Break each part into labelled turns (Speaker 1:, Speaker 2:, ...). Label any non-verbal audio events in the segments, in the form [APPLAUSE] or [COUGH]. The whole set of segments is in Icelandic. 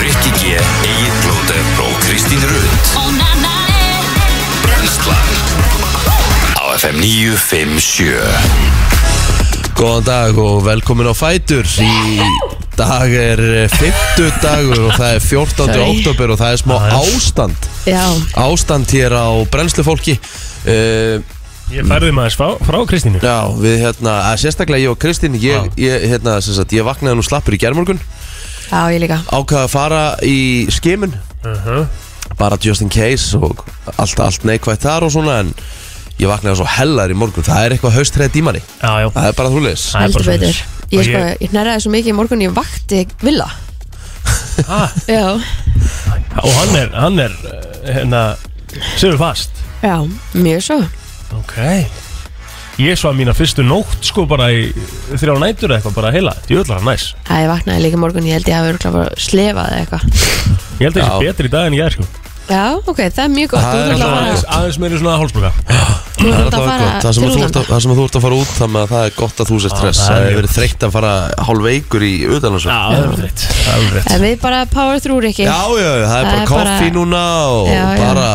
Speaker 1: Rikki G, Egil Blóter og Kristín Rund Brenslan Á FM 957
Speaker 2: Góðan dag og velkomin á Fætur Í dag er 50 dagur og það er 14.
Speaker 3: Sorry.
Speaker 2: oktober og það er smá
Speaker 4: Já, já.
Speaker 2: ástand
Speaker 3: Já,
Speaker 2: Ástand hér á brennslufólki uh,
Speaker 4: Ég færði maður frá, frá Kristínu
Speaker 2: Já, við hérna, að sérstaklega ég og Kristín Ég, ég, hérna, sem sagt, ég vaknaði nú slappur í germorgun
Speaker 3: já, ég líka
Speaker 2: Ákvaði að fara í skimun
Speaker 4: uh -huh.
Speaker 2: Bara just in case og allt, allt neikvægt þar og svona En ég vaknaði svo hellar í morgun Það er eitthvað haustræð dímari
Speaker 4: Já, já
Speaker 2: Það er bara þúleis
Speaker 4: Það er
Speaker 3: Heldur
Speaker 4: bara
Speaker 3: betur
Speaker 4: svoleiðis.
Speaker 3: Ég
Speaker 4: Og
Speaker 3: sko,
Speaker 4: ég-
Speaker 3: ég hnerraði svo mikið í morgun Ég vakti villa
Speaker 4: ah,
Speaker 3: [LAUGHS] Já,
Speaker 4: Og hann er, hann er eh, hérna, Sefur fast
Speaker 3: já, mjög svo
Speaker 4: Ok Ég svo að mína fyrstu nótt sko bara í þrjá nætur eða eitthvað bara heila Ég vil það næs
Speaker 3: Það ég vaknaði líka í morgun Ég held ég hafi örugglega bara slefað eða eitthvað
Speaker 4: Ég held að það sé
Speaker 2: Já.
Speaker 4: betri í dag en ég er sko
Speaker 3: Já, ok, það er mjög gott
Speaker 2: Það
Speaker 3: Þú
Speaker 2: er
Speaker 3: ert alltaf að
Speaker 2: alltaf
Speaker 4: aðeins,
Speaker 3: fara-
Speaker 4: aðeins meiri svona hálsbruka
Speaker 3: þú ert
Speaker 2: Það er
Speaker 3: alltaf að
Speaker 2: alltaf gott, það sem,
Speaker 3: fara til
Speaker 2: að þú ert
Speaker 3: útlanda
Speaker 2: að, það sem að þú ert að fara út þannig að það er gott að þú
Speaker 4: Já,
Speaker 2: sér stress
Speaker 4: það er
Speaker 2: það hefur
Speaker 4: mjög
Speaker 2: verið þreytt að fara hálf veikur í
Speaker 4: Já,
Speaker 2: auðvitaðnarsvöld
Speaker 4: það er rétt Það er rétt
Speaker 3: En við bara power through, Rikki
Speaker 2: Já, já, það
Speaker 3: Það
Speaker 2: er bara
Speaker 3: er bara-
Speaker 2: koffi núna og
Speaker 3: Já, já.
Speaker 2: bara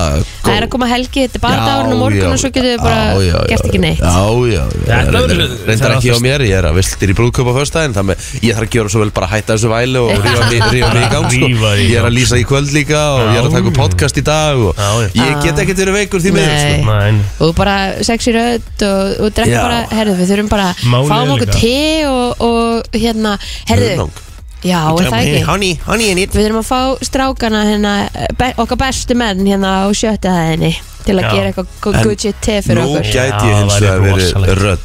Speaker 3: Það er að koma helgi, þetta er bara
Speaker 2: Já,
Speaker 3: dagurinn og morgun
Speaker 2: já,
Speaker 3: og svo getur við bara
Speaker 2: já, já,
Speaker 3: gert ekki
Speaker 2: já,
Speaker 3: neitt
Speaker 2: Já, já, já,
Speaker 4: Þetta verður-
Speaker 2: reyndar-
Speaker 4: það
Speaker 2: reyndar
Speaker 4: er
Speaker 2: ekki á
Speaker 4: alltaf-
Speaker 2: mér, ég er að viltir í brúðköpa föstudaginn, þannig að ég þarf að gera svo vel bara að hætta þessu væli
Speaker 3: [LAUGHS]
Speaker 2: og rífa mig- rífa mig í gang sko.
Speaker 4: Rífa þig í
Speaker 2: Ég er að
Speaker 4: gang.
Speaker 2: lýsa í kvöld líka og ég er að taka upp
Speaker 4: Já.
Speaker 2: podcast í dag og
Speaker 4: Já, já.
Speaker 2: ég get ekkert verið veikur því miður sko.
Speaker 3: Ah. Nei.
Speaker 4: Næn
Speaker 3: og bara sexy rödd og, og drekka
Speaker 2: Já.
Speaker 3: bara, herðu við þurfum bara
Speaker 4: Málið
Speaker 3: fáum
Speaker 4: er
Speaker 3: okkur
Speaker 4: líka-
Speaker 3: te og, og hérna, herðu,
Speaker 2: Hunang.
Speaker 3: já er það ekki
Speaker 2: Honey, honey, I need
Speaker 3: við þurfum að fá strákana hérna, be, okkar bestu menn hérna á sjötta hæðinni til að
Speaker 4: Já.
Speaker 3: gera eitthvað gu-
Speaker 2: En
Speaker 3: good shit te fyrir
Speaker 2: Nú
Speaker 3: okkur
Speaker 2: gæti ég
Speaker 4: Já,
Speaker 2: hins
Speaker 4: væri
Speaker 2: vegar verið
Speaker 4: rosalegt.
Speaker 2: rödd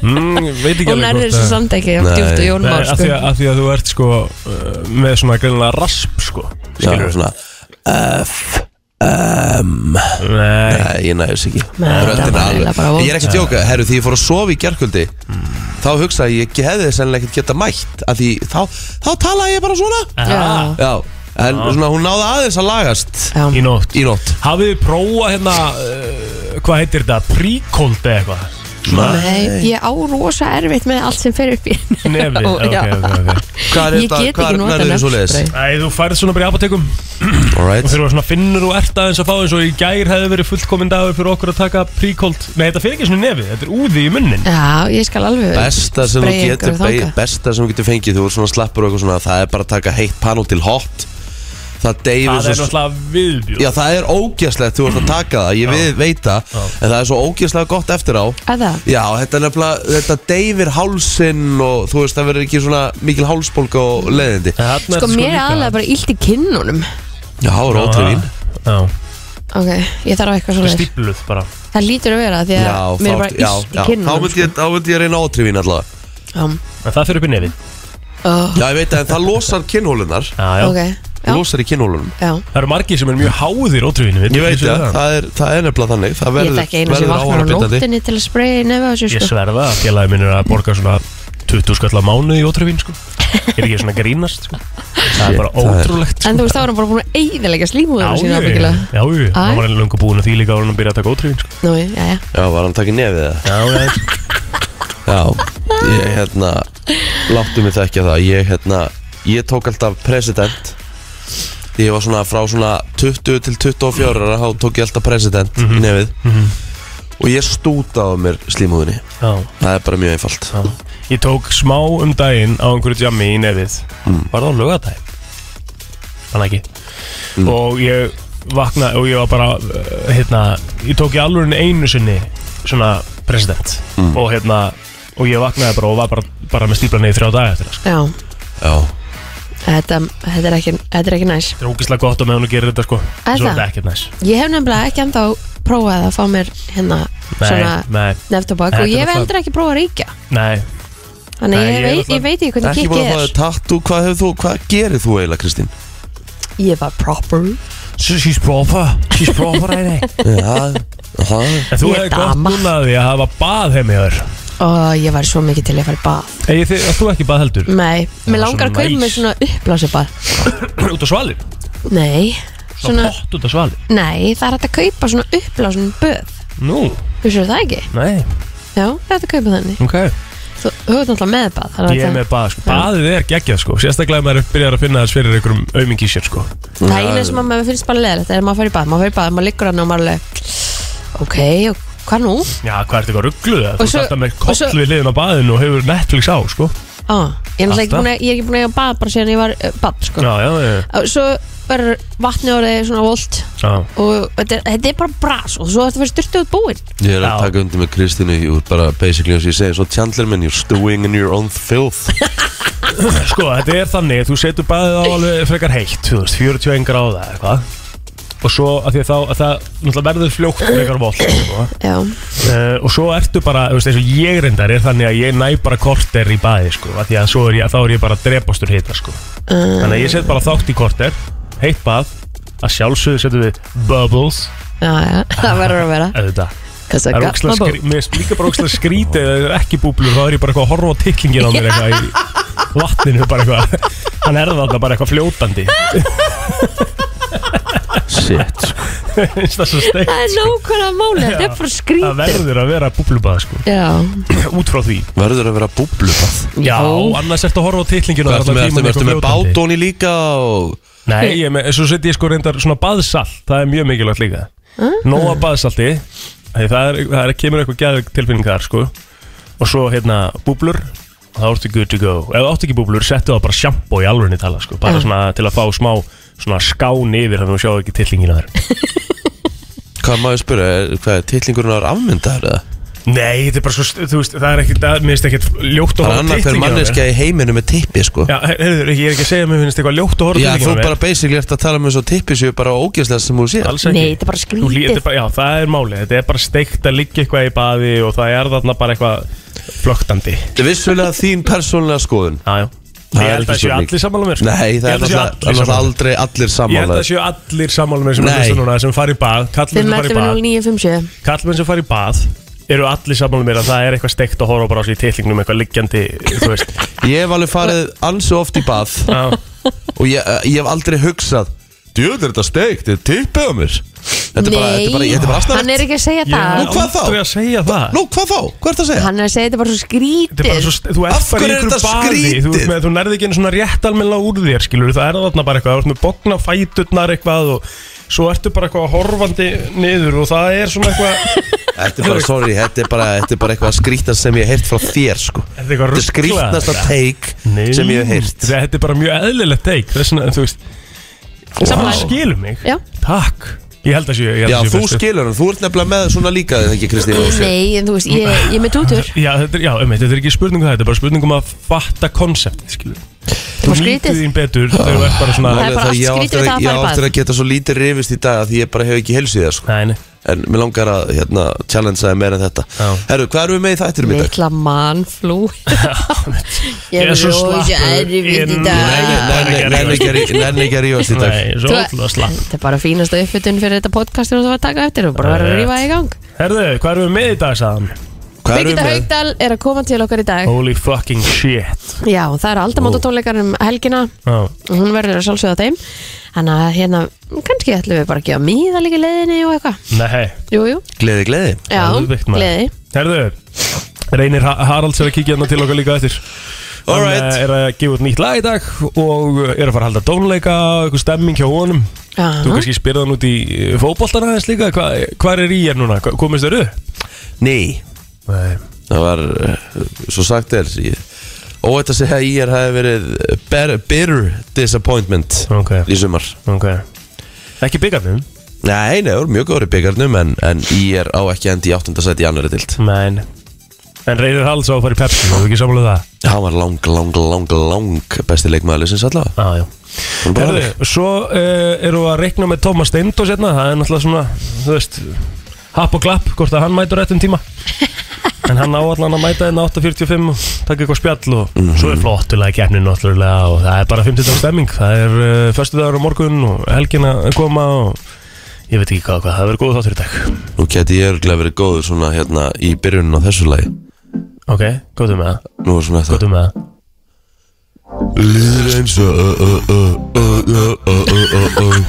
Speaker 4: mm, ég Veit ekki
Speaker 3: og nærður
Speaker 4: hvort
Speaker 3: þessu
Speaker 4: að-
Speaker 3: samt ekki og
Speaker 2: Nei.
Speaker 3: djúft og
Speaker 4: Nei,
Speaker 3: jónmál
Speaker 4: af því,
Speaker 3: sko.
Speaker 4: að, af því að þú ert sko uh, með svona greinlega rasp sko
Speaker 2: Svona,
Speaker 4: Skilurðu?
Speaker 2: svona
Speaker 4: Nei,
Speaker 2: Nei, ég næðis ekki
Speaker 3: Nei, það
Speaker 2: Röddin
Speaker 3: var
Speaker 2: er
Speaker 3: eiginlega bara
Speaker 2: alveg
Speaker 3: vond.
Speaker 2: Ég er ekki að djóka, herru, því ég fór að sofa í gerkvöldi Þá hugsaði ég, ég hefði sennilega ekkert geta mætt af Því þá, þá talaði ég bara svona
Speaker 3: já,
Speaker 2: Já, en svona hún náði aðeins að lagast
Speaker 4: í
Speaker 3: já,
Speaker 4: nótt
Speaker 2: Í nótt
Speaker 4: Hafið þið prófað hérna uh, Hvað heitir þetta? Príkold eða eitthvað?
Speaker 3: Nei, ég á rosa erfitt með allt sem fer upp í
Speaker 2: [LAUGHS]
Speaker 4: Nefið,
Speaker 3: Ó,
Speaker 4: ok,
Speaker 3: já.
Speaker 4: ok,
Speaker 3: [LAUGHS]
Speaker 4: ok
Speaker 2: Hvað er
Speaker 3: ég
Speaker 2: þetta,
Speaker 3: get
Speaker 2: hvað
Speaker 3: ekki
Speaker 2: er- hvað
Speaker 3: nota
Speaker 2: er þetta svo leiðis?
Speaker 3: nefnspray
Speaker 4: Æ, þú færð svona bara í apotekum og
Speaker 2: Alright
Speaker 4: þegar þú svona finnur og ert aðeins að fá eins og í gær hefði verið fullkominn dagur fyrir okkur að taka príkold Nei, þetta fyrir ekki svona nefið, þetta er úði í munnin
Speaker 3: já, ég skal alveg
Speaker 2: Besta sem þú
Speaker 3: spraya
Speaker 2: getur,
Speaker 3: einhverju þangað.
Speaker 2: besta sem þú getur fengið Þú er svona slappur og eitthvað svona Það er bara að taka heitt panel til hot Það deyfir
Speaker 4: Það
Speaker 2: svo
Speaker 4: er náttúrulega viðbjörn
Speaker 2: Já, það er ógæslegt, þú ert að taka það, ég við, veit það
Speaker 4: Já.
Speaker 2: En það er svo ógæslega gott eftir á
Speaker 3: að það
Speaker 2: Já, þetta er nefnilega, þetta deyfir hálsinn og þú veist, það verður ekki svona mikil hálsbólga og leiðindi Já,
Speaker 3: Sko mér er aðlega bara illt í kinnunum
Speaker 2: það er ótrúið vín
Speaker 4: Já,
Speaker 3: Ok, ég þarf eitthvað
Speaker 4: það er
Speaker 3: svona
Speaker 4: stípluð bara
Speaker 3: Það lítur að vera því að
Speaker 2: Já,
Speaker 3: mér
Speaker 2: þá-
Speaker 3: er bara
Speaker 2: já,
Speaker 3: illt
Speaker 2: já.
Speaker 3: í sko.
Speaker 2: Þá
Speaker 3: kinnunum
Speaker 2: myndi ég- þá myndi ég reyna ótrúið vín allavega
Speaker 3: Já,
Speaker 4: En það fyrir upp í nefið
Speaker 3: oh,
Speaker 2: Já, ég veit að það losar kinnhólunar
Speaker 4: Já, já
Speaker 3: ok Já,
Speaker 2: Losar í kinnhólunum
Speaker 3: já
Speaker 4: Það eru margir sem er mjög háðir ótrúvinni
Speaker 2: Ég veit það, það er, það er nefnilega þannig Það
Speaker 3: Ég
Speaker 2: verður,
Speaker 3: þekki einu sem
Speaker 2: verður
Speaker 3: vaknar á
Speaker 2: áhannabindandi
Speaker 3: nóttinni til að spraya í nefa á sér
Speaker 4: Ég
Speaker 3: sko
Speaker 4: sverfa að félagi minn er að borga svona 20 skall á mánuði í ótrúvinni sko Er ekki svona að grínast sko Það
Speaker 2: Shit,
Speaker 4: er bara
Speaker 2: það er-
Speaker 4: ótrúlegt sko.
Speaker 3: En þú veist, þá er hann bara búin að eyðilega slímuður
Speaker 4: Já,
Speaker 3: sína
Speaker 4: já, já,
Speaker 3: ábyggilega
Speaker 4: já, já,
Speaker 3: Æ.
Speaker 4: hann var enn löngu búin að því líka áður en hann byrjaði að taka ótrúin sko.
Speaker 3: Nú, já, já
Speaker 2: Já, var hann takkið nefið það?
Speaker 4: Já, já,
Speaker 2: Já, ég hérna Láttu mig þekkja það Ég hérna, ég tók alltaf president Því ég var svona frá svona 20 til 24 ára Þá tók ég alltaf president
Speaker 4: Mhm.
Speaker 2: í nefið Og ég stútaði á mér slímúðinni
Speaker 4: já
Speaker 2: Það er bara mjög einfalt
Speaker 4: Já. Ég tók smá um daginn á einhverju djammi í nefið
Speaker 2: Mm.
Speaker 4: Var það á lögadaginn? Þannig ekki
Speaker 2: Mm.
Speaker 4: Og ég vakna og ég var bara uh, hérna, Ég tók í alveg einu sinni Svona president
Speaker 2: Mm.
Speaker 4: Og hérna Og ég vaknaði bara og var bara, bara með stípla neyði þrjá daga eftir það sko.
Speaker 3: Já,
Speaker 2: Já,
Speaker 3: þetta, þetta, er ekki, þetta er ekki næs
Speaker 4: Þetta er ógislega gott að með hún að gera þetta sko
Speaker 3: Er
Speaker 4: Svo
Speaker 3: það?
Speaker 4: er þetta ekkert næs
Speaker 3: Ég hef nefnilega ekki ennþá prófað að fá mér hérna svona
Speaker 4: Nei, nei,
Speaker 3: neftobak
Speaker 4: Þetta
Speaker 3: og ég
Speaker 4: er
Speaker 3: hef
Speaker 4: það.
Speaker 3: heldur ekki prófað að ríkja
Speaker 4: nei
Speaker 3: Þannig
Speaker 4: Nei,
Speaker 3: ég,
Speaker 4: ég
Speaker 3: veit,
Speaker 4: er náttúrulega
Speaker 3: ég veit ekki hvernig
Speaker 2: ekki búin
Speaker 3: kikkið
Speaker 2: að fá
Speaker 3: er
Speaker 2: þér tattoo Hvað hefur þú, hvað gerir þú eiginlega Kristín?
Speaker 3: Ég var proper
Speaker 4: She's proper She's proper right now
Speaker 2: Já, aha
Speaker 4: En þú
Speaker 3: Ég er
Speaker 4: hefði gott
Speaker 3: dama.
Speaker 4: núna af því að hafa bað heim í þér
Speaker 3: Og ég var svo mikið til að fara í bað
Speaker 4: Ey, þið, Þú ekki bað heldur
Speaker 3: Nei, mér
Speaker 4: var
Speaker 3: langar að
Speaker 4: svona
Speaker 3: kaupa
Speaker 4: næs.
Speaker 3: mér svona uppblásibað
Speaker 4: [CLEARS THROAT] Út á svali
Speaker 3: Nei,
Speaker 4: Svona
Speaker 3: svona,
Speaker 4: pott út á svali
Speaker 3: nei, það er hægt að kaupa svona uppblásin böð
Speaker 4: Nú,
Speaker 3: Þú séu það ekki?
Speaker 4: nei,
Speaker 3: Já, það er hægt að kaupa þannig
Speaker 4: ok
Speaker 3: Þú þú ert náttúrulega með bað þannig að
Speaker 4: Ég er
Speaker 3: það-
Speaker 4: með bað, sko.
Speaker 3: Já.
Speaker 4: Baðið er geggjað, sko. Sérstaklega ef maður byrjar að finna þess fyrir einhverjum aumingi í sér, sko.
Speaker 3: Það er eina sem að maður finnst bara leðilegt er að maður fær í bað, maður fær í bað, maður liggur hann og maður alveg Ok, og hvað nú?
Speaker 4: Já, hvað ertu eitthvað ruggluð? Þú ert
Speaker 3: svo-
Speaker 4: alltaf með
Speaker 3: og
Speaker 4: koll
Speaker 3: svo-
Speaker 4: við liðin á baðinu og hefur Netflix á, sko.
Speaker 3: Á, Ah, ég, er náttúrulega ekki
Speaker 4: Alltaf.
Speaker 3: búin að- ég er ekki búin að eiga bað bara síðan ég var bad sko.
Speaker 4: Já, já, já.
Speaker 3: Á, Svo verður vatni orðið svona volt
Speaker 4: já.
Speaker 3: og þetta er, þetta er bara bras og svo þetta verður styrtu út búinn
Speaker 2: Ég er að
Speaker 4: Já.
Speaker 2: taka undir með Kristínu Ég er bara basically eins og ég segi Svo Chandler minn, you're stewing in your own filth
Speaker 4: Sko, þetta er þannig, þú setur baðið á alveg frekar heitt, þú veist, 41 gráða eða eitthvað. Og svo, að því að þá, að það náttúrulega verður fljótt frekar volt, sko.
Speaker 3: Já,
Speaker 4: Uh, og svo ertu bara, þú veist, eins og ég reyndar er þannig að ég næ bara korter í baði sko, af því að svo er ég, þá er ég bara drepastur hita sko, þannig að ég set bara þátt í korter heitt bað að sjálfsögðu setum við bubbles
Speaker 3: já, já, [LAUGHS] það verður að vera
Speaker 4: auðvitað,
Speaker 3: Kassa,
Speaker 4: það er ókslega skrítið mér finnst líka bara ókslega skrítið ef það er ekki búblur, þá er ég bara eitthvað að horfa á tiklingin á mér eitthvað í vatninu, bara eitthvað hann er þarna bara eitthvað fljótandi
Speaker 2: Shit
Speaker 4: Finnst það svo steikt. sko.
Speaker 3: Það er nákvæmlega máli, þetta er bara
Speaker 4: Það
Speaker 3: skrítið
Speaker 4: verður að vera búblubað sko,
Speaker 3: Já,
Speaker 4: [COUGHS] út frá því
Speaker 2: Verður að vera búblubað
Speaker 4: Já,
Speaker 3: Ó.
Speaker 4: annars ertu að horfa á titlinginu
Speaker 2: Ertu með, ertu með, ertu með bátóni líka og...
Speaker 4: Nei, ég er með, svo setjum ég sko reyndar svona baðsalt, það er mjög mikilvægt líka Nóa baðsalti, því það, er, það er, kemur eitthvað gæðug tilfinning þar sko Og svo hérna búblur, þá ertu good to go Ef þú átt ekki búblur, settu það bara sjampó í alvörinni tala sko Bara
Speaker 3: Já.
Speaker 4: svona til að fá smá svona skán yfir þannig að þú sjáu ekki tilfingina þar
Speaker 2: [LAUGHS] Hvað má ég spyrja, er, hvað er titlingurinn var afmyndaður eða?
Speaker 4: Nei, þetta er bara svo, st- þú veist, það er ekki, það minnst ekki ljótt að horfa
Speaker 2: Það er
Speaker 4: á
Speaker 2: annar hver
Speaker 4: titlingina þar
Speaker 2: manneskja í heiminu með tippi sko
Speaker 4: Já, heyrðu, ég er ekki að segja að mér finnst eitthvað ljótt að horfa á
Speaker 2: Já, þú
Speaker 4: titlingina
Speaker 2: bara basically ert að tala um þessu tippi séu bara ógeðslega sem þú sé
Speaker 4: Alls ekki.
Speaker 3: Nei, þetta er bara skrítið.
Speaker 4: Þú lí- þetta er bara- Já, það er málið, þetta er bara steikt að liggja eitthvað í baði og það er þarna bara eitthvað flögtandi
Speaker 2: Vissulega þín persónlega skoðun
Speaker 4: Já, já Ég
Speaker 2: Það er
Speaker 4: held
Speaker 2: ekki
Speaker 4: að séu
Speaker 2: spurning.
Speaker 4: allir sammála mér sko.
Speaker 2: Nei,
Speaker 4: Ég
Speaker 2: það er
Speaker 4: held að séu
Speaker 2: náttúrulega
Speaker 4: allir
Speaker 2: allir,
Speaker 4: sammála.
Speaker 2: aldrei allir
Speaker 4: Ég held að
Speaker 2: sammálaðir
Speaker 4: séu allir sammála mér sem er að
Speaker 2: Nei.
Speaker 4: hlusta núna sem fari í bað Kallmenn
Speaker 3: við
Speaker 4: sem fari í
Speaker 3: meldum
Speaker 4: bað
Speaker 3: við 0957
Speaker 4: Kallmenn sem fari í bað eru allir sammála mér að það er eitthvað steikt að horfa bara á sig í titlingnum eitthvað liggjandi, þú veist
Speaker 2: [LAUGHS] Ég hef alveg farið ansi oft í bað
Speaker 4: Já,
Speaker 2: Og ég, eh, ég hef aldrei hugsað Djöður þetta steikt, þetta er tippið á mér Þetta er bara, þetta er bara, þetta er bara
Speaker 3: hann er
Speaker 2: aðstæðvægt
Speaker 3: ekki að segja
Speaker 4: Ég er
Speaker 3: það
Speaker 2: Nú, hvað þá?
Speaker 4: aldrei að segja það
Speaker 2: Nú, hvað þá? Hvað ert að segja?
Speaker 3: Hann er að segja þetta er bara svo
Speaker 4: Þetta er
Speaker 3: skrítið
Speaker 4: bara svo, st- þú ert
Speaker 2: Af
Speaker 4: bara í
Speaker 2: hverju er
Speaker 4: einhverju
Speaker 2: þetta
Speaker 4: baði þú, veist
Speaker 2: skrítið?
Speaker 4: með, þú nærði ekki einu svona rétt almennilega úr þér skilur, það er þarna bara eitthvað, þú ert með bókna fæturnar eitthvað og svo ertu bara eitthvað horfandi niður og það er svona eitthvað
Speaker 2: Þetta er bara, sorry, þetta er bara, þetta er bara eitthvað skrítast sem ég hef heyrt frá þér, sko
Speaker 4: Er þetta eitthvað
Speaker 2: Þetta er
Speaker 4: ruglað?
Speaker 2: skrítast að teik sem ég hef heyrt
Speaker 4: Þetta þetta er bara mjög eðlilegt teik þess að þú veist
Speaker 3: Sammála.
Speaker 4: þú skilur mig
Speaker 3: Já.
Speaker 4: Takk Ég held að sé ég held
Speaker 2: Já,
Speaker 4: að sé
Speaker 2: þú
Speaker 4: bestu.
Speaker 2: skilur hann, þú ert nefnilega með svona líka þegar ekki Kristín Ósi
Speaker 3: Nei, en þú veist, ég, ég er með tútur
Speaker 4: Já, þetta er, já, um, þetta er ekki spurning um það, þetta er bara spurning um að fatta konseptið, skilur. Þú
Speaker 3: skrítið.
Speaker 4: nýttu þín betur þegar þú ert bara svona...
Speaker 3: Það er bara allt
Speaker 2: ég á
Speaker 3: skrítið
Speaker 2: eftir
Speaker 3: við það
Speaker 2: að-
Speaker 3: að
Speaker 2: ég
Speaker 3: fara
Speaker 2: á
Speaker 3: í
Speaker 2: eftir
Speaker 3: bað.
Speaker 2: að geta svo lítið rifist í dag af Því ég bara hef ekki helsu í það, sko
Speaker 4: Nei, nei.
Speaker 2: En mér langar að, hérna, challenge aðeins meira en þetta
Speaker 4: Já.
Speaker 2: Herru, hvað erum við með í þættinum í dag?
Speaker 3: Mikla mannflú
Speaker 4: Ég er svo slappur.
Speaker 3: erfið í
Speaker 2: Mm.
Speaker 4: Ég-
Speaker 3: dag
Speaker 4: Nei,
Speaker 2: Nenni-
Speaker 4: ekki að
Speaker 2: nenni ekki að rí- Nenni ekki að rífast í dag
Speaker 4: Nei, svo
Speaker 3: Þú-
Speaker 4: alltaf slapp.
Speaker 3: Þetta er bara fínasta uppfytun fyrir þetta podcast og þú var að taka eftir og bara verður að rífa í gang
Speaker 4: Herðu, hvað erum við með í dag, sagðan?
Speaker 2: Hvað erum
Speaker 3: Birgitta
Speaker 2: við með?
Speaker 3: Haugdal er að koma til okkar í dag
Speaker 4: Holy fucking shit
Speaker 3: Já, það eru aldamóta tónleikar um helgina
Speaker 4: Já,
Speaker 3: og hún verður að sjálfsögða þeim Þannig að hérna, kannski ætlum við bara að gefa míða líka í leiðinni og eitthvað
Speaker 4: nei
Speaker 3: Jú, jú,
Speaker 2: Gleði, gleði
Speaker 3: já,
Speaker 4: Alveg, maður.
Speaker 3: gleði
Speaker 4: Herðu, Reynir Ha- Haralds er að kíkja hérna til okkar líka eftir Hann
Speaker 2: Alright.
Speaker 4: eh, er að gefa út nýtt lag í dag og eh, er að fara að halda tónleika og eitthvað stemming hjá honum Þú
Speaker 3: Já,
Speaker 4: kannski spyrði hann út í fótboltan aðeins líka Hva, Hvar er í hér núna? Hva- Komist þér upp?
Speaker 2: Nei
Speaker 4: Nei
Speaker 2: Það var, eh, svo sagt er ég- Óætt að segja að ég hafi verið eh, ber- bitter disappointment
Speaker 4: Ok,
Speaker 2: í sumar
Speaker 4: ok Ekki byggarnum?
Speaker 2: Nei, nei, það voru mjög góður í byggarnum en, en ég er á ekki endi í áttundasæti í annari dild
Speaker 4: Nei En Reynir Haralds á að fara í Pepsi, þú ekki samlega það?
Speaker 2: Hann var lang, lang, lang, lang besti leikmaður sinns allavega
Speaker 4: Já, Ah, já
Speaker 2: Hún bara
Speaker 4: Herðu, svo uh, erum við að reikna með Tómas Steindó sérna, það er náttúrulega svona, þú veist, happ og glapp, hvort að hann mætur réttum tíma. En hann á allan að mæta hérna 8.45 og taka eitthvað spjall og svo er flottulega keppnin náttúrulega og það er bara 50 dagar stemming. Það er uh, föstudagur á morgun og helgina að koma og ég veit ekki hvað, hvað það verður góð þáttur í dag.
Speaker 2: Nú geti ég örglega verið góður svona hérna í byrjunin á þessu lagi
Speaker 4: Ok, góðum með það,
Speaker 2: Nú er svona þetta
Speaker 4: góðum með það.
Speaker 2: Líður eins og ö, ö, ö, ö, ö, ö, ö, ö, ö.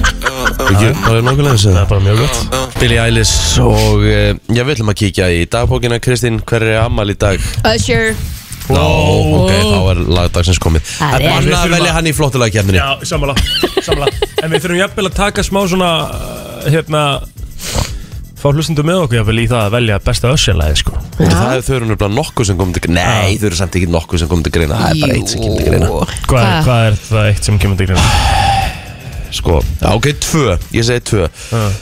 Speaker 2: Ekki, það er nokkulega þess
Speaker 4: Það
Speaker 2: að
Speaker 4: er bara mjög gott.
Speaker 2: Billy Eilish og eh, já, við ætlum að kíkja í dagbókina Kristín, hver er ammal í dag?
Speaker 3: Usher
Speaker 2: Ná, ok, þá er lagdagsins komið
Speaker 3: Það er-
Speaker 4: Við
Speaker 2: Það er bara að
Speaker 4: þurfum
Speaker 2: velja
Speaker 4: að-
Speaker 2: hann í flottulega kemni
Speaker 4: Já, sammála, sammála En við þurfum jafnvel að taka smá svona uh, hérna fá hlustundu með okkur jafnvel í það að velja besta össjalæði sko
Speaker 2: Það er þau eru nefnilega nokkuð sem komið til greina Nei, þau eru samt ekki nokkuð sem komið til greina Það er bara eitt sem komið til greina
Speaker 4: Hvað er, hvað er það eitt sem kemur til greina?
Speaker 2: Sko, já, ok, tvö, ég segi tvö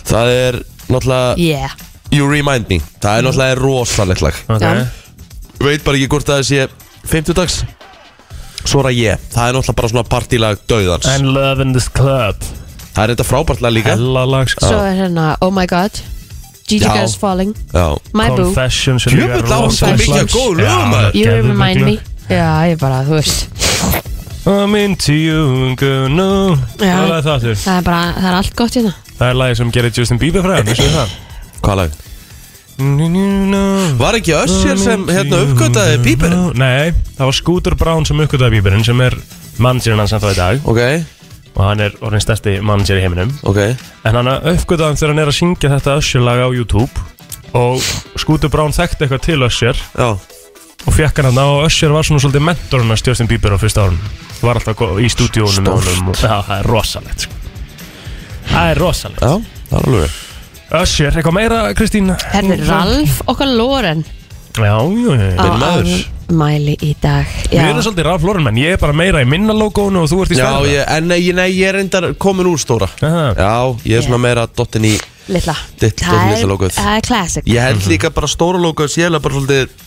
Speaker 2: Það er náttúrulega
Speaker 3: Yeah Mm.
Speaker 2: You Remind Me Það er náttúrulega rosalegt lag
Speaker 3: Já.
Speaker 2: Veit bara ekki hvort það sé 50 dags Svora ég, það er náttúrulega bara svona partílag döðans
Speaker 4: And love in this club
Speaker 2: Það er þetta frábært lag líka
Speaker 4: Hella lag sko
Speaker 3: Svo er hérna Oh my god Gigi
Speaker 2: Já.
Speaker 3: Girls Falling
Speaker 2: Já,
Speaker 3: My Boo
Speaker 4: Confessions er
Speaker 2: Djöfull,
Speaker 4: líka
Speaker 2: það var svo
Speaker 4: rosaleg
Speaker 2: mikið
Speaker 4: slags.
Speaker 2: af góðum lögum,
Speaker 4: Já,
Speaker 2: maður.
Speaker 3: You
Speaker 4: geðveikt
Speaker 3: Remind Me
Speaker 4: lag.
Speaker 3: Já, ég bara, þú veist
Speaker 4: I'm into you, girl, no
Speaker 3: Já.
Speaker 4: Það er það þáttur
Speaker 3: Það er bara, það er allt gott hérna
Speaker 4: Það er lagi sem gerir Justin Bieber fræðan, vissu það
Speaker 2: hvað lag?
Speaker 4: Nú, nú, nú.
Speaker 2: Var ekki Össir sem hérna uppgötaði bíberinn?
Speaker 4: Nei, það var Scooter Brown sem uppgötaði bíberinn sem er mannsirinn hans ennþá í dag
Speaker 2: Ok,
Speaker 4: og hann er orðin stærsti mannsir í heiminum
Speaker 2: ok
Speaker 4: en hann uppgötaði hann þegar hann er að syngja þetta Usher-lag á YouTube og Scooter Brown þekkti eitthvað til Usher
Speaker 2: Já,
Speaker 4: og fekk hann hann og Usher var svona svolítið mentorinn að Justin Bieber á fyrsta árum var alltaf gó- í stúdíónu með honum og, Já, það er rosalegt sko. Það er rosalegt
Speaker 2: já, það er alveg
Speaker 4: Usher, eitthvað meira Kristín?
Speaker 3: Hérna er Ralf okkar Loren
Speaker 4: Já, jú, jú, jú
Speaker 3: á
Speaker 2: maður.
Speaker 3: afmæli í dag
Speaker 4: Við
Speaker 3: Já,
Speaker 4: erum svolítið Ralf Lauren menn, ég er bara meira í minna logoinu og þú ert í
Speaker 2: Já,
Speaker 4: stærra
Speaker 2: ég, en nei, ég- nei, ég er reyndar komin úr stóra
Speaker 4: Aha.
Speaker 2: Já, ég er svona meira dottin í
Speaker 3: litla
Speaker 2: Dill-
Speaker 3: Það
Speaker 2: dill-
Speaker 3: er-
Speaker 2: litla logoð.
Speaker 3: Það er classic
Speaker 2: Ég held líka bara stóra logoð Sérlega bara svolítið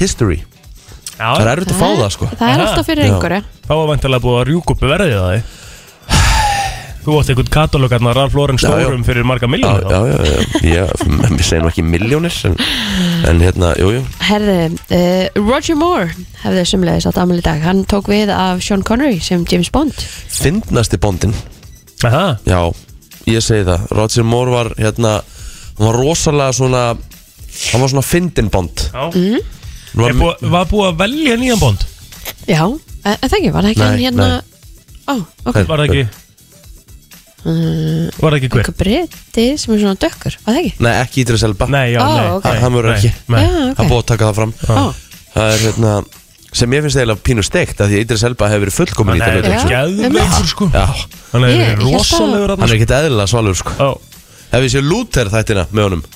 Speaker 2: history Það er
Speaker 4: Já,
Speaker 2: erfitt að fá það, sko
Speaker 3: Það er
Speaker 4: Aha.
Speaker 3: alltaf fyrir
Speaker 2: Já.
Speaker 3: einhverju
Speaker 4: þá var vantilega búið að rjúka upp verðið það
Speaker 2: [SIGHS]
Speaker 4: Þú átti einhvern katalóg að Ralf Lauren
Speaker 2: já.
Speaker 4: stórum fyrir marga
Speaker 2: Já,
Speaker 4: miljónir
Speaker 2: já, já, já, já, já Við segjum ekki miljónir en, en hérna, jú, jú
Speaker 3: Herðu, uh, Roger Moore hefði sumlegis átt afmæli í dag Hann tók við af Sean Connery sem James Bond
Speaker 2: Fyndnasti bóndin
Speaker 4: Aha,
Speaker 2: Já, ég segi það Roger Moore var hérna Hann var rosalega svona Hann var svona fyndin bónd
Speaker 4: já.
Speaker 3: Mhm.
Speaker 2: Hann
Speaker 4: Er
Speaker 2: var,
Speaker 4: búið, Var búið að velja nýjan bond?
Speaker 3: Já, en en það ekki, eh, var það ekki
Speaker 2: Nei,
Speaker 3: hann hérna Ó, ok,
Speaker 2: Nei.
Speaker 4: Var það ekki Var það ekki hver?
Speaker 3: eitthvað breyti sem er svona dökkur, var það ekki?
Speaker 2: Nei, ekki Ídris Elba
Speaker 4: Nei, já,
Speaker 3: Ó,
Speaker 4: nei,
Speaker 3: ok.
Speaker 4: nei,
Speaker 2: Hann verður
Speaker 4: nei,
Speaker 2: ekki.
Speaker 4: nei.
Speaker 3: Já,
Speaker 2: Það er
Speaker 3: ok
Speaker 2: búið að taka það fram
Speaker 3: Ó,
Speaker 2: Það er hérna sem ég finnst eiginlega pínu steikt að því að Idris Elba hefur verið fullkomin í
Speaker 4: Hann
Speaker 2: þetta
Speaker 3: Já,
Speaker 4: er
Speaker 2: hlutverk,
Speaker 4: geðveikur sko
Speaker 2: sko. Já,
Speaker 4: Hann
Speaker 3: Ég- ég
Speaker 4: er
Speaker 3: hélt að-
Speaker 4: rosalegur
Speaker 2: hann
Speaker 4: þarna,
Speaker 2: er ekkert eðlilega svalur sko.
Speaker 4: sko. Ó,
Speaker 2: Ef ég sé Luther þættina með honum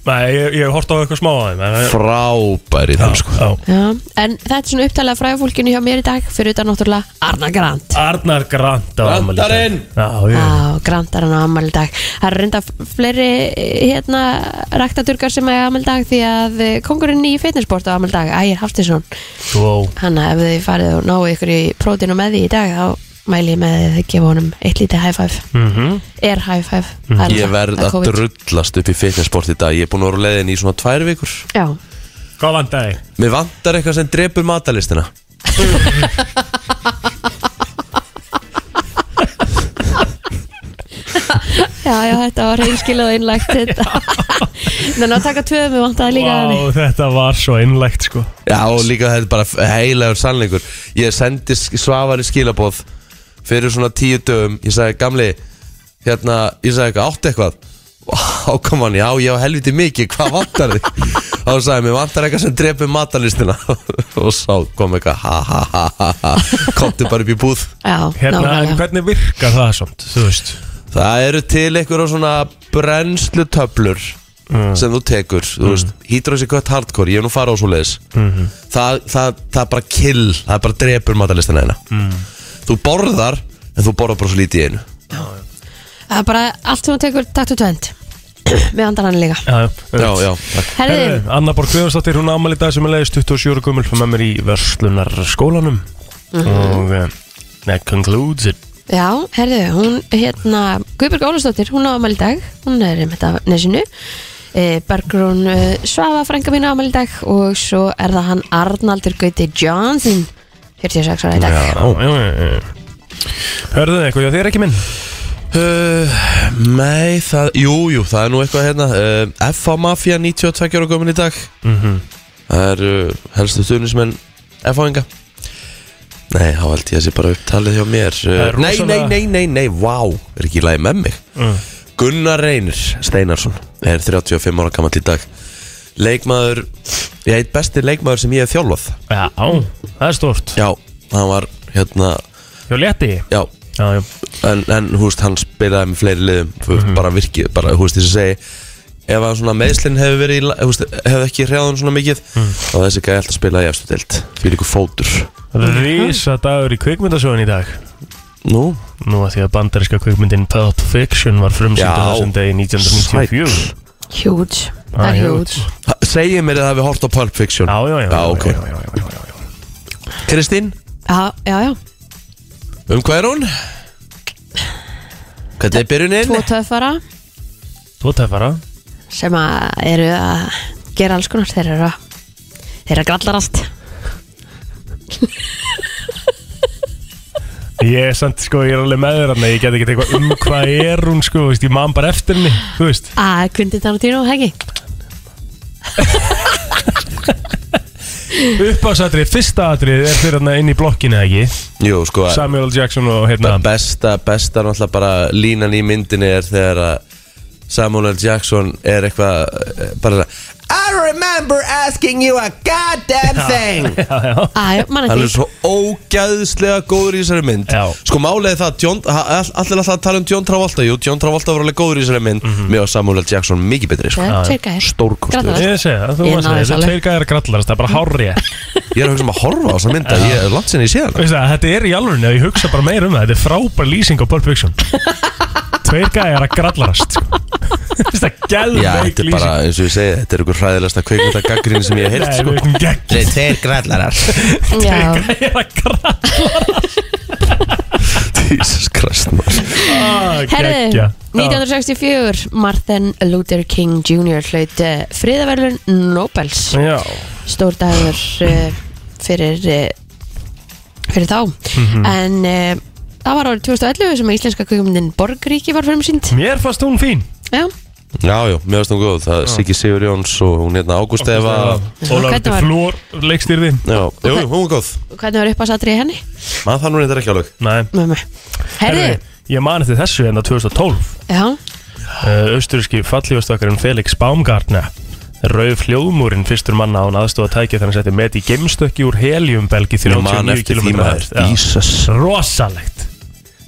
Speaker 4: Nei, ég ég hef hort á eitthvað smá aðeins
Speaker 2: Frábæri þann sko
Speaker 3: já, en þetta er svona upptalað fræðfólkinu hjá mér í dag fyrir utan náttúrulega Arna Grant Ah.
Speaker 4: Arnar Grant á afmæli í dag.
Speaker 2: Grantarinn!
Speaker 4: Já, já
Speaker 3: Já, Grant er hann á afmæli í dag Það er reynda fleiri hérna ræktadurkar sem er afmæli í dag því að eh, kongurinn í fitnessport á afmæli í dag, Ægir Haftinsson
Speaker 4: Wow.
Speaker 3: hann að ef þið farið og náu ykkur í prótinu með því í dag þá mæli ég með því að þið gefa honum eitt lítið high five
Speaker 4: Mhm.
Speaker 3: er high five mm
Speaker 2: Ég verð að drullast upp í fitnessport í dag Ég er búin að vera leðin í svona tvær vikur
Speaker 3: Já,
Speaker 4: Hvað vandaði?
Speaker 2: Mér vantar eitthvað sem drepur matalistina
Speaker 3: já, já, þetta var reynskilið og innlægt þetta Þannig að taka tvö með vantaði líka
Speaker 4: Vá,
Speaker 3: wow.
Speaker 4: þetta var svo innlegt sko
Speaker 2: Já og líka þetta er bara heilagur sannleikur Ég sendi svavari skilaboð Fyrir svona tíu dögum Ég sagði gamli Hérna, ég sagði eitthvað, áttu eitthvað [LAUGHS] Á kom hann, já, ég á helviti mikið, hvað vantar þig? [LAUGHS] Þá sagði hann, mér vantar eitthvað sem drepur matalistina [LAUGHS] Og sá kom eitthvað Ha ha ha ha ha Komdu bara upp í búð
Speaker 3: Já,
Speaker 4: Hérna, en
Speaker 3: nákvæmlega
Speaker 4: hvernig virkar það samt, þú veist
Speaker 2: Það eru til einhverjum svona brennslu töflur sem þú tekur, þú veist, hýdrosi kött hardcore, ég hef nú farið á svo leiðis það, það, það er bara kill, það er bara drepur matalistina eina Þú borðar, en þú borðar bara svo lítið í einu
Speaker 3: Það er bara allt sem hún tekur taktu tvend með vantar hann líka
Speaker 4: Já,
Speaker 2: Já, já, takk
Speaker 3: Herði,
Speaker 4: Anna Borg Guðarsdóttir, hún ámæli dag sem er leiðist 27 ára gummul með mér í verslunarskólanum og eh, that concludes it
Speaker 3: já, herði, hún hérna Guðbjörg Ólustóttir, hún á afmæli í dag hún er með þetta nesinu Bergrún eh, Svava, frænka mín á afmæli í dag og svo er það hann Arnaldur Gauti Johnson 46 ára í dag
Speaker 4: Já, já, já, já. Hörðu þið eitthvað, já þið er ekki minn
Speaker 2: uh, Nei, það, jú, jú, það er nú eitthvað hérna uh, FH Mafia 92 ára komin í dag
Speaker 4: Mhm.
Speaker 2: Það eru uh, helstu stuðnismenn FH-inga Nei, þá held ég að sé bara upptalið hjá mér
Speaker 4: Það er
Speaker 2: uh, Nei, nei,
Speaker 4: rosalega- Mm.
Speaker 2: nei, nei, nei, vá, er ekki í lagi með mig Gunnar Reynir Steinarsson er 35 ára gammal í dag Leikmaður Ég heit besti leikmaður sem ég hef þjálfað
Speaker 4: Já, það er stort
Speaker 2: Já, hann var hérna
Speaker 4: Hjá leti
Speaker 2: Já,
Speaker 4: Já, já Mhm.
Speaker 2: en, en húst, hann spilaði með fleiri liðum þú veist, bara virkið, bara húst, þess að segja ef að svona meðslinn hefur verið í la- þú veist, hefur ekki hreðan svona mikið
Speaker 4: Mm.
Speaker 2: þá þessi gæði alltaf spilaði í efstu deild fyrir ykkur fótur
Speaker 4: Rísa dagur í kvikmyndasögun í dag
Speaker 2: Nú,
Speaker 4: Nú að því að bandaríska kvikmyndin Pulp Fiction var frumsýnd á
Speaker 2: Já.
Speaker 4: þessum degi 1994
Speaker 3: Huge, það
Speaker 4: Ah,
Speaker 3: er
Speaker 4: huge.
Speaker 3: huge
Speaker 2: segið mér að það við hort á Pulp Fiction
Speaker 4: Já, já, já
Speaker 2: Já, ok.
Speaker 4: já, já, já, já, já.
Speaker 2: Kristín,
Speaker 3: Já, já, já,
Speaker 2: um hvað er hún? Hvernig er byrjunin?
Speaker 3: tvo töffara
Speaker 4: Tvo tæfara
Speaker 3: sem að eru að gera alls konar þeir eru að þeir eru að grallarast
Speaker 4: Ég er samt, sko, ég er alveg með þér Þannig ég get ekki eitthvað um hvað er hún, sko þú veist, Ég man bara eftir henni, þú veist
Speaker 3: að Ah, Quentin Tarantino, heggi
Speaker 4: Uppáðsatrið, fyrsta atrið er fyrir hann inn í blokkinu, eða ekki
Speaker 2: Jú, sko,
Speaker 4: Samuel L. Jackson og hérna
Speaker 2: Be- besta, besta náttúrulega bara línan í myndinni er þegar að Samuel L. Jackson er eitthvað eh, bara I remember asking you a goddamn thing
Speaker 4: [LAUGHS] Já, já,
Speaker 3: að, mann eftir
Speaker 2: Hann er
Speaker 3: því.
Speaker 2: svo ógæðslega góður í þessari mynd
Speaker 4: Já.
Speaker 2: Sko málið er það, að John, ha- all- allir alltaf að tala um John Travolta Jú, John Travolta var alveg góður í þessari mynd
Speaker 4: Mhm.
Speaker 2: mm Mér og Samuel L. Jackson mikið betri sko.
Speaker 3: Það
Speaker 4: Já,
Speaker 3: er
Speaker 4: já.
Speaker 3: tveir gæðir.
Speaker 2: Stórkostlegur.
Speaker 3: Grallarast.
Speaker 4: ég segi það, þú
Speaker 3: Ég
Speaker 4: varst að
Speaker 3: náði
Speaker 4: segja Þessi
Speaker 3: þessu
Speaker 4: tveir gæðar grallarast, það er bara hárrið
Speaker 2: [LAUGHS] Ég er að hugsa um að horfa á þessa mynda Ég er langt sinni í síðan
Speaker 4: Veist það, þetta er í alvörinu og ég hugsa bara meira um það Þetta er frábær lýsing á Pulp
Speaker 3: [LAUGHS]
Speaker 4: Fiction Tveir gæjar að grallarast sko. Veist það, gæðveik
Speaker 2: Já, þetta er
Speaker 4: lýsing
Speaker 2: bara, eins og ég segi, þetta er einhver hræðilegsta kveikmynda gaggrinni sem ég hef
Speaker 4: Nei,
Speaker 2: heilt sko.
Speaker 4: við erum gegn
Speaker 2: Þeir tveir grallarar
Speaker 4: [LAUGHS]
Speaker 3: Já,
Speaker 4: Gæjar að grallarast
Speaker 2: [LAUGHS] Jesus Christ maður.
Speaker 4: Ah,
Speaker 3: Herðu, 1964 Martin Luther King Jr. hlaut uh, friðaverlun Nobels
Speaker 4: Já,
Speaker 3: stór dagur uh, fyrir uh, fyrir þá
Speaker 4: Mhm.
Speaker 3: en uh, það var árið 2011 sem að íslenska kvikmyndin Borgríki var fremsýnd
Speaker 4: mér fannst hún fín
Speaker 3: Já,
Speaker 2: Já, já, mér finnst hún góð Það er Siggi Sigur Jóns og hún hérna Ágúst Eva
Speaker 4: Ólafur
Speaker 3: Hvernig
Speaker 4: til
Speaker 3: var-
Speaker 4: flúor leikstýrði
Speaker 2: Já, jú, jú, hún er góð
Speaker 3: hvernig var upp að satri henni?
Speaker 2: Maður það nú reyndar ekki alveg
Speaker 4: Nei,
Speaker 3: Mömmu Herðu,
Speaker 4: ég man eftir þessu hérna en 2012
Speaker 3: já,
Speaker 4: uh, Östuríski fallífastakkarinn Felix Baumgartner Rauð hljóðmúrin fyrstur manna án aðstóð að tækja þannig að setja með í gemstökki úr heliumbelgi
Speaker 2: Ég man
Speaker 4: 39
Speaker 2: eftir
Speaker 4: km
Speaker 2: því maður Jesus
Speaker 4: rosalegt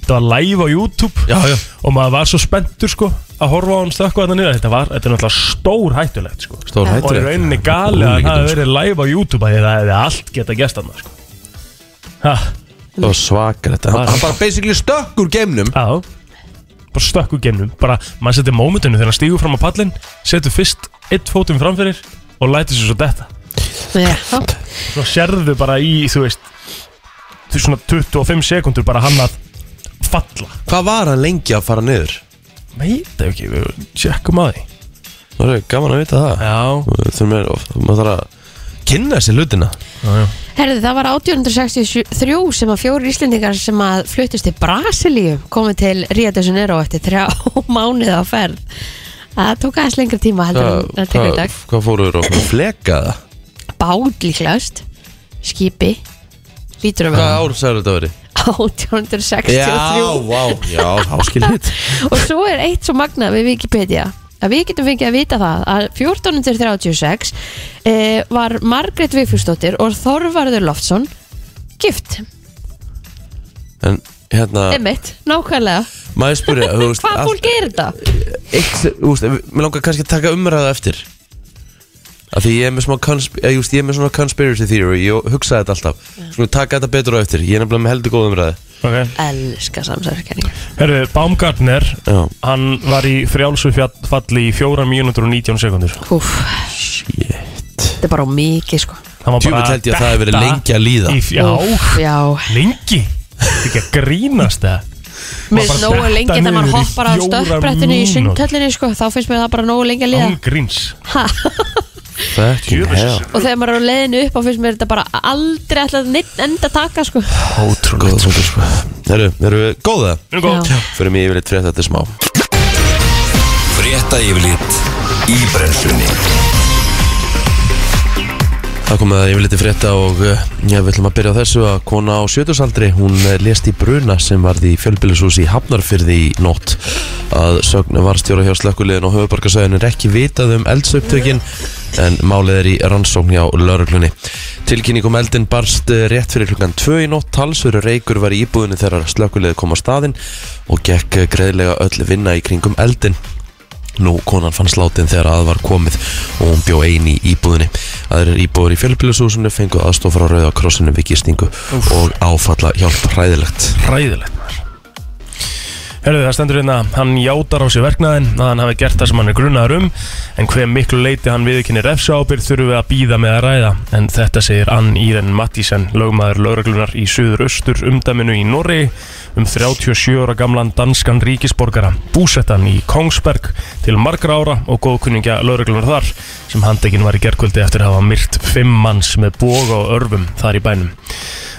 Speaker 4: þetta var live á YouTube
Speaker 2: Já, já.
Speaker 4: og maður var svo spenntur sko að horfa á hann stökku þarna niður þetta, var, þetta er náttúrulega stór hættulegt sko.
Speaker 2: Stór sko.
Speaker 3: Já.
Speaker 4: og í
Speaker 2: hættur
Speaker 4: rauninni gali að það hefði verið live á YouTube að það hefði allt geta gæst hann sko. ha,
Speaker 2: Það var svakar þetta Hann- Hann bara basically stökk úr geimnum
Speaker 4: á bara stökku gemnum, bara maður setur mómentinu þegar hann stígur fram á pallin, setur fyrst eitt fótum framfyrir og lætur sér svo detta
Speaker 3: já
Speaker 4: svo sérðu bara í, þú veist þú svona 25 sekundur bara hann að falla
Speaker 2: Hvað var hann lengi að fara niður?
Speaker 4: veit ekki, við tjekkum að því
Speaker 2: Það er gaman að vita það
Speaker 4: já,
Speaker 2: Þurfum er, of- maður þarf að kynna sér hlutina
Speaker 3: Herðu, það var 1863 sem að fjóri íslendingar sem að fluttist til Brasilíu komið til Rio de Janeiro eftir þrjá [LAUGHS] mánuð á ferð Það tók aðeins lengra tíma heldur en það tekur í dag
Speaker 2: Hvað hvað fóruður og flekaða?
Speaker 3: bát líklegast skipi lítur að
Speaker 2: Hvað
Speaker 3: vera
Speaker 2: ár sagði þetta verið?
Speaker 3: 1863
Speaker 2: Já, vá, já, háskilít
Speaker 3: og svo er eitt svo magnað við Wikipedia að við getum fengið að vita það að 1436 eh, var Margrét Vigfúsdóttir og Þorvarður Loftsson gift,
Speaker 2: En hérna
Speaker 3: einmitt, nákvæmlega
Speaker 2: Maður spurði, þú veist
Speaker 3: hvað
Speaker 2: allt-
Speaker 3: fólk er þetta?
Speaker 2: eitt, sem- þú veist, ef- mér langar kannski að taka umræðu eftir af því ég er með smá consp- eh, just, ég er með svona conspiracy theory og hugsa þetta alltaf svona taka þetta betur á eftir, ég er nefnilega með heldur góð umræðu
Speaker 4: ok
Speaker 3: elska samsæðiskenningar
Speaker 4: Herru, Baumgartner,
Speaker 2: já,
Speaker 4: hann var í frjálsu fjall- falli í 4 mínútur og 19 sekundur.
Speaker 3: Úf, þetta er bara of mikið sko
Speaker 4: Hann var
Speaker 2: Djúvill held ég að það hefði verið
Speaker 4: detta
Speaker 2: lengi að líða.
Speaker 4: í f- Já,
Speaker 3: Úff, já.
Speaker 4: lengi. Þetta er ekki að grínast það.
Speaker 3: Mér finnst
Speaker 4: bara
Speaker 3: nógu
Speaker 4: detta
Speaker 3: lengi þegar maður
Speaker 4: niður í
Speaker 3: hoppar á
Speaker 4: fjórar
Speaker 3: stökkbrettinu í
Speaker 4: mínútur.
Speaker 3: sundhöllinni sko, þá finnst mér það bara nógu lengi að líða
Speaker 4: Án gríns.
Speaker 2: fucking
Speaker 4: Djöfis.
Speaker 2: hell
Speaker 3: og þegar maður er á leiðinu upp þá finnst mér þetta bara aldrei alltaf neitt enda taka sko.
Speaker 2: ótrúlega góð, sko. eru, eru við góða?
Speaker 4: Við erum góð.
Speaker 3: Já.
Speaker 2: fyrir mig yfirleitt frétt þetta smá
Speaker 1: Frétta yfirlit í brennslunni
Speaker 2: Það komið að ég vil eitthvað frétta og uh, já, við ætlum að byrja á þessu að kona á sjötusaldri, hún eh, lést í bruna sem varð í fjölbýlishús í Hafnarfyrði í nótt. Að sögn varstjóra hjá slökkuliðin og höfubarkasæðin er ekki vitað um eldsupptökin en málið er í rannsókn hjá lauruglunni. Tilkynning um eldin barst eh, rétt fyrir klukkan 2 í nótt, talsveru reykur var í íbúðinu þegar slökkuliði kom á staðinn og gekk eh, greiðlega öll vinna í kringum eldin. Nú, konan fann slátin þegar að var komið og hún bjó ein í íbúðinni. Aðrir íbúður í fjölbýlishúsinu fenguð aðstof frá Rauða krossinu við gistingu og áfalla hjálp hræðilegt.
Speaker 4: Ræðilegt maður Herðu það stendur hérna, hann játar á sér verknaðin að hann hafi gert það sem hann er grunnaður um en hver miklu leiti hann viðkynni refsábyrð þurfum við að býða með að ræða en þetta segir Ann Íren Mattísen lögmaður lögreglunar í suðuraustur umdæminu í Norri um 37 ára gamlan danskan ríkisborgara búsettan í Kongsberg til margra ára og góðkunningja lögreglunar þar sem handekinn var í gerkvöldi eftir að hafa myrt fimm manns með boga og örfum þar í bænum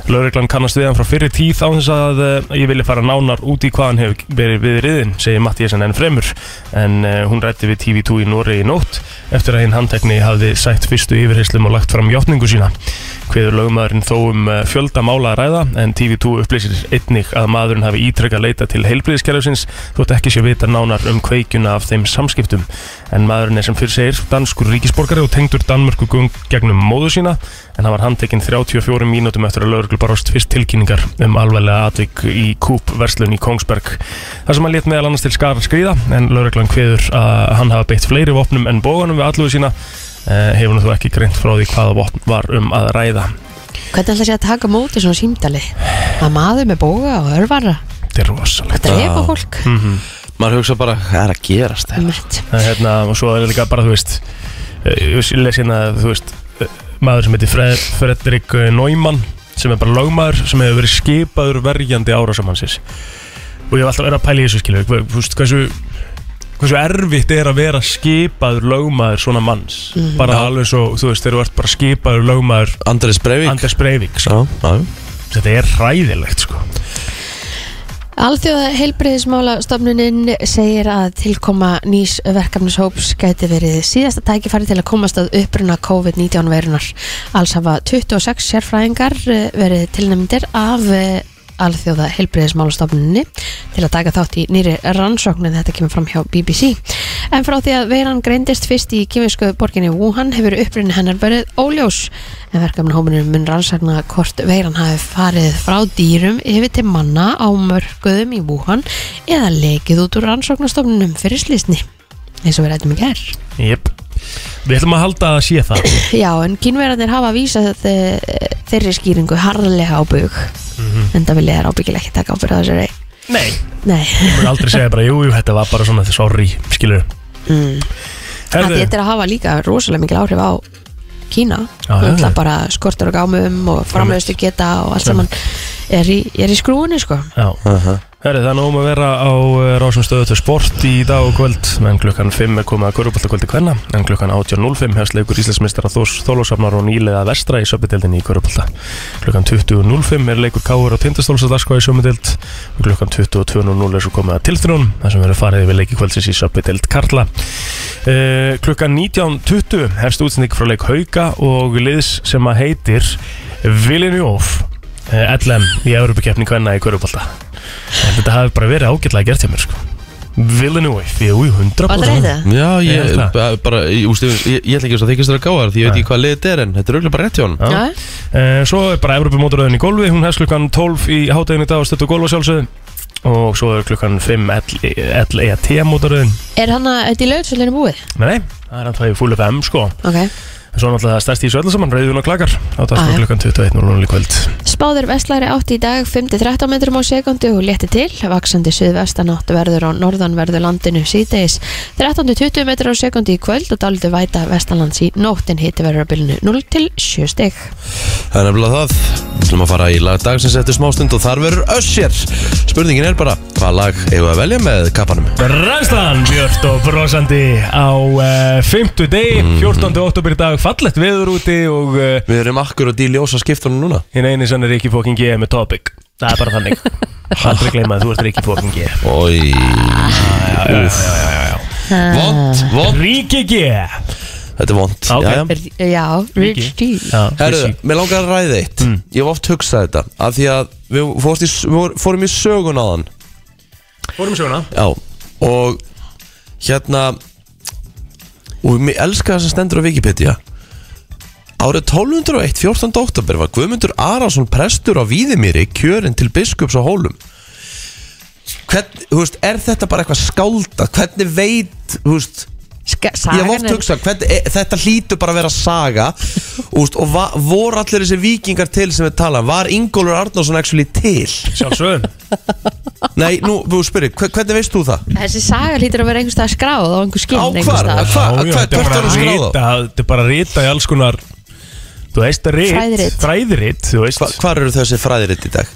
Speaker 4: Lögreglan kannast við hann frá fyrir tíð án þess að uh, ég vilja fara nánar út í hvað hann hefur verið við riðin, segir Mattíasen enn fremur, en uh, hún rætti við TV2 í Noregi í nótt eftir að hinn handtekni hafði sætt fyrstu yfirheyslum og lagt fram játningu sína. Hviður lögumæðurinn þó um uh, fjölda mála að ræða, en TV2 upplýsir einnig að maðurinn hafi ítrekka leita til heilbriðiskerfisins þótt ekki sé vita nánar um kveikjuna af þeim samskiptum. En maðurinn er sem fyrir segir danskur ríkisborgari og tengdur Danmörku gung- gegnum móðu sína en hann var handtekinn 34 mínútum eftir að lauruglu baróst fyrst tilkynningar um alveglega atvik í Coop verslun í Kongsberg. Það sem hann létt meðal annars til skar skrýða en lauruglan kveður að hann hafa beitt fleiri vopnum en bóganum við alluðu sína eh, hefur nú þú ekki greint frá því hvaða vopn var um að ræða.
Speaker 3: Hvernig ætla sér að taka á móti svona símdali? Að maður með bóga og örvara
Speaker 4: Þetta er rosalegt.
Speaker 3: að drepa fólk mm.
Speaker 4: Mhm.
Speaker 2: Maður hugsa bara, hvað er að gerast þetta?
Speaker 4: Það er hérna, og svo er líka bara, þú veist eh, Ég les hérna, þú veist eh, Maður sem heitir Fred, Fredrik eh, Neumann Sem er bara lögmaður Sem hefur verið skipaður verjandi árásamannsins Og ég hef alltaf verið að pæla í þessu skilur Þú veist, hversu Hversu erfitt er að vera skipaður lögmaður svona manns Bara alveg svo, þú veist, þegar þú ert bara skipaður lögmaður
Speaker 2: Andres Breivik?
Speaker 4: Anders Breivik sko.
Speaker 2: Já, já.
Speaker 4: Þetta er hræðilegt, sko
Speaker 3: Alþjóða heilbriðismála stofnunin segir að tilkoma nýs verkefnishóps gæti verið síðasta tækifæri til að komast að uppruna COVID-19 verunar. Alls hafa 26 sérfræðingar eh, verið tilnæmdir af eh, alþjóða heilbriðismála stofnuninni til að taka þátt í nýri rannsóknin þetta kemur fram hjá BBC. En frá því að veiran greindist fyrst í kymísku borginni Wuhan hefur upprunni hennar verið óljós en verkefnahómurinn mun rannsakna hvort veiran hafi farið frá dýrum yfir til manna á mörguðum í Wuhan eða lekið út úr rannsóknastofnunum fyrir slísni eins og við rættum í gerð.
Speaker 4: Jep Við ætlum að halda að sé það
Speaker 3: Já, en kínverðarnir hafa vísað þe- þeirri skýringu harðlega á bug en það vil ég er ábyggilega ekki taka ábyrgð á þessari
Speaker 4: Nei
Speaker 3: Nei,
Speaker 4: Mér aldrei segja bara, jú, jú, þetta var bara svona, sorry, skilur
Speaker 3: það
Speaker 4: Herðu,
Speaker 3: getur að hafa líka rosalega mikil áhrif á Kína
Speaker 4: Já, já,
Speaker 3: Það
Speaker 4: já.
Speaker 3: bara skortur og gámum og framleiðstu geta og allt saman er í, er í skrúinu sko
Speaker 4: já Herðu, það er nóg um að vera á eh, rásum stöðu til sport í dag og kvöld en klukkan 5 er komið að Köruboltakvöldi kvenna en klukkan 18.05 hefst leikur Íslandsmeistara Þórs Þólósafnar og nýlega vestra í söpudildinni í Körubolta klukkan 20.05 er leikur Káur og Tindastóls að daskva í söpudild og klukkan 22.00 er svo komið að tilþrún þar sem verður farið yfir leiki kvöldsins í söpudild Karla Eh, klukkan 19.20 hefst útsending frá leik Hauka og liðs sem að heitir Villeneuve eh, LM í Evropakeppni Kvenna í Körubolta en þetta hafi bara verið ágætlega gert hjá mér sko Villeneuve, jú, jú, 100%
Speaker 3: Var það reyða?
Speaker 2: Já,
Speaker 4: Ég
Speaker 2: ég,
Speaker 4: held það.
Speaker 2: bara- bara, ég, úst, ég, ég, ég ætla ekki að þykist þér að gáða þér því ég veit
Speaker 4: Nei.
Speaker 2: ekki hvað liðið er en þetta er auðvitað bara rétt hjá hann.
Speaker 4: Já.
Speaker 3: Já,
Speaker 4: Eh, Svo er bara Evropamótaröðin í golfi, hún hefst klukkan 12 í hátæðin í dag og stöttu golfa sjálfsögðu og svo er klukkan 5 LET mótaröðin
Speaker 3: Er hann að, þetta í laugsvöldinu búið?
Speaker 4: E Nei, nei, það er alltaf í full FM sko
Speaker 3: Ok.
Speaker 4: En Svo er náttúrulega það stærst í þessu öllu saman, rauðun og klakar á
Speaker 3: Ah,
Speaker 4: dagskrá
Speaker 3: já.
Speaker 4: klukkan 21.00 í kvöld
Speaker 3: Spáður vestlæri átti í dag 5-13 metrum á sekundu og létti til. Vaksandi suðvestanátt verður á norðanverðu landinu síðdeis. 13-20 metrum á sekundu í kvöld og dálítið væta vestanlands í nóttin hiti verður á bylunu 0-7 steg.
Speaker 2: Það er nefnilega það. Við ætlum að fara í lag dagsins eftir smástund og þar verður össir. Spurningin er bara, hvað lag eigum við að velja með kappanum?
Speaker 4: Rænslan, björt og brosandi á uh, 5. degi, 14. oktober í dag, fallett veður úti og uh,
Speaker 2: Mhm. Við erum akkur og dýl í ósa skiptunum núna.
Speaker 4: hinn eini sann er Ríkki Fóking G með Topic. Það er bara
Speaker 2: [LAUGHS]
Speaker 4: þannig. Aldrei gleyma að þú ert Ríkki Fóking G.
Speaker 2: Ói,
Speaker 4: Úff.
Speaker 2: Ah, vond, vond.
Speaker 4: Ríkki G.
Speaker 2: Þetta er vond
Speaker 4: Ok.
Speaker 3: Er- Já, Rich D
Speaker 4: Já, Mm.
Speaker 2: Herru,
Speaker 4: vissi-
Speaker 2: mér langar að ræða eitt Ég hef oft hugsað þetta Af því að við, fórst í, við vor- fórum í sögun á þann
Speaker 4: Fórum í söguna
Speaker 2: Já Og hérna Og mér elska það sem stendur á Wikipedia Árið 1201, 14. oktober var Guðmundur Arason prestur á Víðimýri kjörinn til biskups á Hólum Hvern, þú veist, er þetta bara eitthvað skálda? Hvernig veit, þú veist Ég hef oft hugsað, hvern, e, þetta hlýtur bara að vera saga [LAUGHS] úst, Og va, voru allir þessi vikingar til sem við tala um? Var Ingólfur Arnarsson actually til?
Speaker 4: Sjálfsögum
Speaker 2: Nei, nú, þú spyrir, hver- hvernig veist þú það?
Speaker 3: Þessi saga lítur að vera einhvers stað skráð á einhver skinn
Speaker 2: Á
Speaker 3: einhvers
Speaker 2: hvar?
Speaker 3: staðar.
Speaker 2: Hva-
Speaker 4: Já, já,
Speaker 2: hva-
Speaker 4: þetta er
Speaker 2: hvert
Speaker 4: bara
Speaker 2: er hún
Speaker 4: að
Speaker 2: skráð á?
Speaker 4: rita- Þetta er bara að rita í alls konar Þú veist að rít
Speaker 3: Fræðirit.
Speaker 4: Fræðirit, þú veist
Speaker 2: Hva, hvar eru þessi fræðiritt í dag?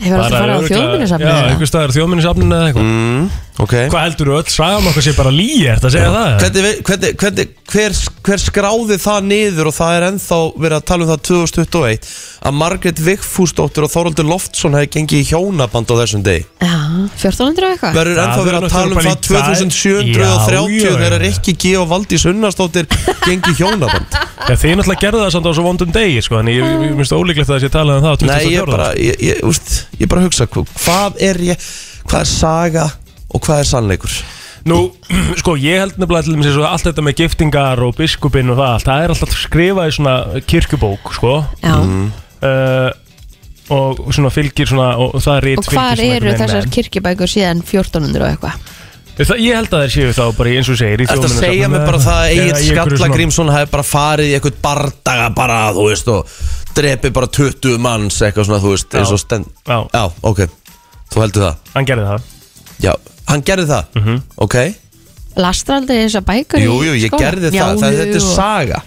Speaker 3: Hefur alltaf farið á
Speaker 4: örugglega-
Speaker 3: þjóðminnarsafnið
Speaker 4: Já,
Speaker 3: eða?
Speaker 4: einhver staðar þjóðminnisafninu eða eitthvað
Speaker 2: Mm, Ok
Speaker 4: Hvað heldur þú öll sagðum okkur sé bara líi Þetta að segja það
Speaker 2: hvernig, vei- hvernig, hvernig, hver, hver skráði það niður og það er ennþá verið að tala um það 2021 að Margrét Vigfúsdóttir og Þoraldur Loftsson hefði gengið í hjónaband á þessum degi
Speaker 3: Já, 1400 og eitthvað
Speaker 2: verður
Speaker 4: Það
Speaker 2: ennþá verið
Speaker 4: verður
Speaker 2: að tala um
Speaker 4: náttúrulega
Speaker 2: það
Speaker 4: bara í dag.
Speaker 2: 2730
Speaker 4: Já, já, já.
Speaker 2: þegar Rikki G og Valdís Unnarsdóttir gengið í hjónaband
Speaker 4: Já, Þið náttúrulega gerðu það samt á svo vondum degi sko, En ég, ég, ég minnst ólíklegt að það sé talað um það á
Speaker 2: Nei, ég
Speaker 4: 24.
Speaker 2: bara, ég, ég, úst, ég bara hugsa hva- hvað er ég, hvað er saga og hvað er sannleikur
Speaker 4: Nú, [CLEARS THROAT] sko, ég held nefnilega til þess að allt þetta með giftingar og biskupinn og það allt, það er alltaf skrifað í svona kirkjubók, sko
Speaker 3: Já,
Speaker 4: uh, og svona fylgir svona, og það er rít
Speaker 3: og hvar eru þessar kirkjubækur síðan 1400 og eitthvað?
Speaker 4: kirkjubók? Ég held að þær séu þá bara eins og þú segir í
Speaker 2: Þetta
Speaker 4: þjóðminjasafninu
Speaker 2: segja mér bara það að
Speaker 4: eða í
Speaker 2: Egil
Speaker 4: einhverju svona-
Speaker 2: Skallagrímsson hefði bara farið í eitthvað bardaga bara, þú veist, og drepi bara 20 manns eitthvað svona, þú veist, eins og stend
Speaker 4: Já.
Speaker 2: Já, ok, þú heldur það
Speaker 4: Hann gerði það
Speaker 2: Já, hann gerði það, ok
Speaker 3: Lastra aldrei þessar bækur í
Speaker 2: Jú, jú, ég
Speaker 3: skóla?
Speaker 2: gerði
Speaker 3: Já,
Speaker 2: það, það,
Speaker 3: jú,
Speaker 2: þetta er
Speaker 3: jú.
Speaker 2: saga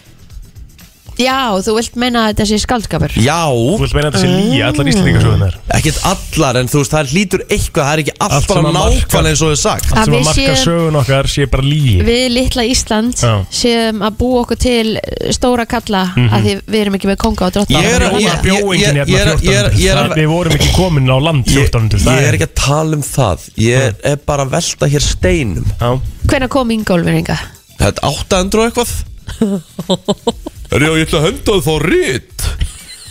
Speaker 3: Já, þú vilt meina að þetta sé skaldskapur
Speaker 4: Þú
Speaker 2: Já, Mm.
Speaker 4: vilt meina að þetta sé líi, allar íslendingasögunar
Speaker 2: ekkert allar, en þú veist, það hlýtur eitthvað, það er ekki allt,
Speaker 4: Allt sem
Speaker 2: bara
Speaker 4: að marka.
Speaker 2: nákvæmlega eins og þau sagt
Speaker 3: Að
Speaker 4: Allt sem að
Speaker 3: við
Speaker 4: marka
Speaker 3: séum-
Speaker 4: sögun okkar sé bara líi
Speaker 3: Við litla Ísland
Speaker 4: Já. Mhm.
Speaker 3: séum að búa okkur til eh, stóra kalla mm að því við erum ekki með konga og drotta
Speaker 2: Ég er að-
Speaker 4: Það
Speaker 2: ég-
Speaker 4: bjó enginn hérna
Speaker 2: ég- ég- ég er- ég er-
Speaker 4: 1400 Það- Við vorum ekki komin á land
Speaker 2: Ég,
Speaker 4: 1400
Speaker 2: ég er ekki að tala um það, ég er bara að velta hér steinum
Speaker 4: Mm. Já,
Speaker 3: Hvenær kom Ingólfur enga?
Speaker 2: Þetta er 800 og eitthvað Er ég ætla að henda þá rít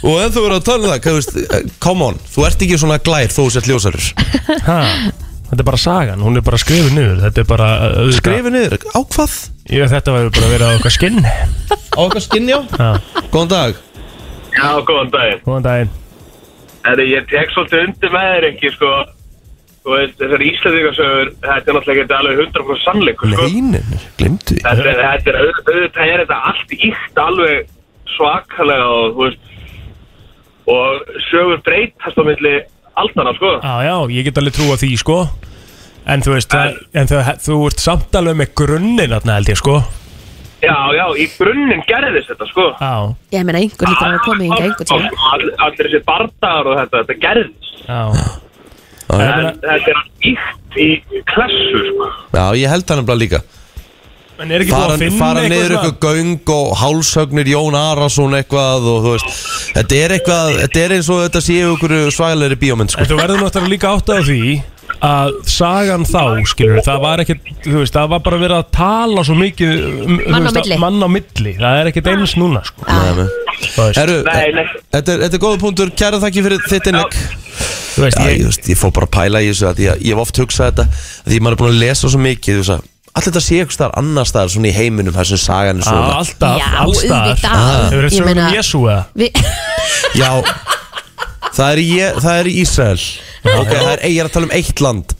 Speaker 2: Og ennþá verið að tala um það hvað veist, eh, Come on, þú ert ekki svona glær Þú sett ljósarir
Speaker 4: ha, þetta er bara sagan, hún er bara skrifin niður Þetta er bara uh, auðvitað-
Speaker 2: Skrifi niður, á hvað?
Speaker 4: Ég veit þetta verður bara að vera á okkar skinn
Speaker 2: Á okkar skinni á
Speaker 4: Já.
Speaker 2: Góðan dag
Speaker 5: Já, góðan daginn.
Speaker 4: Góðan daginn
Speaker 5: Þetta ég tek svolítið undir með þér ekki, sko. Þú veist, þessar íslendingasögur, þetta er náttúrulega ekki alveg 100% sannleikur, sko.
Speaker 2: Leinin, glimtu því
Speaker 5: Þetta er, þetta er, auð- auðvitað er þetta allt íkt alveg svakalega og, þú veist, og sögur breytast á milli aldana, sko.
Speaker 4: Já, já, ég get alveg trúa því, sko En þú veist, það, en það, þú ert samt alveg með grunninn þarna held ég, sko
Speaker 5: Já, já, í grunninn gerðist þetta, sko.
Speaker 4: Já,
Speaker 3: Ég meina einhver lítur að hafa komið enga einhver tíma
Speaker 5: All- Allir þessi bardagar og þetta, þetta gerðist.
Speaker 4: já
Speaker 2: Já,
Speaker 5: En þetta er allt íkt í klassu, sko.
Speaker 2: Já, ég held það nefnilega líka
Speaker 4: En er ekki búið
Speaker 2: Fara,
Speaker 4: að finna
Speaker 2: fara niður
Speaker 4: eitthvað
Speaker 2: eitthvað göng og hálshögnir Jón Arason eitthvað og þú veist Þetta er eitthvað, þetta er eins og þetta séu ykkur svagalegri bíómynd sko
Speaker 4: En þú verður náttúrulega líka átt á því að sagan þá, skilur það var ekkert, þú veist, það var bara verið að tala svo mikið um, þú
Speaker 3: Mann á
Speaker 4: veist, að-
Speaker 3: milli.
Speaker 4: mann á milli, það er ekkert eins núna, sko
Speaker 2: Nei, nei.
Speaker 4: Þú veist,
Speaker 2: Herru, eh,
Speaker 5: Nei, nei.
Speaker 2: þetta er, þetta er góða punktur, kæra þakki fyrir þitt innlegg
Speaker 4: þú veist
Speaker 2: Já, ég,
Speaker 4: ég,
Speaker 2: þú veist, ég fór bara að pæla í þessu að ég, ég hef oft hugsað þetta að því maður er búin að lesa svo mikið þú veist að allt þetta sé eitthvað starf annar starf svona í heiminum þar sem sagan er
Speaker 4: á,
Speaker 2: svona
Speaker 4: alltaf,
Speaker 3: Já,
Speaker 4: allstaðar
Speaker 3: auðvitað.
Speaker 4: Hefur verið
Speaker 3: Ég
Speaker 4: sögum
Speaker 3: meina-
Speaker 4: um Jésu eða?
Speaker 3: Við,
Speaker 2: Já, það er, ég, það er í Ísrael okay, það er, Ég er að tala um eitt land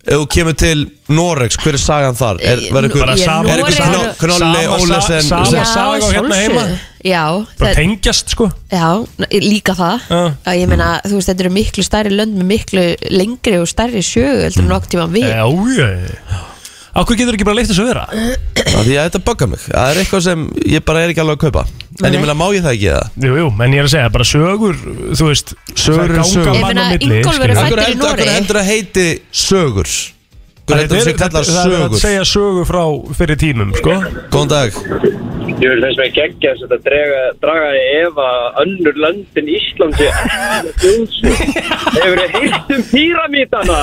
Speaker 2: Ef þú kemur til Noregs, hver er sagan þar? Er, var ykkur,
Speaker 4: Bara
Speaker 3: Ég-
Speaker 4: sama-
Speaker 2: er ykkur
Speaker 3: Noregur-
Speaker 2: knó- knóli
Speaker 4: Sama- sama-
Speaker 2: Ólesen sem-
Speaker 4: sama- saga og hérna heima.
Speaker 3: sjálfsögðu. Já,
Speaker 4: Bara
Speaker 3: það,
Speaker 4: tengjast, sko
Speaker 3: já, líka það
Speaker 4: Já.
Speaker 3: Já, Ég meina, þú veist, þetta eru miklu stærri lönd með miklu lengri og stærri sjögu heldur en nokk tíma við
Speaker 4: Já, já, já Akkur getur ekki bara leift þessu vera?
Speaker 2: Af Því að þetta böggar mig Það er eitthvað sem ég bara er ekki alveg að kaupa En
Speaker 3: Nei.
Speaker 2: ég meina, má ég það ekki eða?
Speaker 4: Jú, jú, en ég er að segja, bara sögur, þú veist
Speaker 2: Sögur
Speaker 4: það
Speaker 2: eru
Speaker 4: ganga
Speaker 2: sögur.
Speaker 4: mann á
Speaker 3: Ég meina,
Speaker 4: milli,
Speaker 3: Ingólfur er
Speaker 4: skilur.
Speaker 3: fæddur-
Speaker 2: Akkur
Speaker 3: í
Speaker 2: hendur, akkur
Speaker 3: Noregi.
Speaker 2: hendur að heiti sögur Akkur
Speaker 4: Það
Speaker 2: hendur
Speaker 4: er
Speaker 2: að kalla
Speaker 4: það er að
Speaker 2: sögur
Speaker 4: segja sögu frá fyrir tímum, sko
Speaker 2: Góðan dag
Speaker 6: Ég vil finnst mig geggja þess að þetta drega, draga í efa önnur löndin Íslandi Þjóðsvöld Hefur þið hýrt um píramítana?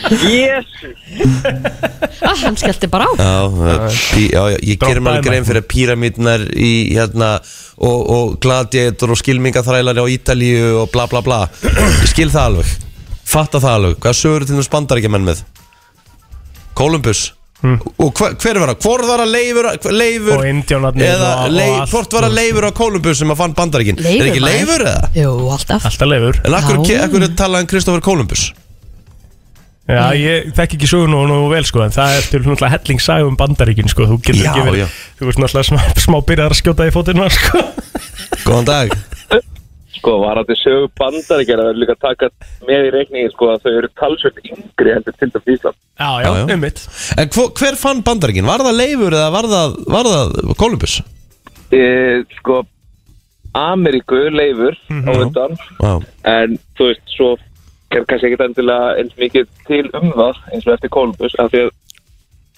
Speaker 6: Jésu
Speaker 3: [LAUGHS] ah, hann skellti bara á
Speaker 2: Já, eh, pí, já, já, ég gerir mér alveg
Speaker 4: Droppaði
Speaker 2: grein fyrir að píramídnar í hérna og, og gladiator og skilmingaþrælar á Ítalíu og bla bla bla Ég skil það alveg, fatta það alveg Hvað sögur til þess bandar ekki menn með? Columbus Og hver, hver var það? Hvor var að leifur,
Speaker 4: Hm.
Speaker 2: leifur
Speaker 4: Og indjánarnir
Speaker 2: Eða
Speaker 4: og- og
Speaker 2: leif,
Speaker 4: allt,
Speaker 2: hvort var
Speaker 4: þú
Speaker 2: að
Speaker 4: veist.
Speaker 2: leifur á Columbus sem að fann bandar ekki? Er ekki
Speaker 3: maður.
Speaker 2: leifur eða?
Speaker 3: Jú, alltaf
Speaker 4: Alltaf leifur
Speaker 2: En akkur,
Speaker 3: Já.
Speaker 2: akkur talaði hann Kristoffer Columbus?
Speaker 4: Já, ég þekk ekki sögur nú, nú vel sko En það er til náttúrulega helling saga um bandaríkin sko Þú getur
Speaker 2: Já,
Speaker 4: ekki
Speaker 2: já.
Speaker 4: verið Þú veist náttúrulega smá, smá byrjar að skjóta í fótinn á þér, sko
Speaker 2: Góðan dag
Speaker 6: Sko, var þetta sögu bandaríkjana verður líka að taka með í reikningi sko að þau eru talsvöld yngri heldur til dæmis Ísland
Speaker 4: Já, já,
Speaker 2: Já, já.
Speaker 4: um mitt
Speaker 2: En hvo, hver fann bandaríkin? Var það Leifur eða var það, var það Columbus?
Speaker 6: e, Sko, Ameríku leifur á
Speaker 4: Mhm.
Speaker 6: undan
Speaker 2: Já,
Speaker 6: en þú veist, svo er kannski ekkit endilega eins mikið til um það eins og eftir Kolbus, af því að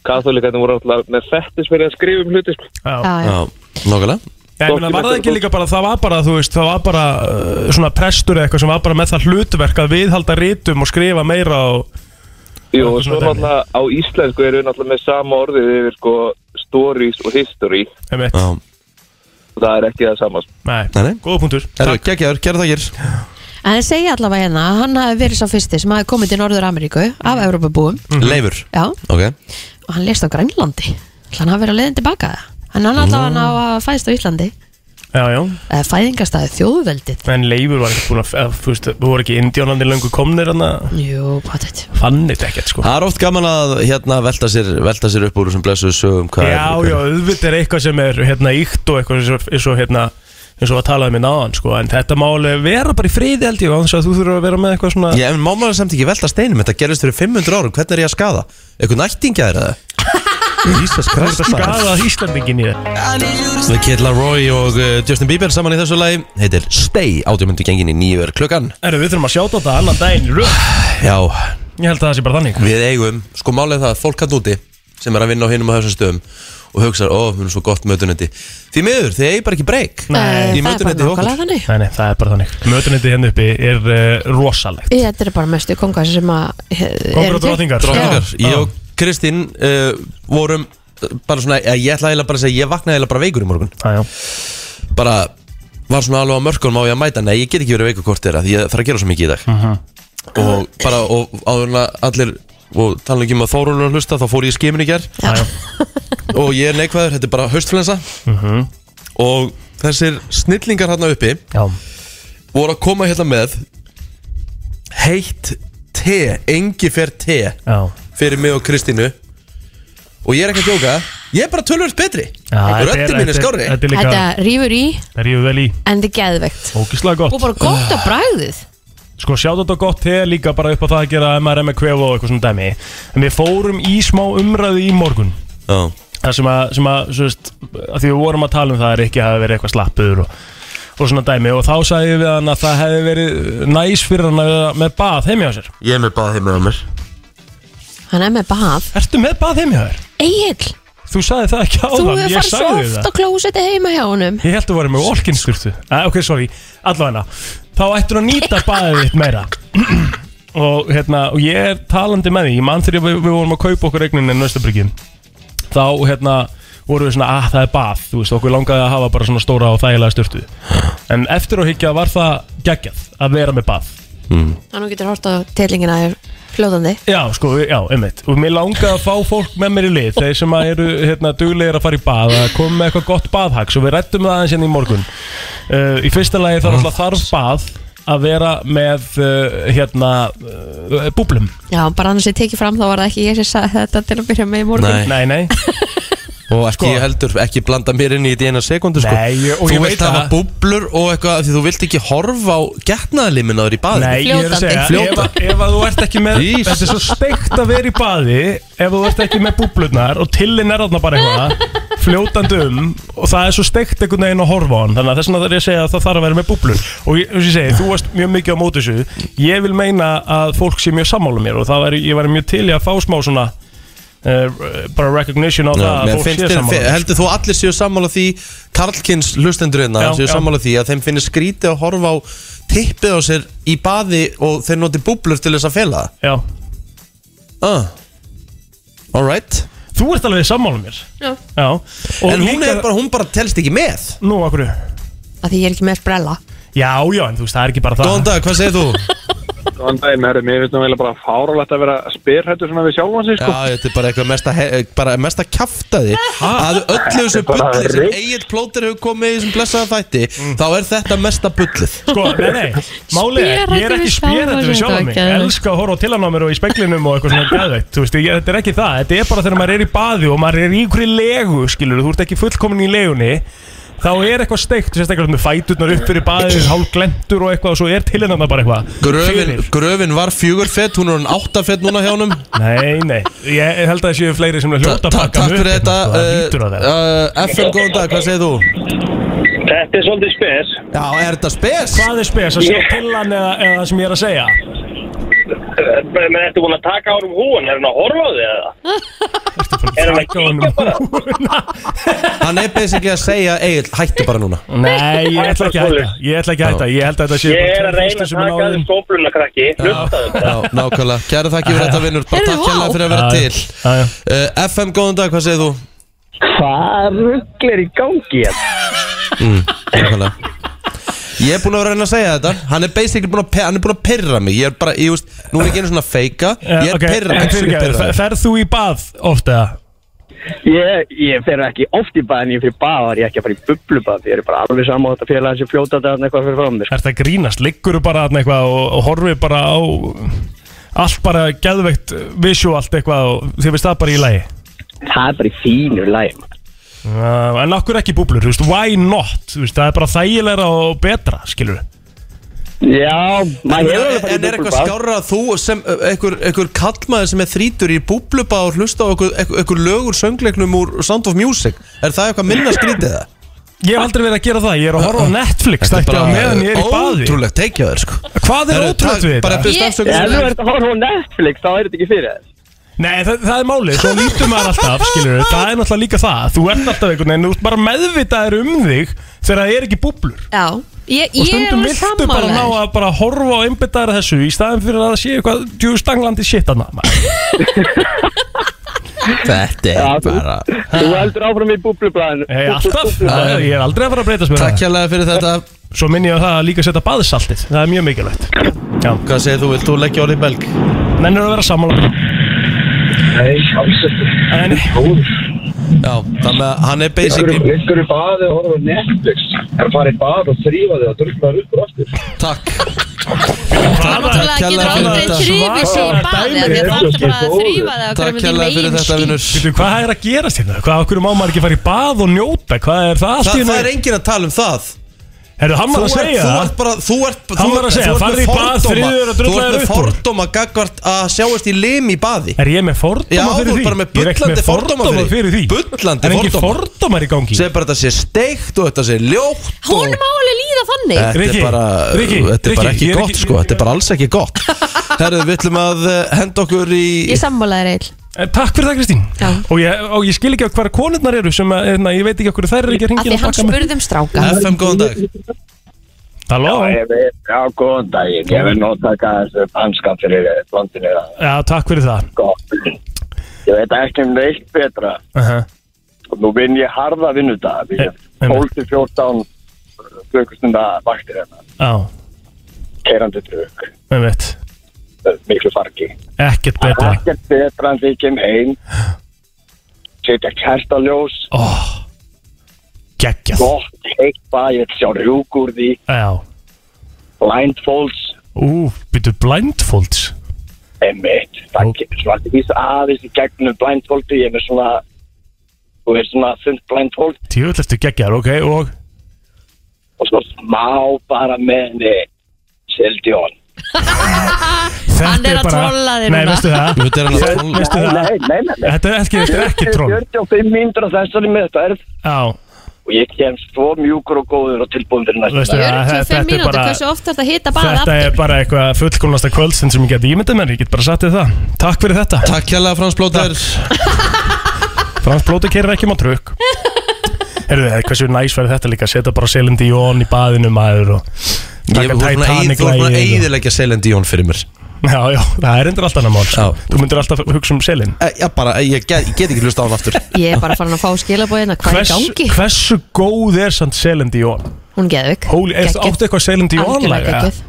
Speaker 6: katholikatnir voru alltaf með fettis fyrir að skrifa um hluti, sko.
Speaker 4: Já.
Speaker 3: Já, já.
Speaker 2: já, nokkulega
Speaker 4: Já, ég meina, var það ekki líka bara, það var bara, þú veist, það var bara uh, svona prestur eða eitthvað sem var bara með það hlutverk að viðhalda rítum og skrifa meira og...
Speaker 6: Jú,
Speaker 4: Það er
Speaker 6: og svo
Speaker 4: svona dæmi.
Speaker 6: náttúrulega á íslensku eru við náttúrulega með sama orðið yfir, sko, stories og history
Speaker 4: Einmitt.
Speaker 2: Já,
Speaker 6: og það er ekki það sama, sko.
Speaker 4: Nei,
Speaker 2: Nei, nei.
Speaker 4: góða punktur.
Speaker 2: herru, geggjaður, gerðu það
Speaker 3: En það segja allavega hérna að hann hafi verið sá fyrsti sem hafi komið til Norður Ameríku af Evrópabúum
Speaker 4: Mhm.
Speaker 2: Leifur,
Speaker 3: Já,
Speaker 2: ok
Speaker 3: og hann lést á Grænlandi Ætli Hann hafi verið að leiðin tilbaka það En hann allavega ná að fæðist á Íslandi
Speaker 4: Já, já,
Speaker 3: eða fæðingastæði þjóðveldið
Speaker 4: en Leifur var ekki búin að, eða, þú veist, þú voru ekki indjónandi löngu komnir hann að
Speaker 3: Jú, hvað þetta
Speaker 4: fannit ekkert, sko.
Speaker 2: Það er oft gaman að hérna velta sér, velta sér upp úr þessum blessuðu sögum hvað
Speaker 4: Já,
Speaker 2: er,
Speaker 4: já, auðvitað er eitthvað sem er, hérna, íkt og eitthvað eins og, eins og hérna, eins og að talaði mér náðan, sko, en þetta máli vera bara í friði, held ég, á þess að þú þurfur að vera með eitthvað svona...
Speaker 2: Já, en má maður samt ekki velta steinum, þetta gerist fyrir 500 árum, hvernig er ég að skada? Eitthvað nættingja er það? Jesus Christ maður.
Speaker 4: Skaða Íslandingin í það.
Speaker 2: Við Kittla Roy og uh, Justin Bieber saman í þessu lagi Heitir Stay, átjumundu gengin í nýju er klukkan
Speaker 4: Erðu, við þurfum að sjáta þetta annan daginn, í röð.
Speaker 2: Já,
Speaker 4: ég held að það sé bara þannig.
Speaker 2: Við eigum, sko málið er það að fólk hann úti sem er að vinna á hinum á þessum stöðum og hugsa, ó, mér er svo gott mötunetti Því miður, þið eigi bara ekki breyk
Speaker 3: Nei, það er
Speaker 2: Í
Speaker 3: bara
Speaker 2: mötunetti hjá okkur
Speaker 3: nákvæmlega þannig
Speaker 4: Nei, nei, það er bara þannig Mötunitið hérna uppi er uh, rosalegt
Speaker 3: Þetta eru bara mestu kongar sem að eh,
Speaker 4: Kongur og drótingar
Speaker 2: Dróningar, ég og Kristín uh, vorum uh, bara svona, eh, ég ætla eiginlega bara að segja, ég vaknaði eiginlega bara veikur í morgun
Speaker 4: Já,
Speaker 2: Bara, var svona alveg á mörkunum á ég að mæta Nei, ég get ekki verið veikur hvort þeirra, því ég þarf að gera svo mikið í dag
Speaker 4: Mhm.
Speaker 2: Og bara, og áðurna allir og tala ekki um að Þórun er að hlusta, þá fór ég í skimin í ger
Speaker 4: já, já
Speaker 2: og ég er neikvæður, þetta er bara haustflensa
Speaker 4: Mhm.
Speaker 2: og þessir snillingar hérna uppi
Speaker 4: Já,
Speaker 2: voru að koma hérna með heitt te, engi fer te
Speaker 4: já,
Speaker 2: fyrir mig og Kristínu og ég er ekki að djóka ég er bara tölvöld betri
Speaker 4: já
Speaker 2: röttin mín er skárri
Speaker 4: Þetta er líka,
Speaker 3: Þetta rýfur í
Speaker 4: það rífur vel í
Speaker 3: en þið geðvegt
Speaker 4: Ógislega
Speaker 3: Og
Speaker 4: gott
Speaker 3: bara gott að bragðið
Speaker 4: Sko sjáta þetta gott til líka bara upp á það að gera MRM kvef og eitthvað svona dæmi En við fórum í smá umræðu í morgun
Speaker 2: Já.
Speaker 4: Það sem að, sem að, svo veist, að því við vorum að tala um það er ekki að vera eitthvað slappur og, og svona dæmi Og þá sagði við hann að það hefði verið næs fyrir hann að vera með bað heimi á sér
Speaker 2: ég er með bað heimur á mér
Speaker 3: Hann er með bað
Speaker 4: Ertu með bað heimi á þér?
Speaker 3: Egil,
Speaker 4: Þú sagði það ekki áðan
Speaker 3: þú hefur
Speaker 4: ég
Speaker 3: farið svo
Speaker 4: sagði þér það.
Speaker 3: oft á klósetti heima hjá honum
Speaker 4: Ég held að þú varum með orkinskurtu ah, Ok, sorry, allavega Þá ættir að nýta baðið þitt meira [CLEARS THROAT] og, hérna, og ég er talandi með því Ég mann þegar við, við vorum að kaupa okkur eignin en Nöstabryggjum Þá hérna vorum við svona, ah það er bað Þú veist, okkur langaði að hafa bara svona stóra og þægilega styrtu En eftir að higgja var það geggjað Að vera með bað
Speaker 2: Hmm.
Speaker 3: Þannig getur hort á telingina er fljóðandi
Speaker 4: Já, sko, já, einmitt Og mér langaði að fá fólk með mér í lið Þeir sem að eru, hérna, duglegir að fara í bað Að koma með eitthvað gott baðhag Svo við rættum það aðeins hérna í morgun uh, Í fyrsta lagi þarf alltaf þarf bað Að vera með, uh, hérna, uh, búblum
Speaker 3: Já, bara annars ég tekið fram þá var það ekki ég sem sagði þetta til að byrja með í morgun
Speaker 2: Nei.
Speaker 4: Nei, nei,
Speaker 2: [LAUGHS] og ekki heldur, ekki blanda mér inn í þetta í eina sekundu sko.
Speaker 4: Nei, ég- og
Speaker 2: þú
Speaker 4: ég
Speaker 2: vilt
Speaker 4: veit
Speaker 2: hafa
Speaker 4: það.
Speaker 2: búblur og eitthvað af því þú vilt ekki horfa á getnaðliminaður í baðinu
Speaker 4: nei, ég er að segja ef,
Speaker 2: Fljótandi.
Speaker 4: að- ef að þú ert ekki með
Speaker 2: Ís.
Speaker 4: Þetta er svo steikt að vera í baði Ef þú ert ekki með búblunar Og tillin er þarna bara eitthvað Fljótandi um Og það er svo steikt einhvern veginn að horfa á hann Þannig að þess vegna þarf ég að segja að það þarf að vera með búblun Og ég, eins og ég segi, þú varst mjög mikið á móti þessu Ég vil meina að fólk sé mjög sammála mér Og það væri, ég væri mjög til í að fá smá svona uh, Bara recognition á
Speaker 2: Já,
Speaker 4: það að
Speaker 2: mér
Speaker 4: fólk
Speaker 2: finnst
Speaker 4: sé
Speaker 2: þér,
Speaker 4: sammála
Speaker 2: fe-
Speaker 4: mér.
Speaker 2: heldur þú að allir séu sammála því Karlkins hlustendur hérna
Speaker 4: Já,
Speaker 2: séu
Speaker 4: já.
Speaker 2: sammála því að þeim finnir skrítið að horfa á tippið á sér í baði og þeir noti búblur til þess að fela það
Speaker 4: Já,
Speaker 2: ah. Alright
Speaker 4: Þú ert alveg sammálum mér
Speaker 3: Já.
Speaker 4: Já Og
Speaker 2: En hún,
Speaker 4: líka-
Speaker 2: er bara, hún bara telst ekki með
Speaker 4: Nú, akkur
Speaker 3: Af því ég er ekki með sprella
Speaker 4: Já, já, en þú veist, það er ekki bara það
Speaker 2: Góðan dag, hvað segir þú?
Speaker 6: Góðan daginn, herri, mér finnst nú eiginlega bara fáralegt að vera spyrhættur svona við sjálfan sig,
Speaker 2: Já,
Speaker 6: sko.
Speaker 2: þetta er bara eitthvað mesta, he- bara mesta kjaftaði Að öllu þessu
Speaker 6: bara
Speaker 2: bulli sem
Speaker 6: reykt.
Speaker 2: Egil Plóter hefur komið í þessum blessaða þætti Þá er þetta mesta bullið
Speaker 4: Mm. Sko, nei, nei, málið er, ég er
Speaker 3: Spérhættur
Speaker 4: ekki
Speaker 3: við
Speaker 4: spjærandi við
Speaker 3: sjálfan
Speaker 4: sjálfan
Speaker 3: sig,
Speaker 4: mig
Speaker 3: þetta
Speaker 4: Ég
Speaker 3: var
Speaker 4: elska að horfa á tilann á mér og í speklinum og eitthvað svona gæðveitt Þú veist, ég, þetta er ekki það, þetta er bara þegar maður er í baði og maður er í einhverju legu, skilur Þú ert ekki fullkomin í legunni Þá er eitthvað steikt, sérstaklega með fæturnar upp fyrir baðið, hálf glendur og eitthvað og svo er tilinnan bara eitthvað
Speaker 2: Gröfin,
Speaker 4: Fyrir.
Speaker 2: gröfin var fjögur fett, hún er hann átta fett núna hjá honum
Speaker 4: Nei, nei, ég held að það séu fleiri sem er
Speaker 2: Ta-
Speaker 4: hljóta að
Speaker 2: ta-
Speaker 4: pakka
Speaker 2: Takk
Speaker 4: mig
Speaker 2: fyrir
Speaker 4: upp
Speaker 2: þetta
Speaker 4: hérna, sko, það lítur að
Speaker 2: uh,
Speaker 4: þeirra.
Speaker 2: uh, FM, góðan dag, hvað segir þú?
Speaker 5: Þetta er svolítið spes
Speaker 2: Já, er þetta spes?
Speaker 4: Hvað er spes að sjá tilann eða, eða það sem ég er að segja?
Speaker 5: Menn ertu búin að taka á honum húan, er hann að horfa á því eða?
Speaker 4: Er það ekki
Speaker 2: Hann er basically að segja Egil, hættu bara núna
Speaker 4: Nei, ég ætla ekki að hætta Ég ætla ekki að hætta Ég held að þetta sé
Speaker 5: Ég er
Speaker 4: bara
Speaker 5: að
Speaker 4: tveir
Speaker 5: reyna
Speaker 4: fyrstu
Speaker 5: að
Speaker 4: sem
Speaker 5: taka
Speaker 4: náðu
Speaker 5: að þið sópluna krakki, hlustaðu
Speaker 2: Já, nákvæmlega, kæra þakki fyrir þetta vinnur Bara
Speaker 3: Heyrðu,
Speaker 2: takk hérlega
Speaker 3: vá.
Speaker 2: fyrir að vera
Speaker 4: Já, já.
Speaker 2: til
Speaker 4: Já, já.
Speaker 2: uh, FM, góðan dag, hvað segir þú?
Speaker 5: Hvað ruggl er í gangi hérna?
Speaker 7: Mm.
Speaker 2: Nákvæmlega Ég er búin að vera að reyna að segja þetta Hann er basically búin að, pe- hann er búin að pyrra mig Ég er bara, ég veist, nú er ég ekki einu svona að feika
Speaker 4: Eh,
Speaker 2: Ég er
Speaker 4: ok,
Speaker 2: pyrra,
Speaker 4: en
Speaker 2: actually
Speaker 4: fyrirgefðu,
Speaker 2: pyrra
Speaker 4: fer- Ferð þú í bað ofta?
Speaker 8: Ég, ég fer ekki oft í bað en ég fyrir bað var ég ekki að fara í bublubað ég er bara alveg saman á þetta félag sem fljóta þetta eitthvað fyrir fram mér sko.
Speaker 4: Er það grínast? Liggur þú bara þarna eitthvað og, og horfið bara á allt bara geðveikt visuált eitthvað og þið veist það bara í lagi?
Speaker 8: það er bara í fínu læg
Speaker 4: Uh, en okkur ekki búblur, þú veist, why not? Þú veist, það er bara þægilegra og betra, skilur
Speaker 8: já,
Speaker 2: En,
Speaker 8: maður hefur alveg farið í
Speaker 2: en, en er eitthvað
Speaker 8: bublubað
Speaker 2: skárra að þú sem uh, einhver, einhver kallmaður sem er þrítur í búbluba og hlusta á einhver, einhver, einhver lögur söngleiknum úr Sound of Music Er það eitthvað minna skrítið það?
Speaker 4: Ég hef aldrei verið að gera það, ég er að horfa á Netflix þætti á meðan ég er í baði
Speaker 2: ótrúlegt teikjaður sko
Speaker 4: Hvað er
Speaker 2: Herru,
Speaker 4: ótrúlegt
Speaker 2: takk,
Speaker 4: við
Speaker 2: Bara
Speaker 4: þetta?
Speaker 2: fyrst
Speaker 3: Ég-
Speaker 2: afsökun
Speaker 8: ef þú
Speaker 2: sem-
Speaker 8: ert að horfa á Netflix þá er þetta ekki fyrir þess
Speaker 4: Nei, það, það er málið, svo lítur maður alltaf, skilur Það er náttúrulega líka það, þú ert alltaf einhvern veginn Þú ert bara meðvitaður um þig Þegar það er ekki búblur
Speaker 3: Já, ég,
Speaker 4: Og
Speaker 3: ég er
Speaker 4: stundum
Speaker 3: alveg
Speaker 4: viltu bara
Speaker 3: sammála
Speaker 4: ná
Speaker 3: þér.
Speaker 4: að bara horfa á einbyttaðara þessu Í staðin fyrir að það sé eitthvað djústanglandi shit hana
Speaker 2: Þetta
Speaker 8: Já,
Speaker 2: er
Speaker 8: þú-
Speaker 2: bara
Speaker 8: þú heldur áfram í bublublaðinu
Speaker 4: Hei, alltaf, Það er- ég er aldrei að fara að breytast með
Speaker 2: Takk hérlega fyrir þetta
Speaker 4: það Svo minni ég á það að líka setja baðsaltið Það er mjög mikilvægt Já,
Speaker 2: Hvað segir þú, vilt þú leggja orðið í belg?
Speaker 4: mennur að vera sammála
Speaker 6: Nei, alls ekki.
Speaker 4: En
Speaker 2: Já, þannig að hann er basically
Speaker 6: Liggur í baði og horfa á Netflix. Er að fara í bað og þrýfa þig og drullar upp og aftur.
Speaker 2: Takk
Speaker 4: það
Speaker 3: Náttúrulega
Speaker 4: var-
Speaker 2: Takk
Speaker 3: getur
Speaker 2: kærlega fyrir
Speaker 3: aldrei
Speaker 2: þetta.
Speaker 3: þrýfið sig í
Speaker 4: Svakalega
Speaker 3: baði af
Speaker 4: dæmi.
Speaker 3: því að Það er bara að þrýfa það
Speaker 2: Takk hérlega fyrir þetta vinnur
Speaker 4: Veitu, Hvað er að gerast hérna? Hvað, okkur má maður ekki fara í bað og njóta? Hvað er það allt
Speaker 2: Það
Speaker 4: í
Speaker 2: það er
Speaker 4: hérna?
Speaker 2: enginn að tala um það
Speaker 4: Herðu, hann var
Speaker 2: Þú
Speaker 4: að
Speaker 2: ert-
Speaker 4: segja
Speaker 2: þú
Speaker 4: það
Speaker 2: ert bara Þú ert
Speaker 4: Hann
Speaker 2: þú
Speaker 4: var að
Speaker 2: ert-
Speaker 4: segja,
Speaker 2: þú ert
Speaker 4: farðu
Speaker 2: með
Speaker 4: í bað,
Speaker 2: fordóma.
Speaker 4: þriður og
Speaker 2: Þú
Speaker 4: drulla
Speaker 2: ert
Speaker 4: þér
Speaker 2: með
Speaker 4: upp úr.
Speaker 2: fordóma gagvart að sjáast í lim í baði
Speaker 4: Er ég með fordóma
Speaker 2: Já,
Speaker 4: fyrir
Speaker 2: þú ert
Speaker 4: því?
Speaker 2: bara með
Speaker 4: Ég er ekki
Speaker 2: bullandi
Speaker 4: með
Speaker 2: fordóma
Speaker 4: fordóma
Speaker 2: fyrir því.
Speaker 4: því
Speaker 2: Bullandi
Speaker 4: Er ekki
Speaker 2: fordómar.
Speaker 4: fordómar í gangi?
Speaker 2: Segð bara að þetta sé steikt og þetta sé ljótt og-
Speaker 3: Hún má alveg líða þannig
Speaker 2: Þetta
Speaker 4: Riki,
Speaker 2: er bara,
Speaker 4: Riki,
Speaker 2: þetta er bara
Speaker 4: Riki,
Speaker 2: ekki
Speaker 4: ég er
Speaker 2: gott
Speaker 4: ekki-
Speaker 2: sko, þetta er bara alls ekki gott Herðu, við ætlum að eh, henda okkur í
Speaker 3: Ég sammála þér eil
Speaker 4: Eh, Takk fyrir það Kristín
Speaker 3: Já.
Speaker 4: og ég, og ég skil ekki að hverja konurnar eru sem að, na, ég veit ekki okkur þær eru ekki að
Speaker 3: Af
Speaker 4: ringja
Speaker 3: því hann um spurðum stráka
Speaker 2: FM góðan dag
Speaker 4: Halló,
Speaker 8: já, góðan daginn ég vil nú taka þessu hanska fyrir landinu
Speaker 4: já takk fyrir það
Speaker 8: ég veit ekki um neitt betra
Speaker 4: uh -huh.
Speaker 8: og nú vinn ég harða vinnudag
Speaker 4: Eh, einmitt.
Speaker 8: 12-14 klukkustunda vaktir hérna
Speaker 4: Já,
Speaker 8: keirandi trukk
Speaker 4: með veit
Speaker 8: miklu fargi
Speaker 4: Ekkert betra
Speaker 8: ekkert betra en því ég kem heim setja kertaljós
Speaker 4: Ó, geggjað
Speaker 8: gott heitt bað, ég vil sjá rjúk úr því
Speaker 4: Já,
Speaker 8: blindfolds
Speaker 4: ú, byrju blindfolds
Speaker 8: emitt, það
Speaker 4: Ó.
Speaker 8: kemur svona alltaf vísa aðeins í gegnum blindfoldi ég er með svona þú veist svona þund blindfold
Speaker 4: Tjöfull eftir geggjar, ok, og
Speaker 8: og svo smá bara með eh, henni seldjón
Speaker 3: Hann
Speaker 4: Þetta
Speaker 3: er að trolla þig
Speaker 4: Nei,
Speaker 3: núna.
Speaker 4: veistu það
Speaker 2: Nú, þetta er hann að trolla.
Speaker 4: Veistu
Speaker 8: nei,
Speaker 4: það
Speaker 8: nei, nei, nei, nei.
Speaker 4: Þetta er ekki, þetta er ekki troll
Speaker 8: 45 mínútur á þessari meðferð
Speaker 4: Já,
Speaker 8: og ég kem svo mjúkur og góður og tilbúin fyrir næstu
Speaker 4: veistu það þetta
Speaker 3: 45
Speaker 4: er
Speaker 3: mínútur,
Speaker 4: bara-
Speaker 3: hversu oft þetta hita bað
Speaker 4: Þetta er
Speaker 3: aftur
Speaker 4: bara eitthvað fullkomnasta kvöldsinn sem ég geti ímyndið mér, ég get bara satt í það Takk fyrir þetta
Speaker 2: Takk kjærlega Frans Blóter
Speaker 4: Frans Blóti keirir ekki um á trukk Herðu þið, hversu næs verður þetta líka Seta bara Selin Dion í baðinu maður og
Speaker 2: Ég
Speaker 4: taka
Speaker 2: voru svona
Speaker 4: Titanic
Speaker 2: eð- þú voru svona
Speaker 4: lagið og-
Speaker 2: eðilegja Selendi Jón fyrir mér
Speaker 4: Já, já, það er endur allt annað mál sko.
Speaker 2: Já.
Speaker 4: Þú myndir alltaf hugsa um selin
Speaker 2: Eh, Já, bara, eh, ég get, ég get ekki hlusta á hann aftur
Speaker 3: Ég er bara farin að fá skilabóðina Hvað er í gangi?
Speaker 4: hversu góð er samt selin Dion?
Speaker 3: Hún geðvik
Speaker 4: Hóli, er það áttu eitthvað selin Dion laga?
Speaker 2: eh?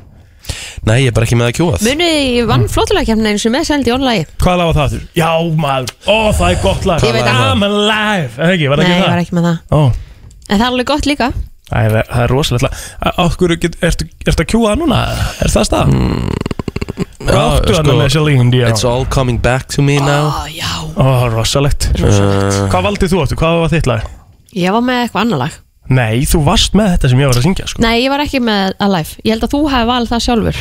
Speaker 2: Nei, ég er bara ekki með að kjúað
Speaker 3: Munið ég vann flottulega kemna eins og hérna með seldi online
Speaker 4: Hvað laga það þurr? Já, maður, ó, það er gott lag
Speaker 3: Ég veit að-
Speaker 4: I'm alive, er það ekki, var
Speaker 3: Nei,
Speaker 4: það
Speaker 3: ég
Speaker 4: ekki
Speaker 3: var
Speaker 4: það?
Speaker 3: ekki með það
Speaker 4: Ó,
Speaker 3: En það er alveg gott líka
Speaker 4: það er, það er rosalega lag. Á hverju, get- ertu ertu að kjúa það núna? Er það stað? Hvað
Speaker 2: Mm, Já,
Speaker 4: áttu hann
Speaker 2: sko,
Speaker 4: með selin
Speaker 2: It's
Speaker 4: Dion?
Speaker 2: all coming back to me now
Speaker 3: Ó, já
Speaker 4: Ó, rosalegt
Speaker 2: uh,
Speaker 4: Hvað valdið þú áttu? Hvað var þitt lag?
Speaker 3: Ég var með eitthvað annar lag
Speaker 4: Nei, þú varst með þetta sem ég var að syngja, sko
Speaker 3: Nei, ég var ekki með Alive Ég held að þú hafi valið það sjálfur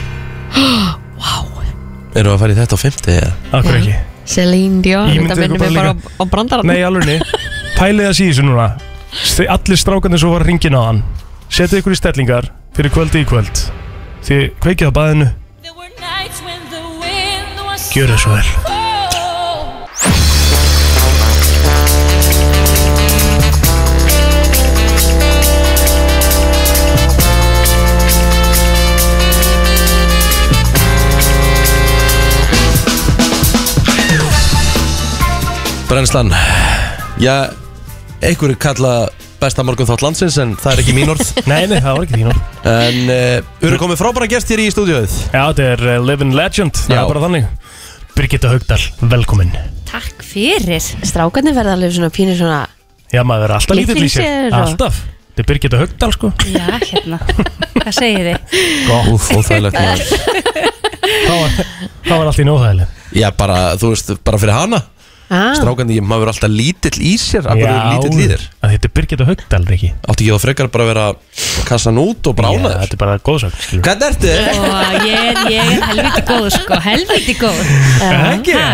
Speaker 3: [GASPS]
Speaker 2: Erum við að fara í þetta á 50? eða?
Speaker 4: Akkur ekki
Speaker 3: Celine Dion
Speaker 4: Ég myndi
Speaker 3: Þetta minnir
Speaker 4: eitthvað
Speaker 3: mig
Speaker 4: bara
Speaker 3: bara á, á brandarann
Speaker 4: Nei, alveg Pælið að síðu þessu núna Ste- Allir strákarnir svo var ringin á hann Setið ykkur í stellingar fyrir kvöldi í kvöld Þið kveikið á baðinu Gjör það svo vel
Speaker 2: Brennslan Já, einhverju kalla besta morgun þátt landsins en það er ekki mín [LAUGHS] orð
Speaker 4: [LAUGHS] Nei, nei, það var ekki þínu
Speaker 2: En uh, við erum komið frábæra gest hér í stúdióið
Speaker 4: Já, þetta er
Speaker 2: eh,
Speaker 4: uh, Living Legend Það
Speaker 2: Já.
Speaker 4: er bara þannig Birgitta Haugdal, velkomin
Speaker 3: Takk fyrir Strákarnir verða alveg svona pínir svona
Speaker 4: Já, maður er alltaf lítill í
Speaker 3: Lítill í
Speaker 4: sér
Speaker 3: sér og-
Speaker 4: Alltaf Þetta er Birgitta Haugdal, sko
Speaker 9: Já, hérna, hvað segir þið?
Speaker 2: Úf, [LAUGHS] óþægilegt maður
Speaker 4: Það var, það var alltaf í nóðhæðileg
Speaker 2: Já, bara, þú veist, bara fyrir hana
Speaker 3: ah,
Speaker 2: Strákandi, maður er alltaf lítill í sér Akkur er lítill í þér
Speaker 4: Þetta er Birgitta Haugdal, Riki
Speaker 2: Átti ekki þá frekar bara að vera kassan út og brána
Speaker 4: Þetta
Speaker 2: þér
Speaker 4: er bara góðsögn, skilur
Speaker 2: Hvernig ertu?
Speaker 9: Og ég er, ég er helviti góð, sko, helviti góð.
Speaker 4: Ekki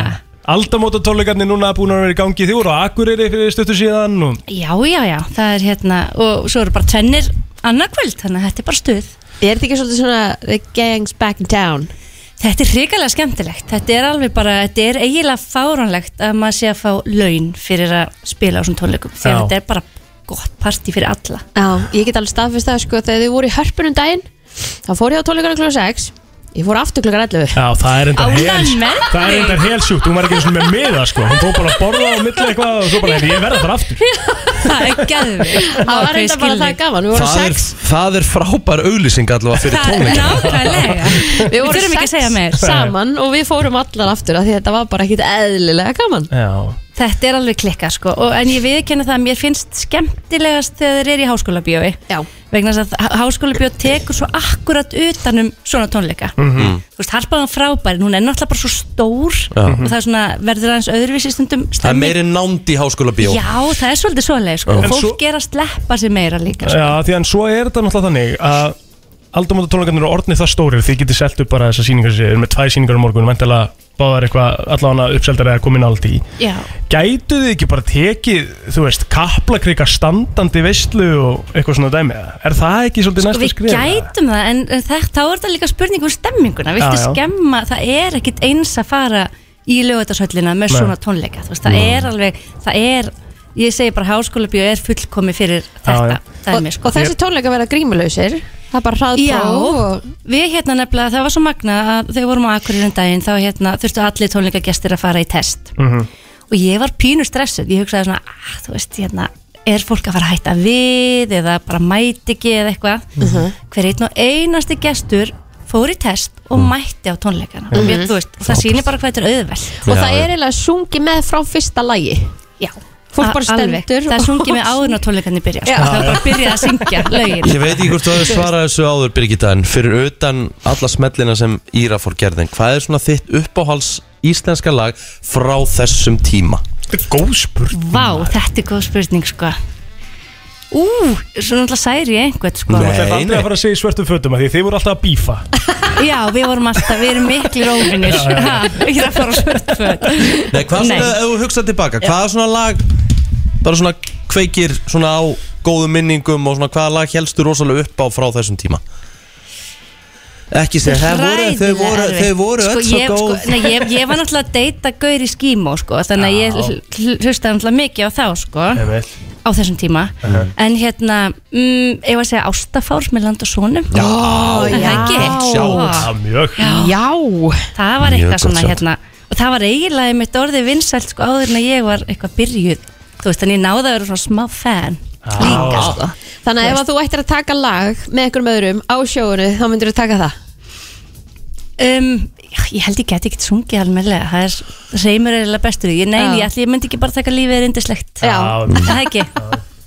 Speaker 4: Aldamóta tónleikarnir núna búin að vera í gangi Þið voru á Akureyri fyrir stöttu síðan og...
Speaker 9: Já, já, já, það er hérna, og svo eru bara tvennir annarkvöld, þannig að þetta er bara stuð.
Speaker 3: Er þetta ekki svolítið svona The gang's back down
Speaker 9: Þetta er hrikalega skemmtilegt, þetta er alveg bara, þetta er eiginlega fáránlegt að maður sé að fá laun fyrir að spila á svona tónleikum, þegar
Speaker 4: Já.
Speaker 9: þetta er bara gott partí fyrir alla.
Speaker 3: Já, ég get alveg staðfist það sko Þegar þið voru í hörpunum daginn Þá fór ég á tónleikana klukkan 6 Ég fór aftur klukkan 11
Speaker 4: Já, það er endar
Speaker 9: Ánægð
Speaker 4: hels
Speaker 9: með
Speaker 4: Það er endar helsjúkt, hún var ekki eins og með miða sko. Hún fór bara að borða á milli eitthvað og svo bara, ég verða þar aftur
Speaker 9: Það er gæðvikt.
Speaker 3: Það var enda bara það gaman Við vorum
Speaker 2: Það er,
Speaker 3: 6
Speaker 2: það er frábær auglýsing allavega fyrir tónleika
Speaker 9: Nákvæmlega.
Speaker 3: Við vorum
Speaker 9: þurfum ekki að
Speaker 3: sex
Speaker 9: segja meir.
Speaker 3: saman og við fórum allar aftur af því þetta var bara ekkit eðlilega gaman
Speaker 4: Já,
Speaker 9: Þetta er alveg klikkað sko og, en ég viðkenna það að mér finnst skemmtilegast þegar þeir eru í háskóla bíói
Speaker 3: Já.
Speaker 9: vegna þess að háskóla bíó tekur svo akkurat utanum svona tónleika
Speaker 2: Mhm.
Speaker 4: Mhm.
Speaker 9: Þú veist, harpaðan frábærin, hún er náttúrulega bara svo stór og það er svona, verður aðeins öðruvísi stundum
Speaker 2: Það er
Speaker 9: stemming.
Speaker 2: meiri nánd í háskóla bíó
Speaker 9: Já, það er svolítið svoleið sko
Speaker 4: En
Speaker 9: og fólk
Speaker 4: svo-
Speaker 9: er að sleppa sér meira líka sko.
Speaker 4: já því en svo er þetta náttúrulega þannig að Aldamóta tónleikarnir eru orðnið það stórir Þið getið selt upp bara þessar síningar sem eru með tvær síningar á morgun Væntalega báðar eitthvað allavega uppseldar eða komin aldi í
Speaker 9: Já,
Speaker 4: Gætuð þið ekki bara tekið, þú veist, kaplakrika standandi veistlu og eitthvað svona dæmi eða? Er það ekki svolítið
Speaker 9: og
Speaker 4: næsta
Speaker 9: Sko, við
Speaker 4: skrif?
Speaker 9: gætum það en, en það, þá er það líka spurning um stemminguna Viltu
Speaker 4: Já, já.
Speaker 9: skemma, það er ekkit eins að fara í lögutarsöllina með
Speaker 4: Nei.
Speaker 9: svona tónleika Þú veist, það er alveg, það er ég segi bara háskóla bíó er fullkomi fyrir
Speaker 4: já.
Speaker 9: þetta
Speaker 3: og,
Speaker 9: dæmi sko
Speaker 3: og þessi tónleika verða grímulausir það er bara
Speaker 9: Já,
Speaker 3: hraðpró og
Speaker 9: við hérna nefnilega, það var svo magna að þegar við vorum á Akureyrin daginn þá hérna þurftu allir tónleikagestir að fara í test og ég var pínu stressuð, ég hugsaði svona, ah, þú veist, hérna er fólk að fara að hætta við eða bara mæti ekki eða eitthvað hver einn og einasti gestur fór í test og mætti á tónleikana og við, þú veist, það sýnir bara hvað þetta er auðvelt
Speaker 3: og það er eiginlega sungi með frá fyrsta lagi
Speaker 9: Já,
Speaker 3: Fólk
Speaker 9: a-
Speaker 3: bara
Speaker 9: alveg.
Speaker 3: stendur
Speaker 9: Það
Speaker 3: og-
Speaker 9: sungi
Speaker 3: [LAUGHS]
Speaker 9: með áður á tónleikarnir byrja, sko.
Speaker 3: Já.
Speaker 9: það var bara byrjað að syngja lögin
Speaker 2: Ég veit ekki hvort þú hefur svarað þessu áður Birgitta en fyrir utan alla smellina sem Íra fór gerðin hvað er svona þitt uppáhals íslenska lag frá þessum tíma?
Speaker 4: Þetta er góð spurning
Speaker 9: Vá, þetta er góð spurning sko Ú, svo náttúrulega særi ég einhvern sko
Speaker 4: Það er
Speaker 2: Nei,
Speaker 4: aldrei
Speaker 2: nei.
Speaker 4: að fara að segja í svörtum fötum að því þið voru alltaf að bífa
Speaker 9: Já, við vorum alltaf, við erum miklu rófinir Ekki að fara á svörtföt
Speaker 2: Nei, hvað
Speaker 9: Nei.
Speaker 2: svona, ef þú hugsað tilbaka, hvað er svona lag bara svona kveikir svona á góðum minningum og svona hvaða lag helstu rosalega upp á frá þessum tíma? Ekki segja, það voru, þau
Speaker 9: Hræðilega
Speaker 2: voru,
Speaker 9: erfitt.
Speaker 2: þau voru öll
Speaker 9: Sko,
Speaker 2: svo
Speaker 9: ég-
Speaker 2: góð
Speaker 9: sko, Nei, ég, ég var náttúrulega að deyta gaur í skímó sko Þannig að ég hl- hl- hlustaði náttúrulega mikið á þá sko
Speaker 4: Einmitt.
Speaker 9: á þessum tíma en hérna, mm, ég var að segja ástafár með land og sonum
Speaker 3: Ó,
Speaker 9: En það ekki?
Speaker 4: Já, mjög
Speaker 3: Já
Speaker 9: það var
Speaker 2: Mjög
Speaker 9: eitthvað
Speaker 2: gott
Speaker 9: svona
Speaker 2: sjátt.
Speaker 9: hérna og það var eiginlega mitt orðið vinsælt sko áður en að ég var eitthvað byrjuð þú veist, en ég náði að vera svona smá fan
Speaker 4: Líka
Speaker 3: sko. Þannig að ef að þú ættir að taka lag með einhverjum öðrum á sjóinu þá myndir þú taka það
Speaker 9: um, já, ég held ég geti ekkert sungið almennilega, það er reymur er eiginlega bestur í því, Ég- nei,
Speaker 3: Já.
Speaker 9: ég, ætli, ég myndi ekki bara taka lífið er indislegt
Speaker 3: Já.
Speaker 9: það ekki,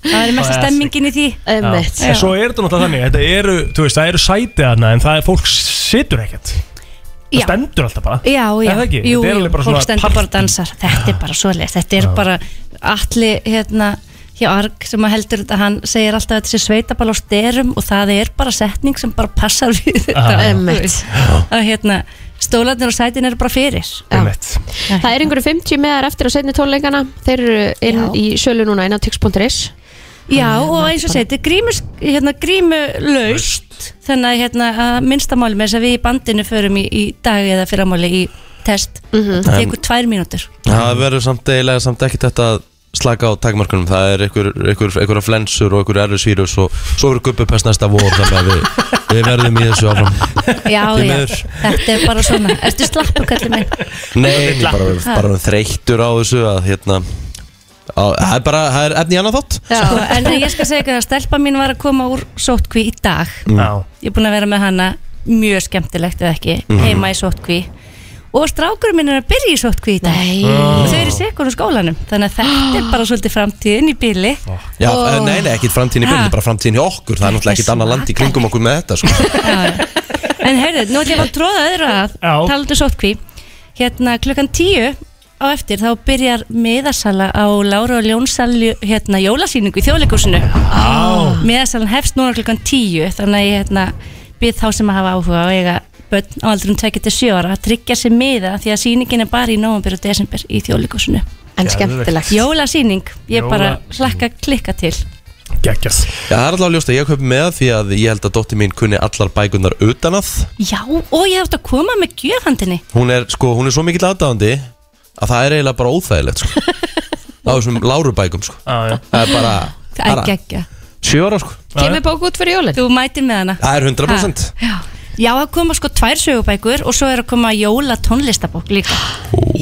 Speaker 9: það er mesta
Speaker 4: Það er
Speaker 9: stemmingin í því
Speaker 3: Einmitt.
Speaker 4: En svo er þetta náttúrulega þannig Þetta eru, þú veist, það eru sætið þarna En það er, fólk situr ekkert Það
Speaker 9: Já.
Speaker 4: stendur alltaf bara
Speaker 9: Já, já,
Speaker 4: Er það ekki?
Speaker 9: jú,
Speaker 4: Þetta er
Speaker 9: jú,
Speaker 4: alveg bara
Speaker 9: fólk
Speaker 4: svona
Speaker 9: stendur
Speaker 4: partí.
Speaker 9: bara og dansar Þetta er bara svoleiðis, þetta er bara allir hérna hjá Arg sem að heldur þetta, hann segir alltaf að þetta sé sveitabal á styrum og það er bara setning sem bara passar við þetta þú
Speaker 3: Einmitt.
Speaker 9: veist. að hérna stólarnir og sætin eru bara fyrir
Speaker 4: Einmitt.
Speaker 3: Það er einhverju 50 meðar eftir að setni tónleikana Þeir eru inn
Speaker 9: Já.
Speaker 3: í sölu núna inn á tix.is
Speaker 9: Já, og eins og segir, þetta er grímus, hérna, grímulaust þannig að hérna, að minnsta máli með þess að við í bandinu förum í, í dag eða fyrramáli í test
Speaker 3: Mhm.
Speaker 9: það tekur tvær mínútur
Speaker 2: Það verður samt eiginlega samt ekki þetta að slaka á takmarkunum Það er einhver, einhver, einhverja flensur og einhverja erðusvírus og svo verður gubbupest næsta vor þannig að við, við verðum í þessu áfram
Speaker 9: Já,
Speaker 2: Því
Speaker 9: já,
Speaker 2: miður.
Speaker 9: þetta er bara svona Ertu slappu, kallið minn?
Speaker 2: Nei, ég er bara, bara þreyttur á þessu að hérna á- Það er bara, það er efni í annað þátt
Speaker 9: Sko, en ég skal segja ykkur að stelpa mín var að koma úr sótkví í dag
Speaker 4: Já,
Speaker 9: Ég er búin að vera með hana mjög skemmtilegt eða ekki,
Speaker 2: Mhm.
Speaker 9: heima í sótkví Og strákurinn minn er að byrja í sótkví í dag
Speaker 3: Nei
Speaker 9: Og þau eru í sekundum skólanum Þannig að þetta er bara svolítið framtíðin í bíli
Speaker 2: Já, oh. nei, nei, ekkit framtíðin í byrjun, bara framtíðin hjá okkur Það er náttúrulega ekkit annað land í kringum okkur með
Speaker 4: [LAUGHS]
Speaker 2: þetta sko.
Speaker 9: En heyrðu, nú ætlum ég að tróða öðru að
Speaker 4: Já.
Speaker 9: Talandu sótkví Hérna klukkan tíu á eftir Þá byrjar miðasala á Láru og Ljónsalju Hérna jólasýningu í þjóðleikúsinu Miðasalan hefst núna klukkan tíu Þannig að ég hérna Byrð þá sem að hafa áhuga á eiga Bönn á aldrum 27 ára að tryggja sér miða Því að sýningin er bara í november og desember Í þjóðleikúsinu
Speaker 3: En skemmtilegt
Speaker 9: Jólasýning, ég bara
Speaker 4: Jóla-
Speaker 9: hlakka klikka til
Speaker 4: geggjast
Speaker 2: Já, það er alltaf ljóst að ég kaupi með því að ég held að dóttir mín kunni allar bækunar utan að
Speaker 9: Já, og ég þátt að koma með gjöfhandinni
Speaker 2: Hún er, sko, hún er svo mikill aðdáðandi að það er eiginlega
Speaker 4: [LAUGHS]
Speaker 2: bara óþægilegt sko. á þessum lárubækum sko.
Speaker 4: Ah, Já, já
Speaker 2: það er bara,
Speaker 9: Það er
Speaker 2: bara
Speaker 9: geggja
Speaker 2: sjö ára sko.
Speaker 3: Kemur bók út fyrir jólin
Speaker 9: Þú mætir með hana
Speaker 2: það er 100%
Speaker 9: Já, já það koma sko tvær sögubækur og svo er að koma jóla tónlistabók líka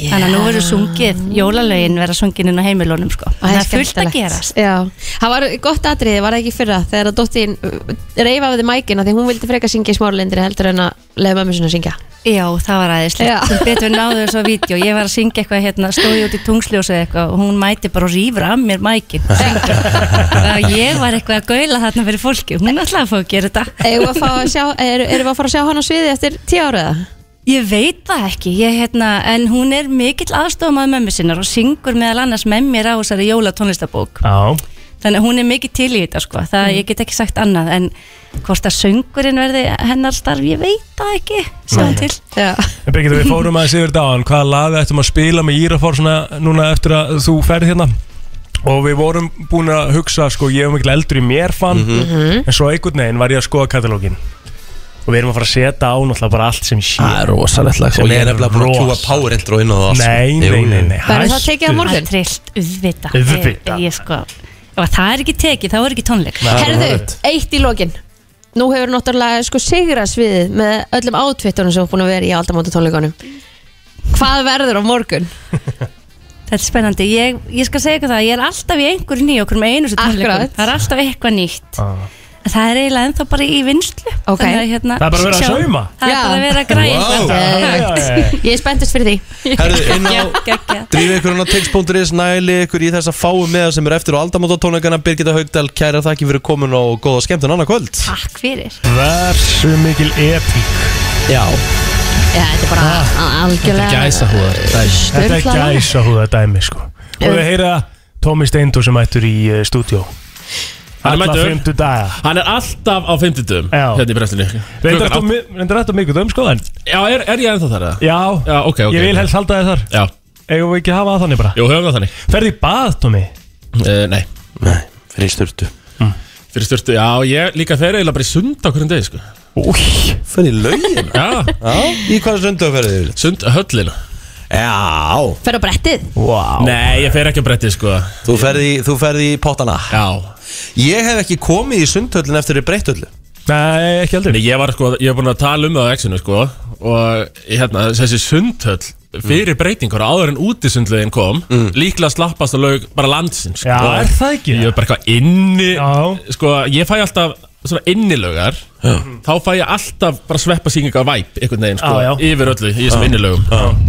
Speaker 9: Þannig að nú verður sungið, jólalögin verða sungin inn á heimilónum sko
Speaker 3: Það er
Speaker 9: Þannig að fullt að
Speaker 3: skemmtilegt.
Speaker 9: gerast
Speaker 3: Já, það var gott atriði, var það ekki í fyrra þegar að dóttin reyfaði mækina því hún vildi freka syngja í smáralindri heldur en að leiða mömmu sinna að syngja
Speaker 9: Já, það var
Speaker 3: Já.
Speaker 9: aðeinslega, sem betur náðu þessu á vídeo Ég var að syngja eitthvað hérna, stóði út í tungsljósi eitthvað og hún mæti bara og rýfur af mér
Speaker 3: [LAUGHS]
Speaker 9: mækin Ég var eitthvað að gaula þarna fyrir fólki, hún ætlaði að fá að gera þetta
Speaker 3: Erum við að, fá að sjá, er, erum við að fara að sjá hann á sviði eftir tíu ára eða?
Speaker 9: Ég veit það ekki, ég, hérna, en hún er mikill aðstofamað mömmu sinnar og syngur meðal annars með mér á þessari jóla tónlistabók
Speaker 4: Já, Mm.
Speaker 9: þannig að hún er mikið til í þetta sko það ég get ekki sagt annað en hvort að söngurinn verði hennar starf ég veit það ekki, sjáum til
Speaker 3: Já,
Speaker 4: en Birgit, við fórum aðeins yfir dáan Hvaða laga ættum að spila með Írafár svona núna eftir að þú ferð hérna Og við vorum búin að hugsa, sko, ég er mikil eldur í mér fann
Speaker 9: Mhm.
Speaker 4: En svo einhvern veginn var ég að skoða katalógin Og við erum að fara að setja á náttúrulega bara allt sem sé
Speaker 2: það er rosalegt lag
Speaker 4: Og
Speaker 2: og ég
Speaker 4: ég
Speaker 2: er nefnilega búin að
Speaker 4: rosa.
Speaker 2: kjúa power intro inn á það sko.
Speaker 4: Nei,
Speaker 2: Jú,
Speaker 4: nei,
Speaker 2: jú.
Speaker 4: nei, nei
Speaker 3: Verður það tekið á
Speaker 4: hættu.
Speaker 3: morgun?
Speaker 9: að trillt, auðvita
Speaker 4: Auðvitað.
Speaker 9: ég, ég sko, ef að það er ekki tekið þá er ekki tónleik
Speaker 4: Nei, það er
Speaker 3: Herðu,
Speaker 4: rétt.
Speaker 3: eitt í lokin Nú hefur náttúrulega sko sigra sviðið með öllum átvittunum sem er búin að vera í aldamóta tónleikunum Hvað verður á morgun?
Speaker 9: [LAUGHS] þetta er spennandi, ég, ég skal segja ykkur það ég er alltaf í einhverju nýju okkur með einu tónleikum
Speaker 3: Akkurat.
Speaker 9: það er alltaf eitthvað nýtt
Speaker 4: Ah.
Speaker 9: það er eiginlega ennþá bara í vinslu
Speaker 3: Ok.
Speaker 9: Þannig að, hérna,
Speaker 4: Það er bara verið að
Speaker 9: sjá-
Speaker 4: sauma.
Speaker 9: það er
Speaker 3: Já.
Speaker 9: bara að vera að græja
Speaker 2: Vá.
Speaker 9: eitthvað.
Speaker 4: Já, já, já.
Speaker 3: Ég er spenntist fyrir því
Speaker 2: Herðu, inn á
Speaker 9: Geggjað.
Speaker 2: Drífið ykkur hann á tix.is, næli ykkur í þessa fáu meða sem er eftir á aldamótatónleikana Birgitta Haugdal, kæra þakki fyrir komin og góða skemmtun annað kvöld
Speaker 9: Takk fyrir
Speaker 4: Hversu mikil epík
Speaker 2: Já,
Speaker 3: Já, þetta er bara ah, algjörlega
Speaker 2: húðar
Speaker 4: Þetta er
Speaker 3: Sturlað lag.
Speaker 4: gæsa húða dæmi sko Og við heyra Tómi Steindur sem mættur í uh, stúdíó
Speaker 10: Hann er
Speaker 4: Alla
Speaker 10: mættur.
Speaker 4: fymtu daga
Speaker 10: Hann er alltaf á 50
Speaker 4: Já.
Speaker 10: Hérna í brestinu
Speaker 4: Reyndar ertu á mi- Reyndar þetta mikið um sko en
Speaker 10: Já, er, er ég ennþá þar eða?
Speaker 4: Já,
Speaker 10: Já, ok, ok
Speaker 4: ég vil helst halda þér þar
Speaker 10: Já,
Speaker 4: Eigum við ekki að hafa það þannig bara
Speaker 10: jú, höfum það þannig
Speaker 4: Ferði í bað Tómi
Speaker 10: uh, Nei,
Speaker 2: Nei, fyrir sturtu
Speaker 10: fyrir styrtu Já, ég líka þeir eiginlega bara í sund á hverjum degi sko
Speaker 2: Új, fyrir laugin
Speaker 10: Já,
Speaker 2: Í hvaða söndu að ferðið yfirleitt?
Speaker 10: sund höllina Já
Speaker 3: Fer á brettið
Speaker 4: Vá
Speaker 10: Nei, ég fer ekki á bretti sko
Speaker 2: Þú ferði í, þú ferð í pottana
Speaker 10: Já
Speaker 2: Ég hef ekki komið í sundhöllin eftir í breytthöllu
Speaker 4: Nei, ekki heldur
Speaker 10: Nei, ég var sko, ég var búin að tala um það á exinu sko Og hérna, þessi sundhöll Fyrir breytingur áður en úti sundlegin kom Líklega slappast að laug bara landsins sko.
Speaker 4: Mm. Já, er það ekki?
Speaker 10: Ég er bara eitthvað inni
Speaker 4: Já.
Speaker 10: Sko, ég fæ alltaf svona innilögar Þá fæ ég alltaf bara sveppa sýninga væp Einhvern veginn sko,
Speaker 4: Já, já.
Speaker 10: yfir öllu í þessum innilögum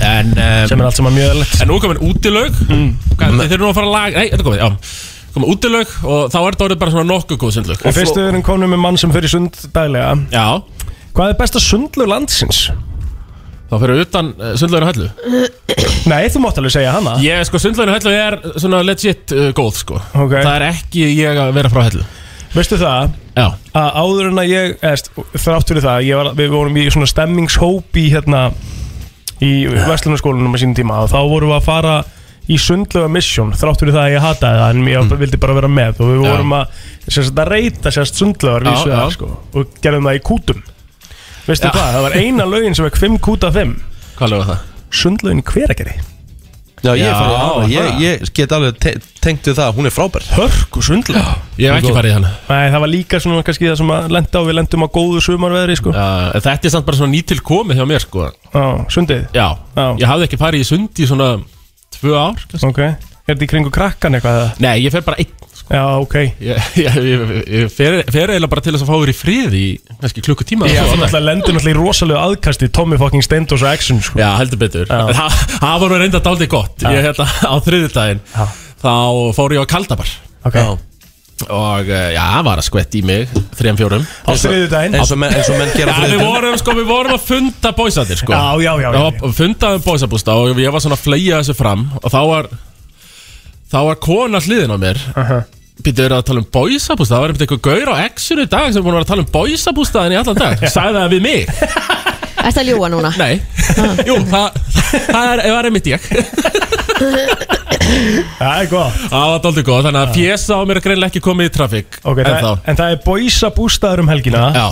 Speaker 10: En um,
Speaker 4: Sem er allt saman mjög eðlilegt
Speaker 10: En nú er komin útilög mm. Þeir eru nú að fara að laga Nei, þetta er komið, já Komin útilög og þá er þetta orðið bara svona nokkuð góð sundlög
Speaker 4: En fyrstu við erum konum með mann sem fyrir sund daglega
Speaker 10: Já,
Speaker 4: Hvað er besta sundlu landsins?
Speaker 10: þá fyrir utan uh, sundlöginu höllu
Speaker 4: Nei, þú mátt alveg segja hana
Speaker 10: Ég, sko, sundlöginu höllu er svona legit uh, góð, sko
Speaker 4: Ok.
Speaker 10: Það er ekki ég að vera frá höllu
Speaker 4: Veistu það
Speaker 10: Já,
Speaker 4: að áður en að ég eðst, þrátt fyrir það, ég var, við vorum í svona stemmingshóp í hérna í Vestlunarskólanum á sínum tíma og þá vorum við að fara í sundlega misjón þrátt fyrir það að ég hataði það en ég vildi bara vera með og við
Speaker 10: Mm. Já.
Speaker 4: vorum að, sérst, að reyta sérst sundlegar
Speaker 10: Já,
Speaker 4: vísu
Speaker 10: já.
Speaker 4: það sko og gerðum það í kútum veistu
Speaker 10: Já.
Speaker 4: hvað, það var eina lögin sem var 5 kúta 5
Speaker 10: hvað lögum það?
Speaker 4: sundlegin hveragerði
Speaker 2: Já, ég,
Speaker 10: Já,
Speaker 2: já, hana, ég,
Speaker 10: það.
Speaker 2: ég get alveg te tengt við það Hún er frábær
Speaker 4: hörku sundlega
Speaker 10: Ég hef ekki farið í hann uh,
Speaker 4: Nei, það var líka svona kannski það sem að lenda á við lendum á góðu sumarveðri sko
Speaker 10: Þetta er samt bara svona nýtil komið hjá mér, sko
Speaker 4: Já, sundið
Speaker 10: Já,
Speaker 4: Já.
Speaker 10: ég hafði ekki farið í sund í svona tvö ár kannski.
Speaker 4: Ok, er þetta í kringu krakkan eitthvað eða?
Speaker 10: Nei, ég fer bara einn sko.
Speaker 4: Já, ok
Speaker 10: Ég, [LAUGHS] ég, ég, ég fer, fer eiginlega bara til þess að fá þér í friði í kannski klukkutíma
Speaker 4: Já,
Speaker 10: eða svo á
Speaker 4: þú
Speaker 10: dag.
Speaker 4: náttúrulega lendur náttúrulega í rosalega aðkasti Tommy fucking Steindós og Action sko.
Speaker 10: Já, heldur betur En Það það var nú reynda daldið gott Ég hérna á þriðjudaginn
Speaker 4: Já.
Speaker 10: Þá fór ég á Kaldabar
Speaker 4: Ok,
Speaker 2: Já.
Speaker 10: Og eh, já, það var að skvett í mig Þrejum, fjórum
Speaker 4: á þriðudaginn
Speaker 2: Eins og menn, eins og
Speaker 10: [LAUGHS]
Speaker 2: menn
Speaker 10: Já,
Speaker 2: gera
Speaker 10: við
Speaker 2: þriðjudaginn.
Speaker 10: vorum, sko, við vorum að funda bóisatir, sko
Speaker 4: Já, já, já, já,
Speaker 10: Það var fundað um bóisabústa og ég var svona að fleia þessu fram Og þá var Þá var kona hliðin á mér uh -huh. Býttu verið að tala um bóisabústa Það var einhvern veginn gaur á exinu í dag Sem búin að vera að tala um bóisabústaðin í allan dag Sæði það við mig
Speaker 3: Ertu að ljúa núna? Ah.
Speaker 10: Nei, [LAUGHS] jú, það, það er, var einmitt ég
Speaker 4: Það er gott
Speaker 10: Það var daldið góð, þannig að fjesa á mér er greinlega ekki komið í trafík
Speaker 4: okay, en, það, en það er bóisa bústaður um helgina
Speaker 10: Já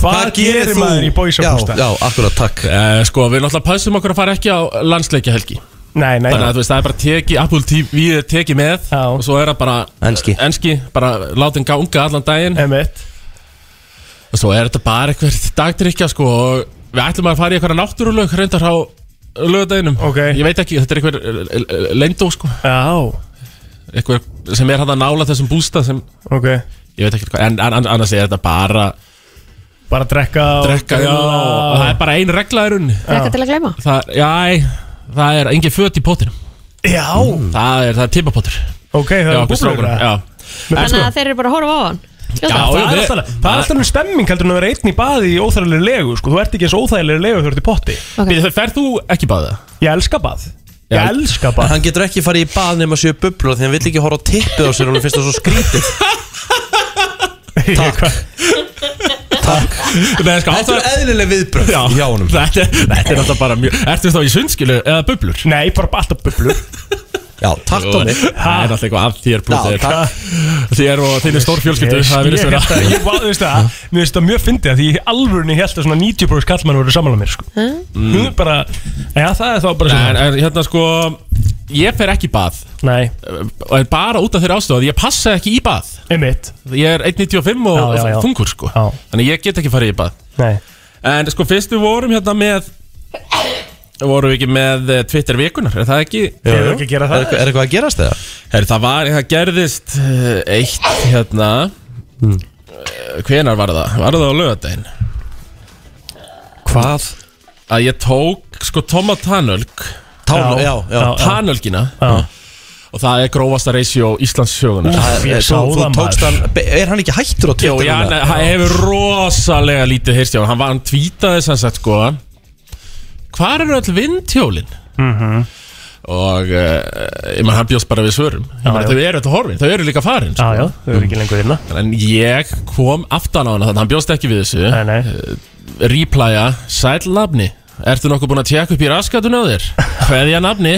Speaker 4: Hvað gerir maður í bóisa
Speaker 2: Já,
Speaker 4: bústað?
Speaker 2: já, akkurat, takk
Speaker 10: Eh, Sko, við náttúrulega passum okkur að fara ekki á landsleikja helgi
Speaker 4: Nei, nei,
Speaker 10: Þannig að þú veist, það er bara teki, Apple TV er tekið með
Speaker 4: Já.
Speaker 10: Og svo er það bara
Speaker 2: Enski.
Speaker 10: enski bara látin ganga allan daginn
Speaker 4: emitt
Speaker 10: Og svo er þetta bara eitthvað dagdrykja, sko Og við ætlum að fara í eitthvað náttúrulög reyndar á lögdaginum
Speaker 4: Ok.
Speaker 10: Ég veit ekki, þetta er eitthvað eh, leindó, sko
Speaker 4: Já,
Speaker 10: Eitthvað sem er hann að nála þessum bústa sem
Speaker 4: ok
Speaker 10: Ég veit ekki hvað, en, en annars er þetta bara
Speaker 4: Bara að drekka og
Speaker 10: Drekka, já, og það
Speaker 4: grilla.
Speaker 10: er bara ein regla í rauninni
Speaker 3: Rekka til að gleyma
Speaker 10: Það, já, það er engin föt í pottinum Mm,
Speaker 4: Já,
Speaker 10: Það er, það er tippapottur
Speaker 4: ok, það
Speaker 10: Já,
Speaker 4: er
Speaker 10: okkur
Speaker 4: búblur
Speaker 10: strákunum,
Speaker 4: eða?
Speaker 10: já
Speaker 4: Með
Speaker 3: Þannig
Speaker 4: búblur?
Speaker 3: að þeir eru bara að horfa á hann
Speaker 10: Sko. Já, já,
Speaker 4: Það er
Speaker 10: við-
Speaker 4: alltaf það er alltaf ennum stemming heldur en að vera einn í baði í óþægilegri legu sko. Þú ert ekki eins óþægilegri legu þegar þú ert í potti
Speaker 10: Býðu, Ferð þú ekki báða?
Speaker 4: Ég elska bað Ég
Speaker 10: Já.
Speaker 4: elska
Speaker 2: En
Speaker 4: bað
Speaker 2: Hann getur ekki farið í bað nema séu bublur Því hann vill ekki horfa á tippið á sér Hún finnst það svo skrítið
Speaker 4: Takk
Speaker 10: Nei, sko,
Speaker 2: Þetta er eðlileg viðbröð
Speaker 10: Já,
Speaker 2: hjá honum
Speaker 10: Þetta, þetta er alltaf bara mjög Ertu þá í sundskilu eða bublur?
Speaker 4: Nei, bara alltaf bublur
Speaker 2: Já, takk Dóni
Speaker 10: Það er alltaf eitthvað að þér
Speaker 2: Já,
Speaker 10: plútið
Speaker 2: takk
Speaker 10: Þér og þínu stór [LAUGHS] fjölskyldu Það
Speaker 4: Ég
Speaker 10: virðist
Speaker 4: held
Speaker 10: vera
Speaker 4: að- ég var- þú veist það, Mér finnst það mjög fyndið að Því í alvörunni held að svona 90% kallmann voru sammála mér sko.
Speaker 10: Mm.
Speaker 4: Nú er bara Já, það er þá
Speaker 10: En,
Speaker 4: bara sem
Speaker 10: en hérna sko Ég fer ekki í bað Eh,
Speaker 4: Nei,
Speaker 10: Og er bara út af þeirra ástöð Ég passa ekki í bað
Speaker 4: einmitt
Speaker 10: Ég er 1.95 og
Speaker 4: Já, já, já.
Speaker 10: þungur sko
Speaker 4: Já.
Speaker 10: Þannig ég get ekki farið í bað
Speaker 4: Nei
Speaker 10: En sko fyrst við vorum hérna með Vorum við ekki með eh, Twitter vikunar, er það ekki?
Speaker 4: Ég er ekki að gera
Speaker 2: Er
Speaker 4: það
Speaker 2: eitthvað- er eitthvað að gerast þegar?
Speaker 10: Her, það var, það gerðist eh, eitt hérna mm.
Speaker 4: Hmm.
Speaker 10: Hvenar var það? Var það á laugardaginn?
Speaker 2: Hvað?
Speaker 10: Að ég tók sko Toma Tanölk
Speaker 2: Tánó,
Speaker 4: Já.
Speaker 2: já, já
Speaker 4: Já.
Speaker 10: Tanölkina
Speaker 4: Já.
Speaker 10: Og það er grófasta Eh, reisjó Íslands sögunar
Speaker 2: Það-
Speaker 4: Ég sá
Speaker 2: Þú þú
Speaker 4: það,
Speaker 2: tókst
Speaker 4: maður.
Speaker 2: hann Er hann ekki hættur á
Speaker 10: Jó,
Speaker 2: Twitter?
Speaker 10: já,
Speaker 4: um
Speaker 2: núna?
Speaker 10: hann hann hefur rosalega lítið heyrst hjá honum. Hann var, hann tvítaði sem sagt sko Hvar eru öll vindhjólin?
Speaker 4: Mhm.
Speaker 10: Og uh, ég maður hann bjóst bara við svörum Ég meina
Speaker 4: já.
Speaker 10: þau eru öll horfin, þau eru líka farin sko.
Speaker 4: Já, já, þau eru ekki lengur hérna
Speaker 10: En ég kom aftan á hana þannig að hann bjóst ekki við þessu
Speaker 4: Nei, nei
Speaker 10: Replya, sæl nafni Ertu nokkuð búin að tjekka upp í raskatun á þér?
Speaker 4: [LAUGHS]
Speaker 10: Hveðja nafni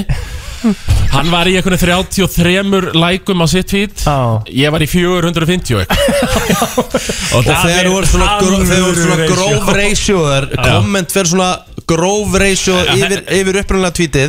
Speaker 10: Hann var í einhvern 33 lækum á sitt fít
Speaker 4: Já.
Speaker 10: Ég var í 450 og eitthvað Og
Speaker 2: Og
Speaker 10: það
Speaker 2: þegar
Speaker 10: er
Speaker 2: þú er svona,
Speaker 4: alvöru
Speaker 2: gr þegar þú ert svona
Speaker 4: ratio.
Speaker 2: gróf ratio Það er komment fyrir svona gróf ratio yfir, yfir upprunalega tweetið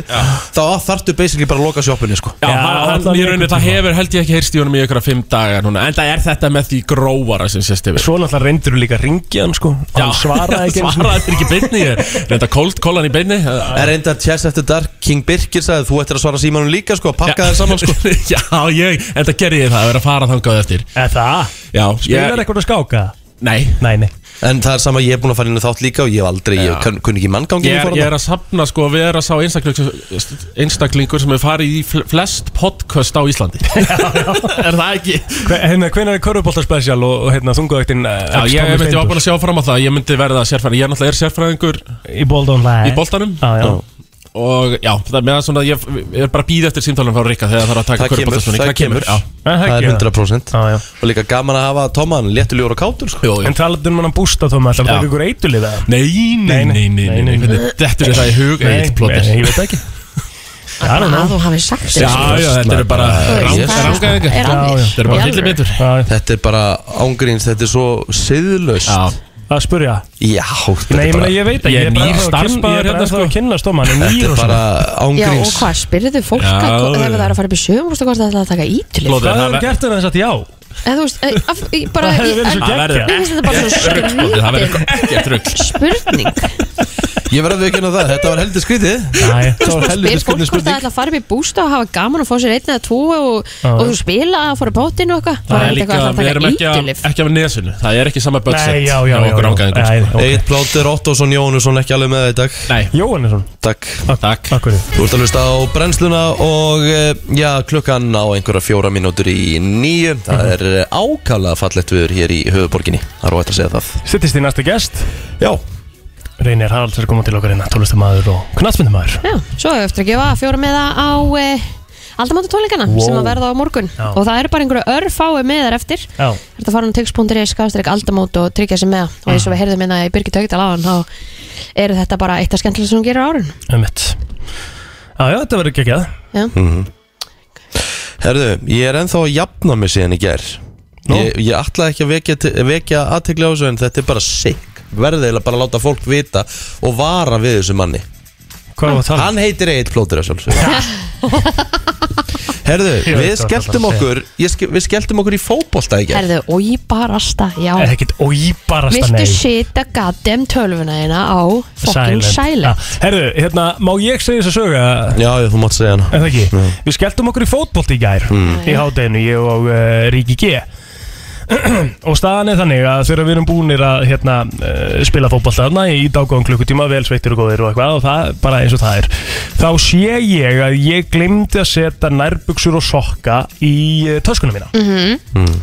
Speaker 2: þá þartu basically bara að loka sjoppunni sko.
Speaker 10: Já,
Speaker 4: Já,
Speaker 10: hann, hann,
Speaker 4: allan
Speaker 10: í rauninni,
Speaker 4: einhvern
Speaker 10: það hefur held ég ekki heyrst í honum í ykkur að fimm daga núna En það er þetta með því gróvara sem sést yfir
Speaker 4: Svo náttúrulega reyndur þú líka að ringja hann sko og Hann svaraði ekki einu sinni.
Speaker 10: [LAUGHS] Svaraði þetta ekki í beinni Reynda kólt kólan í beinni Já,
Speaker 2: er reyndar Chess After Dark King Birkir sagði þú ættir að svara símanum líka sko, pakka þér
Speaker 4: [LAUGHS]
Speaker 2: saman sko.
Speaker 10: Já, ég, en það gerði ég það að vera að fara þangað eftir
Speaker 4: Eða það?
Speaker 10: Já,
Speaker 4: Spilar eitthvað að skáka?
Speaker 10: Nei,
Speaker 4: Nei, nei
Speaker 2: en það er sama ég er búin að fara inn í þátt líka og ég hef aldrei, ég kann- kunni ekki manngangi
Speaker 10: ég er, ég er að safna sko að vera sá einstaklingur, einstaklingur sem hefur farið í fl- flest podcast á Íslandi [LAUGHS] Er það ekki?
Speaker 4: Hve- Hérna, hvenær er körfuboltarspecial og, og hérna þungaðöktin
Speaker 10: Já, ég, ég, myndi, ég var búin að sjá fram á það, ég myndi verða sérfræðingur Ég náttúrulega er sérfræðingur
Speaker 4: Í bólda online
Speaker 10: í boltanum
Speaker 4: Já, já
Speaker 10: og já, það er meðan svona ég, ég er bara að býða eftir símtálunum frá Rikka þegar það er að taka
Speaker 2: Það kemur,
Speaker 10: körpaltaspunni
Speaker 2: það kemur.
Speaker 10: já.
Speaker 4: En
Speaker 2: það er
Speaker 4: ekki
Speaker 2: 100%
Speaker 4: Já, já
Speaker 2: og líka gaman að hafa Tóman léttulegur og kátur sko.
Speaker 10: Jú, jú.
Speaker 4: En talaðu um hann að bústa þó maður Það
Speaker 10: Já.
Speaker 4: er ykkur eitulið það
Speaker 10: Nei, nei, nei, nei, nei, nei,
Speaker 4: nei.
Speaker 10: nei. Þetta er það í hug
Speaker 4: Nei,
Speaker 10: eitt plóter
Speaker 4: nei, ég veit
Speaker 3: [LAUGHS]
Speaker 4: ekki I don't know
Speaker 3: að Ah, þú hafi sagt
Speaker 10: Já,
Speaker 3: þetta
Speaker 10: já, þetta er bara
Speaker 3: Þú veist,
Speaker 10: ranga-
Speaker 3: það er-
Speaker 10: rangaðingar
Speaker 3: er alveg-
Speaker 10: Þetta er bara
Speaker 3: í
Speaker 10: hildi
Speaker 3: alvöru.
Speaker 10: betur
Speaker 4: Já, já.
Speaker 2: þetta er bara ángríns, þetta er svo siðlaust
Speaker 10: Já,
Speaker 4: Að spurja
Speaker 2: Já, þetta
Speaker 4: Nei,
Speaker 2: er
Speaker 4: ég meina,
Speaker 2: bara,
Speaker 4: ég veit ekki
Speaker 10: Ég er
Speaker 4: er bara
Speaker 10: nýr
Speaker 4: ennþá að kynna-
Speaker 10: starfsmaður hérna,
Speaker 4: Ég er bara ennþá
Speaker 10: sko.
Speaker 4: að kynna stóman Ég er
Speaker 2: þetta
Speaker 4: nýr
Speaker 2: er
Speaker 4: og
Speaker 2: bara
Speaker 4: svona
Speaker 3: Já, og
Speaker 2: ángríns
Speaker 3: hvað, spyrðu fólk
Speaker 10: Já,
Speaker 3: að
Speaker 10: já.
Speaker 3: ef það er að fara upp í sjöfum og hvað það er að taka ítulið
Speaker 10: plóter
Speaker 4: Hvað
Speaker 10: það
Speaker 4: hefur
Speaker 10: ver-
Speaker 4: gert um þér þess að já?
Speaker 3: En þú veist, eh, af, í, bara
Speaker 4: Það hefði verið svo
Speaker 3: en-
Speaker 4: geggjað.
Speaker 3: Mér finnst þetta bara
Speaker 10: plóter, það verður
Speaker 3: svo
Speaker 10: ekkert rugg
Speaker 3: skrifin spurning
Speaker 2: Ég verði ekki að það, þetta var heldur skrítið
Speaker 4: Næ,
Speaker 2: Það var
Speaker 3: Spyr fólk
Speaker 2: heldur skrítið
Speaker 3: hvort það
Speaker 2: spurning
Speaker 3: ætla að fara upp í bústa og hafa gaman og fá sér einn eða tvo og, og þú spila að fara á bátinn og eitthvað
Speaker 10: Það er líka, við erum ekki, að-
Speaker 3: ítulif
Speaker 10: ekki af nesunu Það er ekki sama budget
Speaker 4: Nei, já, já,
Speaker 10: hjá
Speaker 4: já,
Speaker 10: okkur
Speaker 4: já.
Speaker 10: ángæðingum
Speaker 4: Nei,
Speaker 10: sko.
Speaker 4: ok.
Speaker 2: Eitt plótur, Ottosson, Jónusson, ekki alveg með það í dag
Speaker 10: Nei,
Speaker 4: Jóhannesson
Speaker 2: Takk
Speaker 10: takk
Speaker 4: Akkur
Speaker 2: Þú ert að hlusta á brennsluna og eh, já, klukkan á einhverja fjóra mínútur í nýju Það er eh, ákala fallegt viður hér í höfuborginni Það er óætt að segja það
Speaker 4: Sittist í næsta gest
Speaker 2: Já,
Speaker 4: Reynir Haralds er komað til okkar hérna Tólestamæður og knatsmyndumæður
Speaker 3: Já, svo hefur eftir að gefa fjóra með það á e, Aldamöndu tónleikana
Speaker 4: Wow.
Speaker 3: sem að verða á morgun
Speaker 4: Já.
Speaker 3: og það eru bara einhverju örfái með þar eftir
Speaker 4: Já
Speaker 3: Þetta fara hann tix.is, skástrík, aldamót og tryggja sig með það. og
Speaker 4: Ah.
Speaker 3: eins og við heyrðum minna í Birgit Haugdal á hann þá eru þetta bara eitt af skemmtilega sem hún gerir á árun
Speaker 4: Ömmett Já, já, þetta verður geggjað
Speaker 3: Já,
Speaker 2: Mhm. herðu, ég er ennþá að jafna mig síðan í ger
Speaker 4: Nú?
Speaker 2: Ég, ég ætla ekki að vekja, vekja aðtekli á þessu en þetta er bara sick Verðið eiginlega bara að láta fólk vita og vara við þessu manni
Speaker 4: Hvað er það að tala?
Speaker 2: Hann heitir Egil Plóter að sjálfsögðu Herðu,
Speaker 4: Ég
Speaker 2: við
Speaker 4: veit hvað
Speaker 2: skelltum
Speaker 4: þú ætlar að
Speaker 2: okkur ég ske- Við skelltum okkur í fótbolta í gerð
Speaker 3: herðu, oi barasta, já
Speaker 4: Er ekkit óýbarasta
Speaker 3: Viltu sita goddamn tölvuna hérna á fokkin sæle
Speaker 4: Herðu, hérna, má ég segja þess að söga
Speaker 2: Já, já, þú mátt segja hana Mm.
Speaker 4: En það ekki Við skelltum okkur í fótbolt í gær Í hádeginu, ég og uh, Ríki G [CLEARS THROAT] Og staðan er þannig að þegar við erum búinir að hérna, uh, spila fótbolt þarna í dágóðan klukkutíma, vel sveittir og góðir og eitthvað og það bara eins og það er þá sé ég að ég glemdi að setja nærbuksur og sokka í uh, töskuna mína Mhm.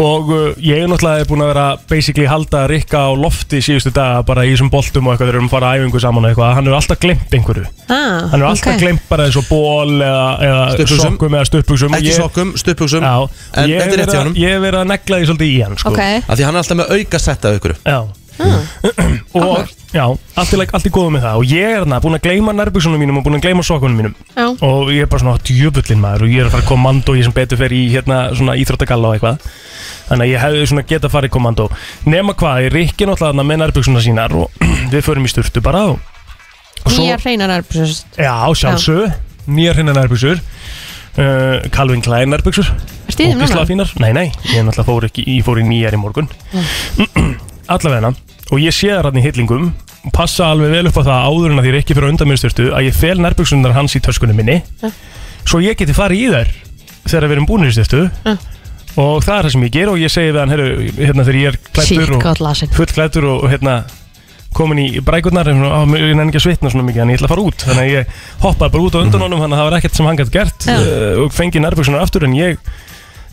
Speaker 4: og uh, ég er náttúrulega búin að vera basically halda Rikka á lofti síðustu daga bara í þessum boltum og eitthvað þegar við erum að fara á æfingu saman og eitthvað, hann hefur alltaf glemt einhverju
Speaker 3: ah,
Speaker 4: hann er alltaf
Speaker 3: ok.
Speaker 4: glemt bara eins og ból eða, eða
Speaker 2: Stuttbuxum.
Speaker 4: sokkum eða stöpbuksum
Speaker 2: Ekki sokkum, stupuksum
Speaker 4: Já,
Speaker 2: En
Speaker 4: ég hef
Speaker 2: þetta er rétt
Speaker 4: verið
Speaker 2: hjá
Speaker 4: að-
Speaker 2: honum
Speaker 4: Ég hef verið að negla því svolítið í hann sko.
Speaker 3: Ok,
Speaker 2: Af því hann er alltaf með auka setta af ykkur
Speaker 4: Já Og já, allt í, lag- allt í góðu með það Og ég er þarna búin að gleyma nærbuksunum mínum og búin að gleyma sokkunum mínum
Speaker 3: já,
Speaker 4: Og ég er bara svona djöfullin maður Og ég er að fara kommando Ég sem betur fer í hérna svona íþróttagalla og eitthvað Þannig að ég hefði svona geta farið kommando Nema hvað, ég rikki náttúrulega þarna með nærbuksuna sínar Og [CLEARS THROAT] við förum í sturtu bara og og svo-
Speaker 3: nýja hreinar erbjörns
Speaker 4: Já, sjálfsög Nýjar hérna nærbuksur uh, Calvin Klein nærbuksur
Speaker 3: Ertu í þeim núna?
Speaker 4: fínar Nei, nei, ég náttúrulega fór ekki Ég fór í nýjar í morgun [CLEARS THROAT] Allavegna Og ég sé það í hillingum og Passa alveg vel upp á það áður en að þér ekki fyrir undan mér styrtu Að ég fel nærbuksunar hans í töskunum minni Svo ég geti farið í þær Þegar við erum búinir styrtu
Speaker 3: Já.
Speaker 4: Og það er það sem ég ger Og ég segi við hann, herru, hérna þegar ég er
Speaker 3: Sýtt
Speaker 4: klættur og
Speaker 3: gott lasin
Speaker 4: fullklættur og, og hérna komin í brækurnar og svona, á, ég nenni ekki að svitna svona mikið en ég ætla að fara út þannig að ég hoppaði bara út á
Speaker 2: Mhm.
Speaker 4: undan honum þannig að það var ekkert sem hann gætt gert
Speaker 3: Já.
Speaker 4: uh, og fengi nærbuksunar aftur en ég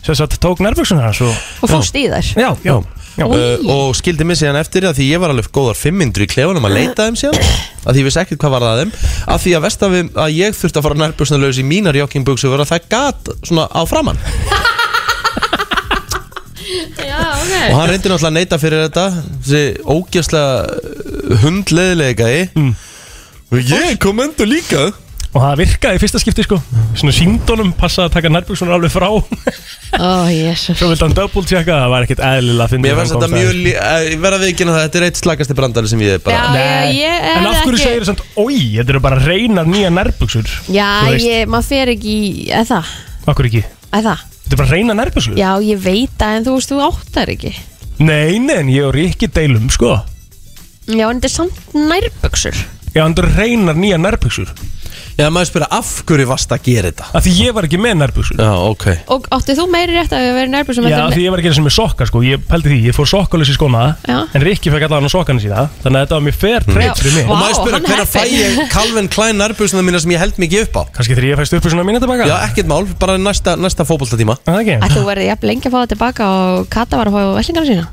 Speaker 4: sem sagt tók nærbuksunar hans og
Speaker 3: Og fórst í þær
Speaker 4: já, já, já.
Speaker 3: Oj.
Speaker 2: Uh, og skildi mig síðan eftir að því ég var alveg góðar 500 í klefanum að leita þeim um síðan að því ég vissi ekkert hvað var það þeim að því að vest að, við, að ég þurfti að fara nærbjörsnalaus í mínar joggingbuxu var að það gat svona á framann
Speaker 3: Já, ok
Speaker 2: og hann reyndi náttúrulega að neyta fyrir þetta þessi eh, ógjastlega hundleðilega gæi og ég kom endur líka
Speaker 4: og það virkaði í fyrsta skipti sko svona síndónum passaði að taka nærbuksunar alveg frá
Speaker 3: Ó, jésus
Speaker 4: svo vildi hann double checka það var ekkert eðlilega að finna
Speaker 2: Mér finnst þetta mjög, lí- eh, ég verð að viðkynna það, þetta er eitt slagasti brandari sem ég er bara
Speaker 3: Já, ég, ég er
Speaker 4: en af hverju
Speaker 3: ekki-
Speaker 4: segir þetta oi, þetta eru bara reynar nýja nærbuksur
Speaker 3: Já,
Speaker 4: Þú veist.
Speaker 3: ég, maður fer ekki í- eða það,
Speaker 4: af hverju ekki,
Speaker 3: eða það
Speaker 4: þetta eru bara reynar nærbuksur
Speaker 3: Já, ég veit það, en þú veist, þú áttar ekki
Speaker 4: nei, nei, en ég og Rikki deilum sko
Speaker 3: Já, en þetta er samt nærböksur
Speaker 4: já, hann eru reynar nýja nærbuksur
Speaker 2: Já, maður spyrja af hverju varst að gera þetta
Speaker 4: af því ég var ekki með nærbuksur
Speaker 2: Já, ok
Speaker 3: Og átti þú meiri rétt að vera nærböksum
Speaker 4: Já, af því ég var ekki eins og með sokka sko, ég pældi því, ég fór sokkalösi skóna
Speaker 3: Já.
Speaker 4: en Rikki fekk allan á sokkana sína þannig að þetta var mér fair trade fyrir mig
Speaker 3: Vá,
Speaker 2: Og maður spyrja
Speaker 3: hann
Speaker 2: hvernig fæ
Speaker 3: heppinn. [LAUGHS]
Speaker 2: ég Calvin Klein nærbúsina mína sem ég held mikið upp á
Speaker 4: kannski þegar ég fæst upp svona mínu tilbaka
Speaker 2: Já, ekkert mál, bara næsta, næsta fótboltatíma
Speaker 4: Er það ekki?
Speaker 3: Að þú verði jafn lengi að fá það tilbaka og Kata var að fá vellingar sína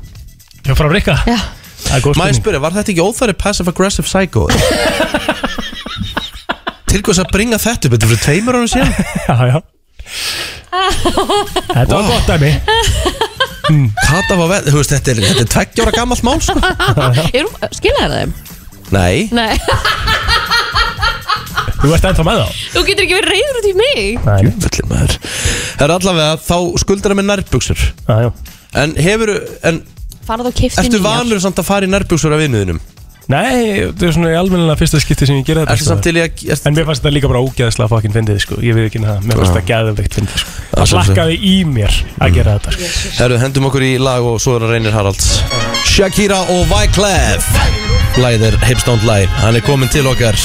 Speaker 4: Já, frá Rikka
Speaker 3: Já,
Speaker 4: Það er góð
Speaker 2: Maður
Speaker 4: spurning
Speaker 2: spyrja, var þetta ekki óþæri
Speaker 4: [LAUGHS]
Speaker 2: passive-aggressive psycho? Til hvers að bringa þetta upp, þetta fyrir tveimur árum síðan
Speaker 4: Já, já [LAUGHS] Þetta var
Speaker 2: Vá.
Speaker 3: [LAUGHS]
Speaker 4: gott dæmi
Speaker 2: Kata var vel, þú veist, þetta er, þetta er tveggjóra gammalt mál, sko
Speaker 3: Eru- skilaðu það þeim?
Speaker 2: Nei,
Speaker 3: Nei, [LAUGHS]
Speaker 4: Þú ert ennþá með þá
Speaker 3: þú getur ekki verið reyður út í mig
Speaker 4: Nei,
Speaker 2: velli maður Það er allavega, þá skuldar það með nærbuksur
Speaker 4: já, já
Speaker 2: En hefur, en
Speaker 3: Farðu og kifti
Speaker 2: ertu vanur samt að fara í nærbuksur af vinnuðinum?
Speaker 4: Nei, þetta er svona í almennilega fyrsta skipti sem ég gera þetta
Speaker 2: Ertu samt
Speaker 4: sko.
Speaker 2: til í að, ertu,
Speaker 4: En mér fannst þetta líka bara ógeðslega fokkin fyndið sko Ég veit ekki hérna það, mér fannst þetta geðveikt fyndið sko Það
Speaker 2: sjálfsögðu.
Speaker 4: slakkaði í mér að
Speaker 7: Mm.
Speaker 4: gera þetta sko
Speaker 2: herru, hendum okkur í lag og svo er að reynir Haralds Shakira og Wyclef Læð er Hips Don't Lie, hann er komin til okkar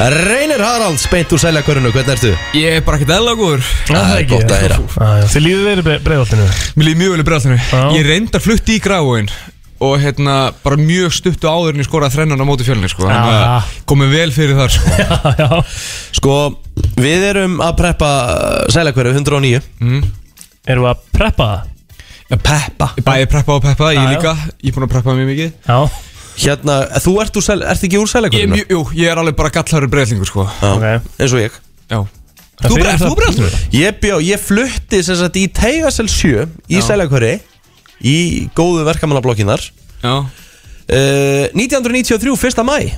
Speaker 2: Reynir Haralds, beint úr sæljakörunu, hvernig ertu?
Speaker 7: Ég er bara ekkert eðla góður
Speaker 2: Það er gott að heyra
Speaker 4: Já, já. Þið líður verið breiðoltinu
Speaker 7: Mér líði mjög vel í
Speaker 4: Já.
Speaker 7: bregðalinu Ég reyndar flutt í gráin Og hérna bara mjög stuttu áður en ég skoraði þrennan á móti fjölni sko Þannig
Speaker 2: Ah.
Speaker 4: Já.
Speaker 7: að komið vel fyrir þar
Speaker 2: [LAUGHS]
Speaker 7: sko
Speaker 4: Já, já
Speaker 2: Sko, við erum að preppa uh, sælakverfi 109
Speaker 7: Mm.
Speaker 4: Erum við að preppa það?
Speaker 2: Að Peppa
Speaker 7: Bæði preppa og peppa, ég
Speaker 4: Já, já.
Speaker 7: líka Ég er búin að preppa mjög mikið
Speaker 4: Já,
Speaker 2: Hérna, þú ert, úr, sæl- ert ekki úr
Speaker 7: ég, er
Speaker 2: sælakverfinu?
Speaker 7: mjög- Jú, ég er alveg bara gallarur bregðlingur sko
Speaker 4: ok
Speaker 2: Eins og ég
Speaker 7: Já
Speaker 4: Þú
Speaker 7: bre- þú bregðaltinu?
Speaker 2: Ég, bjó, ég flutti sem sagt í Teigasel 7 í sælakverfi Í góðu verkamannablokkinar
Speaker 7: Já
Speaker 2: uh, 1993, 1. mæ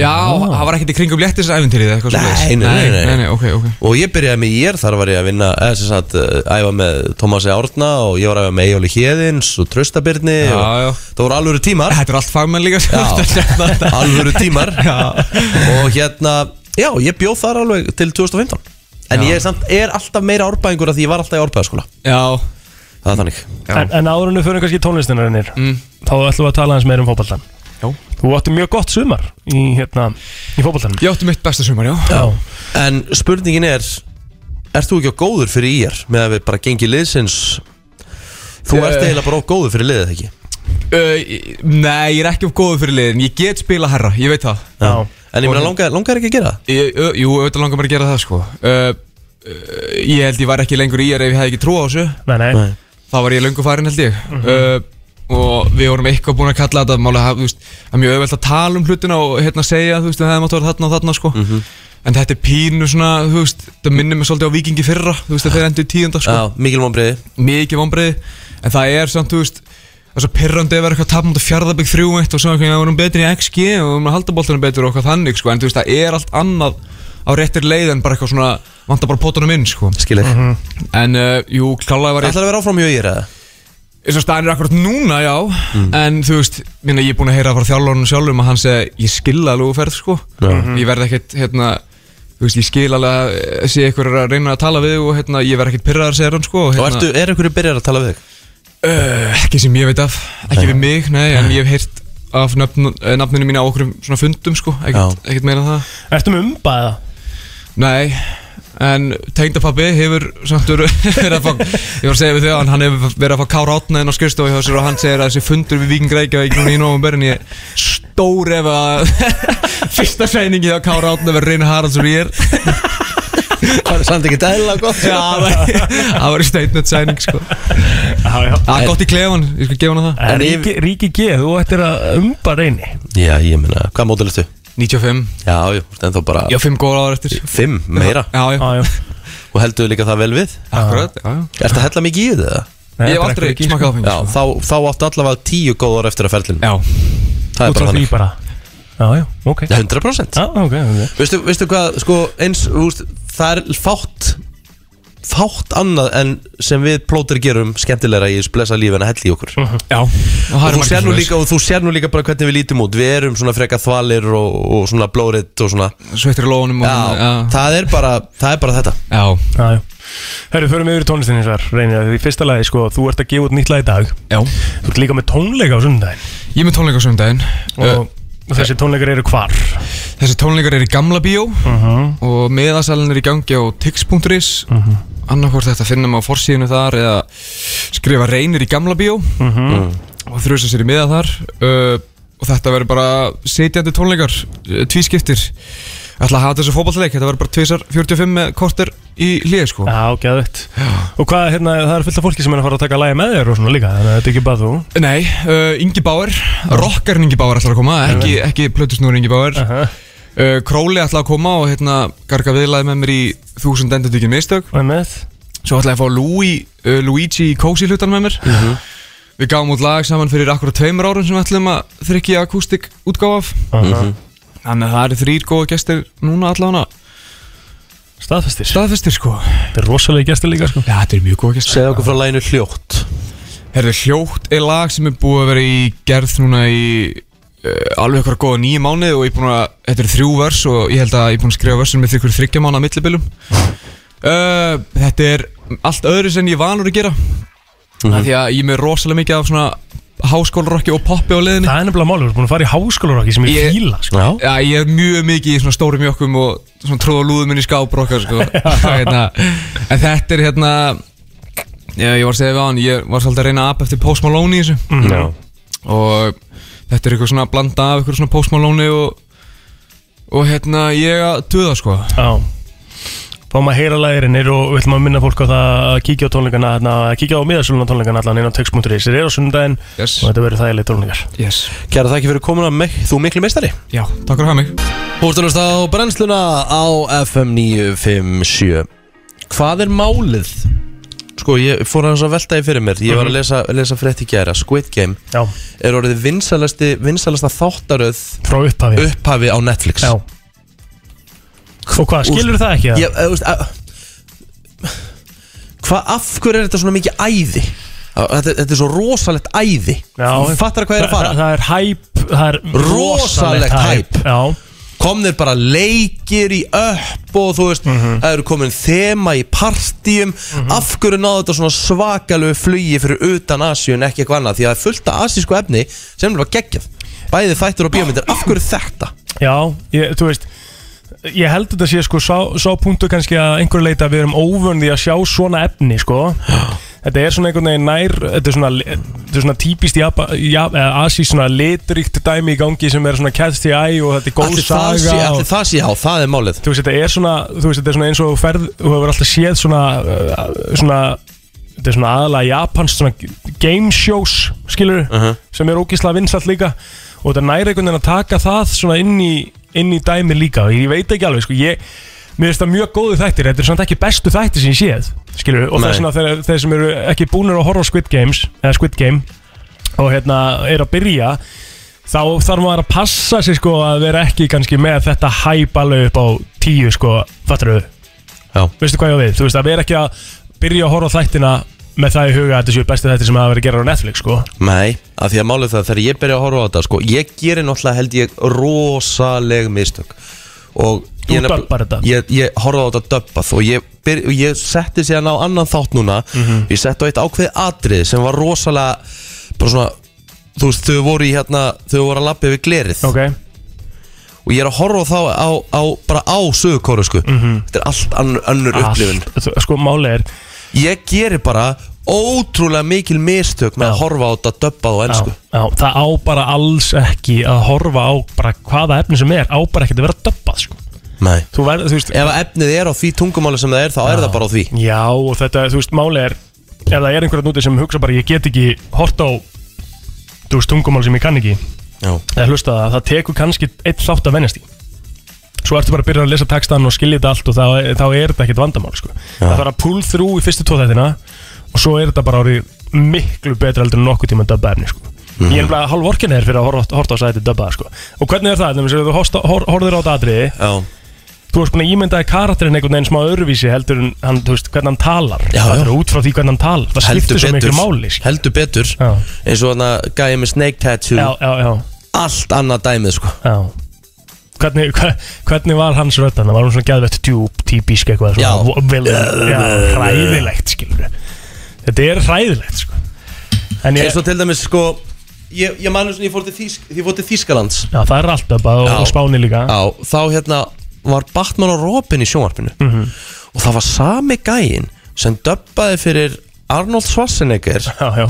Speaker 7: Já, það var ekkert í kringum léttis æfintýrið eða eitthvað
Speaker 2: Ah. Nei,
Speaker 7: svoleiðis?
Speaker 2: nei, nei, nei.
Speaker 7: nei, nei, ok, ok
Speaker 2: Og ég byrjaði með ég, þar var ég að vinna eða sem sagt, uh, æfa með Tómasi Árna og ég var að æfa með Ejóli Hjeðins og Tröstabirni
Speaker 7: Já,
Speaker 2: og
Speaker 7: já.
Speaker 2: það voru alvöru tímar
Speaker 7: Þetta er allt fagmenn líka sem þú ert að nefna þetta.
Speaker 2: [LAUGHS] Já, alvöru tímar
Speaker 7: [LAUGHS]
Speaker 2: Og hérna, já, ég bjóð þar alveg til 2015 En ég samt, er alltaf meira árbæðingur af því ég var alltaf í árbæðaskóla
Speaker 7: Já,
Speaker 2: Það er þannig
Speaker 7: Já. Mm.
Speaker 4: En, en áður en við fyrir kannski tónlistina reynir Þá ætlum við að tala hans meir um fótboltan
Speaker 7: Já.
Speaker 4: Þú átti mjög gott sumar í, hérna, í fótboltan
Speaker 7: ég átti mitt besta sumar, já
Speaker 4: Já.
Speaker 2: En spurningin er, ert þú ekki á góður fyrir ír? Með að við bara gengi liðsins Þú
Speaker 7: Eh.
Speaker 2: ert eiginlega bara á góður fyrir liðið ekki
Speaker 7: Uh, ég- nei, ég er ekki of góður fyrir liðin Ég get spila herra, ég veit það
Speaker 4: Já.
Speaker 2: En ég meina, langar, langar ekki að gera það?
Speaker 7: ég, ö, Jú, auðvitað langar mér að gera það sko uh, uh, Ég held ég var ekki lengur í er ef ég hefði ekki trú á þessu
Speaker 4: Nei, nei, Mhm.
Speaker 2: Nei.
Speaker 7: Þá var ég löngu farin held ég uh, Og við vorum eitthvað búin að kalla þetta Málega, það, þú veist, það er mjög auðvelt að tala um hlutina Og hérna segja, þú veist, það hefði mátt að vera þarna og þarna sko
Speaker 2: Mhm.
Speaker 7: En þetta er pínu svona, þú veist Það minnir mig svolítið á vikingi fyrra Þú veist, það þeir endur tíðanda sko
Speaker 2: Já, mikil vonbreiði
Speaker 7: mikið vonbreið en það er samt, þú veist það er svo pyrrandi að vera eitthvað tapmund og fjárðabík 3-1 og svona eitthvað, við erum betri í XG og við erum að halda boltanum betur og eitthvað þannig sko, en þú veist, það er allt annað á réttir leið en bara eitthvað svona vantar bara potunum inn, sko
Speaker 2: Skilir mm -hmm.
Speaker 7: en, uh, jú, klálega var ég
Speaker 2: Ætlar að vera áfram hjá ír eða?
Speaker 7: eins og staðan er akkurat núna, já
Speaker 2: Mm.
Speaker 7: en þú veist, minna, ég er búin að heyra frá þjálfurinn sjálfum að hann segi, ég skil alveg þú ferð, sko, ég verð ekkit hérna, þú veist, ég skil alveg að eh, sé ykkur er að reyna að tala við þig og hérna, ég verð ekkit pyrraðar, segir hann, sko og,
Speaker 2: Og
Speaker 7: hérna,
Speaker 2: ertu, er einhverju byrjar að tala við þig?
Speaker 7: Uh, ekki sem ég veit af, ekki við mig, nei, en ég hef heyrt af nöfn, eh, nafninu mínu á okkur svona fundum, sko, ekkert, ekkert meina það.
Speaker 4: ertu með umbaða?
Speaker 7: Nei, en tengdapabbi hefur samt verið [LAUGHS] verið að fá, ég var að segja við þau, hann hefur verið að fá kára átna inn á skrifstofu hjá sér og hann segir að þessi fundur við Víking Reykjavík núna í november en ég stór ef að [LAUGHS] fyrsta sæningi hjá kára átna verið Reyn Haraldsson ég er.
Speaker 2: Það er samt ekki dæla gott
Speaker 7: Já, það var- [LAUGHS] það var í statement sæning, sko.
Speaker 4: Já, já
Speaker 7: Það er gott í klefan, ég skal gefa hann það.
Speaker 4: En
Speaker 2: En ég-
Speaker 4: Ríki, Ríki G, þú ættir að umba reyni
Speaker 2: Já, ég meina, hvað mótil ertu?
Speaker 7: 95,
Speaker 2: Já, jú, en þá bara
Speaker 7: ég á 5 góða ára eftir.
Speaker 2: Fimm, meira
Speaker 7: Já, já,
Speaker 4: Já, já
Speaker 2: Og heldur líka það vel við
Speaker 7: akkurat, já, já.
Speaker 2: Ertu að hella mikið í þetta?
Speaker 4: Nei,
Speaker 7: Ég hef
Speaker 4: þetta er
Speaker 7: aldrei
Speaker 4: ekki-
Speaker 7: smakað áfengi
Speaker 2: Já,
Speaker 7: sko.
Speaker 2: þá, þá áttu allavega tíu góð ára eftir að ferlinu
Speaker 7: Já,
Speaker 4: Út frá
Speaker 2: Það er bara
Speaker 4: því
Speaker 2: þannig
Speaker 4: bara Já, já, ok
Speaker 2: 100%
Speaker 4: Já, ok, ok
Speaker 2: Veistu, veistu hvað, sko, eins, þú veist, það er fátt fátt annað en sem við plótir gerum skemmtilegra í þessu blessa lífi en að hella í okkur
Speaker 4: Mhm.
Speaker 10: Já
Speaker 2: og, þú sér nú líka, og þú sér nú líka bara hvernig við lítum út við erum svona freka þvalir og, og svona blóritt og svona
Speaker 7: Sveittur í lónum og
Speaker 2: já, Það, er bara, það er bara þetta
Speaker 7: já.
Speaker 4: Já, já Herru, förum yfir í tónlistinni eins og þar Reynir að því fyrsta lagi, sko, þú ert að gefa út nýtt lag í dag
Speaker 7: Já.
Speaker 4: Þú ert líka með tónleika á sundaginn
Speaker 7: Ég er með tónleika sömdæðin
Speaker 4: Og þessi tónleikar eru hvar Mhm.
Speaker 7: Þessi tónleikar eru í gamla bíó og miðasalinn er í gangi á tix.is uh -huh. annarkvort þetta finnum á forsíðinu þar eða skrifa reynir í gamla bíó
Speaker 4: Mhm.
Speaker 7: og þrjusa sér í miða þar uh, og þetta verður bara setjandi tónleikar, uh, tvískiptir ætla að hafa þessu fótballleik þetta verður bara tvisar 45 með korter í hlið sko.
Speaker 4: Já, geðvægt Og hvað, hérna, það er fullt af fólki sem er að fara að taka lagi með þér og svona líka Þannig að þetta er ekki bara þú
Speaker 7: Nei, uh, Ingi Bauer, rockarinn Ingi Bauer ætlar að koma, ekki, ekki plötusnúr Ingi Bauer uh
Speaker 4: Aha.
Speaker 7: Króli ætlar að koma og hérna garga viðlaði með mér í þúsund endatíkin mistök
Speaker 4: Og með
Speaker 7: Svo ætlaði ég að fá Louis, uh, Luigi í kósi hlutan með mér
Speaker 4: Mhm.
Speaker 7: Við gáum út lag saman fyrir akkurat tveimur árum sem við ætlum að þrykja akústik útgáf af
Speaker 4: Mhm.
Speaker 10: Mhm.
Speaker 7: Þannig að það eru þrýr góða gestir núna allavega
Speaker 4: Staðfestir
Speaker 7: staðfestir sko
Speaker 4: Þetta er rosalega gestur líka, sko
Speaker 7: Já, þetta eru mjög góða gestir
Speaker 2: Segðu okkur frá læginu hljótt
Speaker 7: Herðu, hljótt er lag sem er búið að vera í gerð núna í uh, alveg okkar góða nýju mánuði og ég er búin að, þetta eru þrjú vers og ég held að ég er búin að skrifa versin með þrjúkur þryggja mánuða millibilum. Uh, þetta er allt öðru sem ég er vanur að gera, mm
Speaker 4: Mhm.
Speaker 7: því að ég er með rosalega mikið af svona háskólarokki og poppi á leiðinni.
Speaker 4: Það er nefnilega málur, þú ert búin að fara í háskólarokki sem ég
Speaker 7: Ég-
Speaker 4: fíla, sko Já
Speaker 7: Já, ég er mjög mikið í svona stórum jökkum og svona tróða lúðum inn í skápur okkar
Speaker 4: [LAUGHS]
Speaker 7: sko. hérna. En þetta er hérna já, Ég var að segja við á hann Ég var svolítið að reyna að apa eftir Post Malone í þessu
Speaker 2: Já
Speaker 7: Og þetta er eitthvað svona að blanda af eitthvað svona Post Malone og, og hérna ég að duða sko [LAUGHS]
Speaker 4: Já Fáum að heyra lægirinnir og við ætlum að minna fólk á það að kíkja á tónleikana, þarna, að kíkja á miðasöluna tónleikana allan inn á text.is Þeir eru á sundaginn
Speaker 7: Yes.
Speaker 4: og þetta verður þægileg tónleikar
Speaker 7: Yes
Speaker 2: Kæra þakki fyrir komuna, Mik- þú mikli meistari
Speaker 7: Já, takk fyrir að hafa mig
Speaker 2: Þú ert að hlusta á brennsluna á FM 957 Hvað er málið? Sko, ég fór aðeins að velta í fyrir mér Ég var að lesa, lesa frétt í gæra Squid Game
Speaker 4: Mhm. Já,
Speaker 2: er orðið vinsalasti, vinsalasta þáttaröð
Speaker 4: frá upphafi
Speaker 2: upphafi á Netflix
Speaker 4: Já Og hvað, skilur það ekki?
Speaker 2: Ég, þú veist, að- Hvað, af hverju er þetta svona mikið æði? Að- Þetta, þetta er svo rosalegt æði Þú Fattar hvað ég er að
Speaker 4: Það,
Speaker 2: fara?
Speaker 4: það er hæp, það er
Speaker 2: Rosalegt
Speaker 4: hæp.
Speaker 2: hæp.
Speaker 4: Já,
Speaker 2: Komnir bara leikir í upp og þú veist,
Speaker 4: Mhm.
Speaker 2: það eru komin þema í partíum Af hverju náðu þetta svona svakalegu flugi fyrir utan Asíu en ekki eitthvað annað Því að það er fullt af asísku efni sem er bara geggjað Bæði þættur og bíómyndir, af hverju þetta?
Speaker 4: já, ég, þú veist Ég held þetta sé sko sá, sá punktu kannski að einhverju leita að við erum óvöndi að sjá svona efni sko Þetta er svona einhvern veginn nær, þetta er svona, þetta er svona típist japa, ja, asi svona litríkt dæmi í gangi sem er svona catch the eye og þetta er góð
Speaker 2: Allir það, sé,
Speaker 4: saga
Speaker 2: allir
Speaker 4: og,
Speaker 2: það sé, já, það er málið
Speaker 4: Þú veist, þetta er svona, þú veist, þetta er svona eins og þú ferð, þú hefur alltaf séð svona, uh, svona þetta er svona aðalega japansk svona game shows, skilur, sem er ógislega vinsalt líka og þetta næri einhvern veginn að taka það svona inn í, inn í dæmi líka og ég veit ekki alveg, sko, ég mér finnst það mjög góðu þættir, þetta er samt ekki bestu þættir sem ég séð, skilur, og
Speaker 2: Nei.
Speaker 4: þess vegna þeir, þeir sem eru ekki búnir að horfa á Squid Games, eða Squid Game og hérna er að byrja þá þarf maður að passa sig sko að vera ekki kannski með þetta hæp alveg upp á tíu sko, fattar þau?
Speaker 2: Já.
Speaker 4: Veistu hvað ég á við? Þú veist að vera ekki að byrja að horfa á þættina með það í huga að þetta séu bestu þættir sem hafa verið að gera á Netflix sko.
Speaker 2: Nei, af því að málið það þegar ég byrja að horfa á þetta sko, ég gerir náttúrulega held ég rosaleg mistök og
Speaker 4: Þú
Speaker 2: ég, nefnilega-
Speaker 4: dubbar þetta.
Speaker 2: ég, ég horfa á þetta döbbað og ég, byr, og ég setti síðan á annan þátt núna
Speaker 4: Mhm.
Speaker 2: ég setti á eitt ákveðið atrið sem var rosalega bara svona þú veist þau voru í hérna þau voru að lappa yfir glerið
Speaker 4: Ok,
Speaker 2: og ég er að horfa á þá á, á, bara á sögurkóru sko þetta er allt ann- önnur upplifun
Speaker 4: Mhm. Allt- þú- sko máli er
Speaker 2: ég gerir bara ótrúlega mikil mistök með
Speaker 4: Já.
Speaker 2: að horfa á þetta döbbað og
Speaker 4: á,
Speaker 2: ennsku
Speaker 4: á, það á bara alls ekki að horfa á bara hvaða efni sem er á bara ekkert að vera döbbað sko.
Speaker 2: Nei
Speaker 4: Þú verð, þú veist,
Speaker 2: Ef að efnið er á því tungumáli sem það er þá er það bara á því
Speaker 4: Já, og þetta, þú veist, máli er ef það er einhverjarn úti sem hugsa bara ég get ekki hort á, þú veist, tungumál sem ég kann ekki,
Speaker 2: Já,
Speaker 4: eða hlusta það það tekur kannski eitt þátt að venjast í svo ertu bara að byrja að lesa textan og skilja þetta allt og þá, þá er þetta ekkert vandamál sko. það þarf að pull through í fyrstu tóþættina og svo er þetta bara orðið miklu betra heldur en nokkuð tíma döbba efni sko. Ég er nefnilega hálf orkin er fyrir að horfa horta á sæti döbbaða sko. Og hvernig er það? Nefnir, þú horfst á- hor- horfðir á þetta atriði Já. Þú varst búin að ímyndaði karakterinn einhvern veginn smá öðruvísi heldur en hann, þú veist, hvernig hann talar já, Það er út frá því hvernig hann talar Það skiptir svo miklu máli sko.
Speaker 2: heldur betur eins og hann að gæja með snake tattoo
Speaker 4: Já, já, já.
Speaker 2: allt annað dæmið sko
Speaker 4: já. Hvernig, hver, hvernig var hans rödd hann? Var hún svona geðvett djúb, típisk eitthvað svona,
Speaker 2: Já.
Speaker 4: vo- vel- já Hræðilegt skilur Þetta er hræðilegt sko En ég-
Speaker 2: eins og til dæmis sko ég, ég manu svona ég fór til, Þýsk, ég fór til Þýskalands
Speaker 4: Já, það er allt döbbað og,
Speaker 2: Já.
Speaker 4: og spáni líka
Speaker 2: Já, þá hérna var Batman og Robin í sjónvarpinu
Speaker 4: Mhm.
Speaker 2: og það var sami gæin sem döbbaði fyrir Arnold Schwarzenegger
Speaker 4: já, já.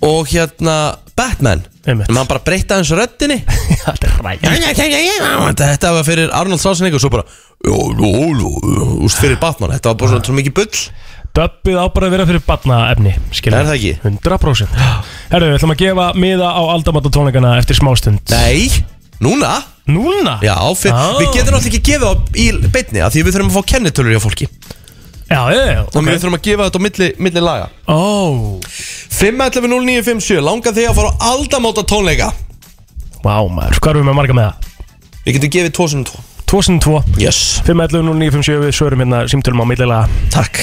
Speaker 2: og hérna Batman Einmitt. en hann bara breytta hans
Speaker 4: [LAUGHS]
Speaker 2: röddinni
Speaker 4: Þetta er
Speaker 2: rætt Þetta var fyrir Arnold Schwarzenegger og svo bara jó, jó, jó, úst fyrir Batman Þetta var bara svona, svona mikið bull
Speaker 4: Döbbið á bara að vera fyrir batnaefni skilur.
Speaker 2: Er það ekki?
Speaker 4: 100% Herru, við ætlum að gefa miða á aldamata tónleikana eftir smástund
Speaker 2: Nei, núna
Speaker 4: Núna?
Speaker 2: Já, fyr,
Speaker 4: Ah.
Speaker 2: við getum náttúrulega ekki gefið á í beinni af því við þurfum að fá kennitölur hjá fólki
Speaker 4: Já, já, já
Speaker 2: Þannig við þurfum að gefa þetta á milli, milli laga
Speaker 4: Ó
Speaker 2: 5.11.09.57 Langar þig að fara á aldamóta tónleika
Speaker 4: Vá maður, hvað erum við með marga með það?
Speaker 2: Við getum gefið 2002
Speaker 4: 2002
Speaker 2: Yes
Speaker 4: 511 og 957 við svörum hérna símtölum á millilega
Speaker 2: Takk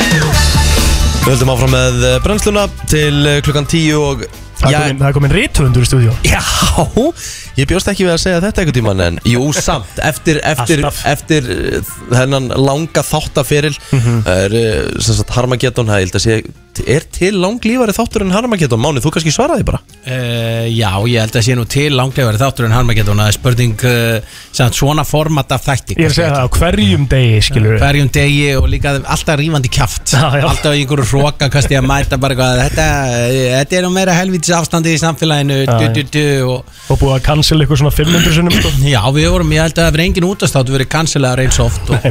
Speaker 2: Við höldum áfram með eh, brennsluna til eh, klukkan 10 og
Speaker 4: Það er komin, það er komin rithöfundur í stúdíu
Speaker 2: Já, ég bjóst ekki við að segja þetta einhvern tímann en jú, samt, eftir, eftir,
Speaker 4: Alltaf.
Speaker 2: eftir eh, þennan langa þáttaferil mm
Speaker 4: Mhm.
Speaker 2: -hmm. er eh, sem sagt Harmageddon, það ég held að sé er til langlífari þáttur en Harmageddon Máni, þú kannski svaraði bara
Speaker 11: Uh, já, ég held að sé nú til langlegari þáttur en Harmageddon að spurning uh, sem sagt svona format af þætti
Speaker 4: Ég er að segja það á hverjum degi skilur við
Speaker 11: hverjum degi og líka alltaf rífandi kjaft
Speaker 4: Já, já.
Speaker 11: alltaf í einhverju hróka kannski að mæta bara eitthvað þetta, eh, þetta er nú meira helvítis afstandi í samfélaginu
Speaker 4: Já,
Speaker 11: du,
Speaker 4: já.
Speaker 11: du, du, og,
Speaker 4: Og búið að cancel eitthvað svona 500 sinnum sko.
Speaker 11: [CLEARS THROAT] já, við vorum, ég held að það verið engin útastáttu verið kanselaðar eins oft og,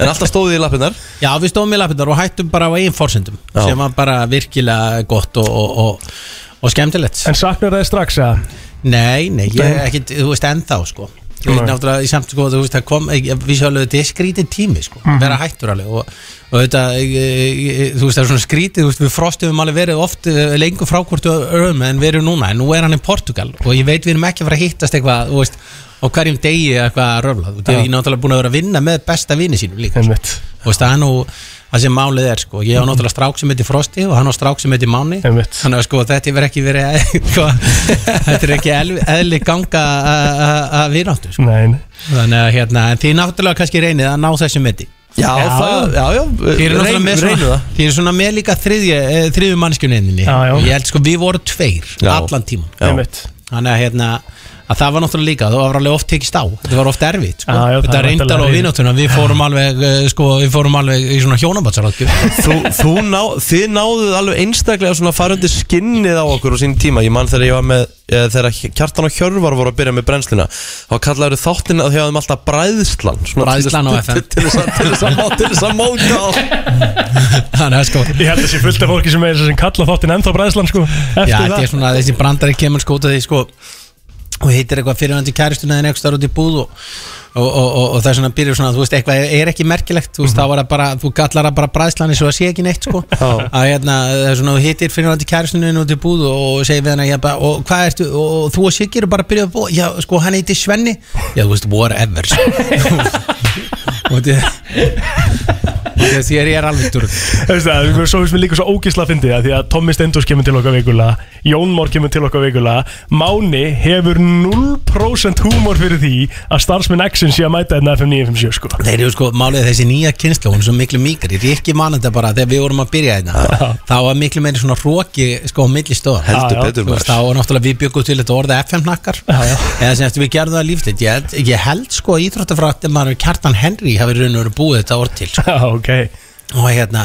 Speaker 2: en alltaf stóðið í lappinnar
Speaker 11: já, við stóðum í lappinnar og hættum bara á eigin forsendum
Speaker 2: Já.
Speaker 11: sem var bara virkilega gott og, og, og, og skemmtilegt
Speaker 4: En saknar það strax að
Speaker 11: Nei, nei, ég
Speaker 4: Nei.
Speaker 11: er ekki, þú veist, ennþá sko Þú veist,
Speaker 4: Nei.
Speaker 11: náttúrulega, ég samt sko, þú veist, það kom ég- Við séu alveg, þetta er skrítið tími, sko Vera hættur alveg og, og e, þetta, ég- ég- ég- þú veist, það er svona skrítið Þú veist, við frostum alveg verið oft eh, lengur frá hvort við örum en við erum núna, en nú er hann í Portugal og ég veit við erum ekki að fara að hittast eitthvað, þú veist á hverjum degi eða eitthvað að röfla Þú veist, ég er náttúrulega búin að vera að vinna með besta vini sínum líka sko.
Speaker 4: Einmitt
Speaker 11: Þú veist, það er nú það sem málið er, sko Ég á náttúrulega strák sem heiti Frosti og hann á strák sem heiti Máni
Speaker 4: Einmitt
Speaker 11: Þannig að sko þetta verður ekki verið [LAUGHS] eitthvað- þetta er ekki eðli, eðli ganga að- að- að vináttu sko.
Speaker 4: Nein
Speaker 11: þannig að hérna, en þið náttúrulega kannski reynið að ná þessu meti
Speaker 2: Já, það, já, já,
Speaker 11: Þið eru náttúrulega
Speaker 2: reyn-
Speaker 11: með
Speaker 2: reynum
Speaker 11: svona,
Speaker 2: það
Speaker 11: þið eru svona með líka þriðju, þriðju mannskjuninni
Speaker 4: Já, já.
Speaker 11: Ég held sko við vorum tveir
Speaker 2: Já.
Speaker 11: allan tíman
Speaker 2: Já.
Speaker 4: Einmitt
Speaker 11: Þannig að hérna að það var náttúrulega líka, það var alveg oft tekist á þetta var oft erfitt, sko.
Speaker 4: Já, já, það
Speaker 11: þetta
Speaker 4: er
Speaker 11: reyndar á
Speaker 4: náttúrulega-
Speaker 11: vináttuna við fórum alveg, eh, sko, við fórum alveg í svona hjónabatsaralgjum
Speaker 2: Þú, þú ná, þið náðuð alveg einstaklega svona farundi skinnið á okkur á sín tíma Ég man þegar ég var með, eða, þegar Kjartan og Hjörvar voru að byrja með brennsluna Þá kallaður þáttin að þið hafðum alltaf bræðslan svona til þess-
Speaker 11: Bræðslan á FM.
Speaker 2: til- Til þess að- til þess að má- til þess að móta á
Speaker 11: þannig að sko
Speaker 4: Ég held að sé fullt af fólki sem er sem kalla þáttinn ennþá bræðslan sko Eftir
Speaker 11: Já,
Speaker 4: það
Speaker 11: þetta er svona þessi brandari kemur sko út af því sko og hittir eitthvað fyrirvændi kæristuna en eitthvað út í búð og, og, og, og, og það er svona byrjur svona, þú veist, eitthvað er- er ekki merkilegt þú veist,
Speaker 4: Mhm.
Speaker 11: þá var það bara, þú gallar það bara bræðslan eins og það sé ekki neitt sko að hérna, það er svona, þú hittir fyrirvændi kæristuna út í búð og segir við hana, ég bara, og hvað ertu og, og þú og Siggi eru bara að byrja að búa já, sko, hann heitir
Speaker 4: [LAUGHS]
Speaker 11: Svenni, [LAUGHS] já, þú veist, whatever sko. og þetta því er ég er alveg durð
Speaker 4: Þú veist það, við svo finnst mér líka svo ógisla að fyndi það Því að Tommi Stendors kemur til okkar vikulega Jón Mór kemur til okkar vikulega Máni hefur 0% húmor fyrir því að starfsmenn X-in sé að mæta hérna FM 957 sko
Speaker 11: Þeir eru sko, málið er þessi nýja kynsla hún er svo miklu mýkari, Rikki man þetta bara þegar við vorum að byrja þetta þá var miklu meiri svona róki sko á milli stóðar
Speaker 2: Heldur
Speaker 4: Já, já,
Speaker 2: betur
Speaker 11: Þú veist,
Speaker 2: maður
Speaker 11: þá var náttúrulega við byggum til þetta orða FM-nakkar eða sem eftir við gerðum það líftitt ég, held- ég held sko að íþróttafrættir maður Kjartan Henry hafi raun og verið búið þetta orð til sko.
Speaker 4: Já, ok
Speaker 11: og hérna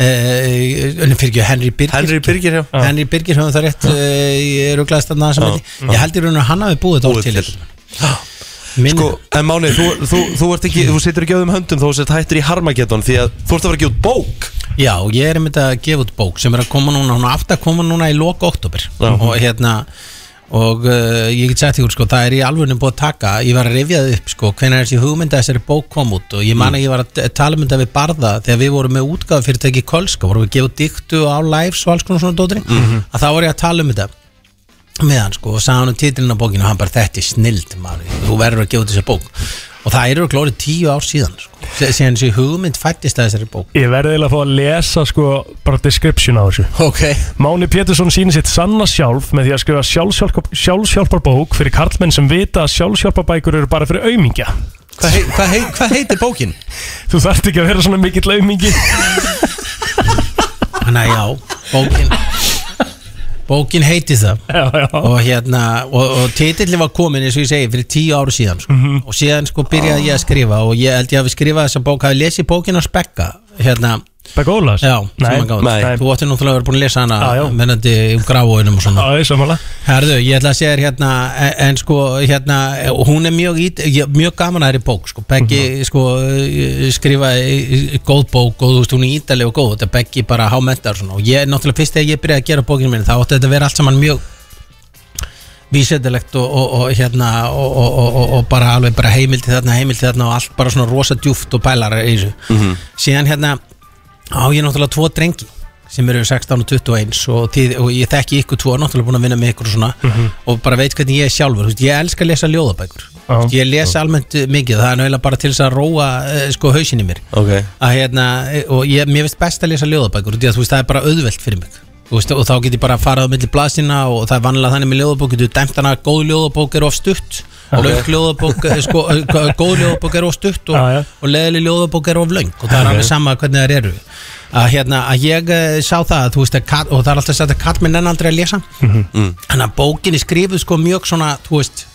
Speaker 11: uh, fyrir ekki Henry Birgir
Speaker 2: Henry Birgir hjá
Speaker 11: Henry Birgir höfum það rétt uh, ég er rúglaðist að það sem heldur ég held í raun og verið hann hafi búið þetta
Speaker 2: Búið
Speaker 11: orð til,
Speaker 2: til.
Speaker 11: Minn,
Speaker 2: Sko, en Máni, þú, þú, þú, ert ekki, þú situr ekki á þeim höndum Þú sitt hættur í harmageddon Því að þú ert að vera ekki út bók
Speaker 11: Já, ég er einmitt að gefa út bók sem er að koma núna, hún átt að koma núna í loka oktober og hérna og uh, ég get sagt ykkur sko, það er í alvörnum búið að taka ég var að rifja það upp sko, hvenær þessi hugmynda þessari bók kom út og ég man að ég var að t- tala um þetta við barða þegar við vorum með útgáð fyrirtæki Kolska, vorum við að gefa út diktu á lives og alls konar svona dótri
Speaker 12: Mhm.
Speaker 11: að þá var ég að tala um þetta með hann sko og sagði hann um titilin á bókinu og hann bara þetta er snild maður, þú verður að gefa út þessa bók og það eru glórið tíu ár síðan sko, se- síðan þessi hugmynd fættist að þessari bók
Speaker 4: Ég verði eiginlega að fá að lesa sko bara description á þessu
Speaker 11: okay.
Speaker 4: Máni Pétursson sýnir sitt sanna sjálf með því að skrifa sjálfsjálp, sjálfsjálparbók fyrir karlmenn sem vita að sjálfsjálparbækur eru bara fyrir aumingja
Speaker 12: Hvað hei, hva hei, hva heitir bókin?
Speaker 4: Þú þarft ekki að vera svona mikill aumingi
Speaker 11: Þannig að já, bókin Bókin heiti það
Speaker 4: já, já.
Speaker 11: Og hérna Og, og titilli var komin eins og ég segi fyrir tíu áru síðan sko.
Speaker 4: Mhm. Mm.
Speaker 11: Og síðan sko byrjaði ég að skrifa Og ég held ég hafi skrifað þessa bók Hafi lesið bókin á Spekka hérna,
Speaker 4: Begga Ólafs?
Speaker 11: Já, sem
Speaker 4: Nei,
Speaker 11: hann gaf út.
Speaker 4: nei.
Speaker 11: Þú átti náttúrulega að vera búin að lesa hana
Speaker 4: Já, já.
Speaker 11: Mennandi um gráunum og svona
Speaker 4: Já, ég samanlega
Speaker 11: Herðu, ég ætla að segja þér hérna En, en sko, hérna Hún er mjög, ít, ég- mjög gaman að þér í bók sko. Beggi,
Speaker 4: Mhm.
Speaker 11: sko, eh, skrifaði eh, góð bók og þú veist, hún er ítaleg og góð Þetta Beggi bara hámentar svona Og ég, náttúrulega, fyrst þegar ég byrjaði að gera bókinu minni Þá átti þetta að vera allt saman mjög vísendilegt og, og, og hérna og, og, og, og- og bara alveg bara heimildi þarna heimildi þarna og allt bara svona rosa djúft og pælar í þessu
Speaker 12: Mhm.
Speaker 11: síðan hérna á ég náttúrulega tvo drengi sem eru 16 og 21 og, þið, og ég þekki ykkur tvo náttúrulega búin að vinna með ykkur og svona
Speaker 12: Mhm.
Speaker 11: og bara veit hvernig ég er sjálfur þú veist, ég elska að lesa ljóðabækur
Speaker 12: Já.
Speaker 11: Þú veist, ég les almennt uh, mikið það er náttúrulega bara til þess að róa uh, sko hausinni mér
Speaker 2: Ok
Speaker 11: að hérna, og ég, mér finnst best að lesa ljóðabækur því að þú veist, það er bara auðvelt fyrir mig Þú veist, og þá get ég bara að fara á milli blaðsina og það er vanlega þannig með ljóðabók getur dæmt hana að góð ljóðabók er of stutt
Speaker 12: Ok.
Speaker 11: löng ljóðabók eh, sko, eh, góð ljóðabók er of stutt og, og leðileg ljóðabók er of löng og það er
Speaker 12: Ok.
Speaker 11: alveg sama hvernig þær eru að hérna, að ég eh, sá það þú veist, að, Kat- og það er alltaf sagt að katt minn enn aldrei að lesa
Speaker 12: Mm.
Speaker 11: Þannig að bókinni skrifuð sko mjög svona, þú veist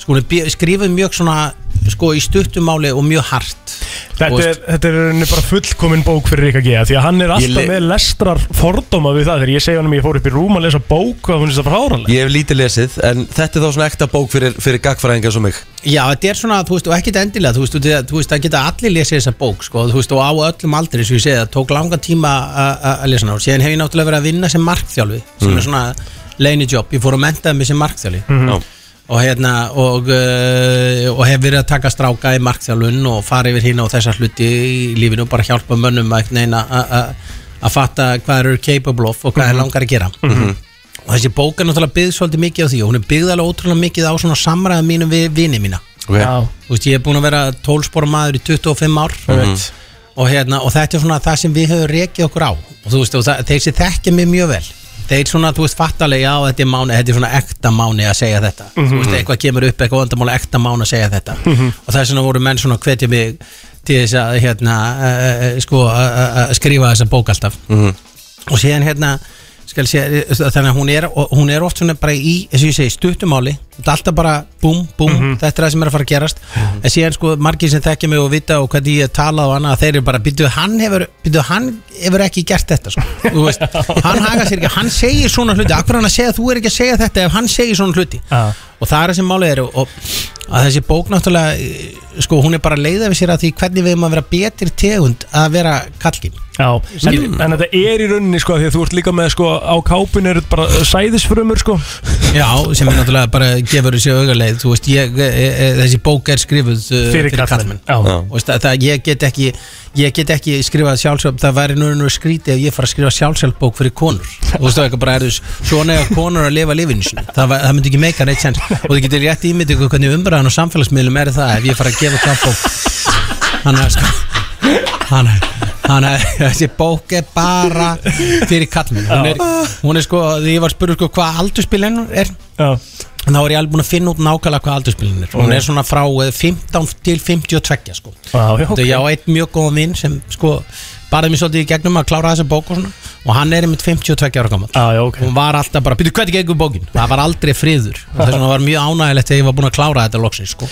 Speaker 11: sko, hún er bí- skrifuð mjög svona sko í stuttumáli og mjög hart
Speaker 4: Þetta er, þetta er í rauninni bara fullkomin bók fyrir Ríkka G Því að hann er
Speaker 11: Ég
Speaker 4: alltaf
Speaker 11: le-
Speaker 4: með lestrar fordóma við það Þegar ég segja hann að ég fór upp í rúm að lesa bók og hún finnst það fráranlega
Speaker 2: Ég hef lítið lesið, en þetta er þá svona ekta bók fyrir, fyrir gagfræðingar sem mig
Speaker 11: Já, þetta er svona, þú veist, og ekkert endilega þú veist, þú þú veist, það geta allir lesið þessa bók sko, þú veist, og á öllum aldri, svo ég segi það tók langa tíma a- a- að lesa hana og síðan hef ég náttúrulega verið að vinna sem markþjálfi sem
Speaker 12: Mm.
Speaker 11: er svona leinijobb, ég fór að mentaði mig sem markþjálfi
Speaker 12: Mhm. Já.
Speaker 11: og hérna og, uh, og hef verið að taka stráka í markþjálfun og fara yfir hérna og þessa hluti í lífinu og bara hjálpa mönnum að einhvern veginn að- að að- að fatta hvað þeir eru capable of og hvað þeir langar að gera
Speaker 12: Mhm.
Speaker 11: og þessi bók er náttúrulega byggð svolítið mikið á því og hún er byggð alveg ótrúlega mikið á svona samræða mínum við vini mína
Speaker 2: Ok.
Speaker 4: Já.
Speaker 11: þú veist ég er búin að vera tólspora maður í 25 ár
Speaker 2: Mhm.
Speaker 11: og, hérna, og þetta er svona það sem við höfum rekið okkur á og þú veist og það, þeir sem þekkja mig mjög vel þeir svona þú veist fattalega já þetta er mánu þetta er svona ekta mánu að segja þetta
Speaker 12: Mhm.
Speaker 11: þú veist eitthvað kemur upp eitthvað vandamál ekta mánu að segja þetta og þess vegna voru menn svona að hvetja mig til þess að hérna, uh, sko, að- að að skrifa þessa bók alltaf
Speaker 2: Mhm.
Speaker 11: og síðan hérna skal sé, þannig að hún er, og hún er oft svona bara í, eins og ég segi, stuttumáli þetta er alltaf bara búm, búm, þetta er það sem er að fara að gerast en síðan sko margir sem þekkja mig og vita og hvernig ég tala og annað þeir eru bara, býttu hann hefur býttu hann hefur ekki gert þetta sko. Þú veist, hann haga sér ekki, hann segir svona hluti akkur hann að segja, þú er ekki að segja þetta ef hann segir svona hluti
Speaker 4: Já.
Speaker 11: og það er það sem málið er og, og að þessi bók náttúrulega eh, sko hún er bara að leiða við sér að því hvernig við erum að vera betur tegund að vera kallkinn
Speaker 4: Já, en, en þetta er í rauninni sko Því að þú ert líka með sko á kápinu eru bara uh, sæðisfrumur sko
Speaker 11: Já, sem er náttúrulega bara gefur þessi augaleið, þú veist, ég, e, e, þessi bók er skrifuð uh,
Speaker 4: Fyrir karlmenn, já. Já.
Speaker 11: og veist, það, það, ég get ekki ég get ekki skrifað sjálfsjálf það væri núna skrítið ef ég fara að skrifa sjálfsjálfbók fyrir konur, þú veist það ekki bara er þess svona eða konur að lifa lífinu sinu það, væ- það myndi ekki meika neitt sens og þið getur rétt ímyndið ykkur hvernig umræðan og samfélagsmiðlum er það ef ég fara að gefa það bók hann er sko hann Þannig að þessi bók er bara fyrir kallmenn hún er, hún er sko, því ég var að spyrja sko hvað aldurspilin er
Speaker 4: Já.
Speaker 11: þá er ég alveg búin að finna út nákvæmlega hvað aldurspilin er hún
Speaker 4: Ok.
Speaker 11: er svona frá eh, 15 til 52 sko
Speaker 4: Já, já,
Speaker 11: Þetta
Speaker 4: ok.
Speaker 11: ég á einn mjög góðan vinn sem sko barði mér svolítið í gegnum að klára þessa bók og svona og hann er einmitt 52 ára gammal
Speaker 4: ah, já, okay.
Speaker 11: hún var alltaf bara, byrju hvernig gengur bókin það var aldrei
Speaker 4: [LAUGHS]
Speaker 11: friður og þess vegna var mjög ánægilegt þegar ég var búin að klára þetta loksins sko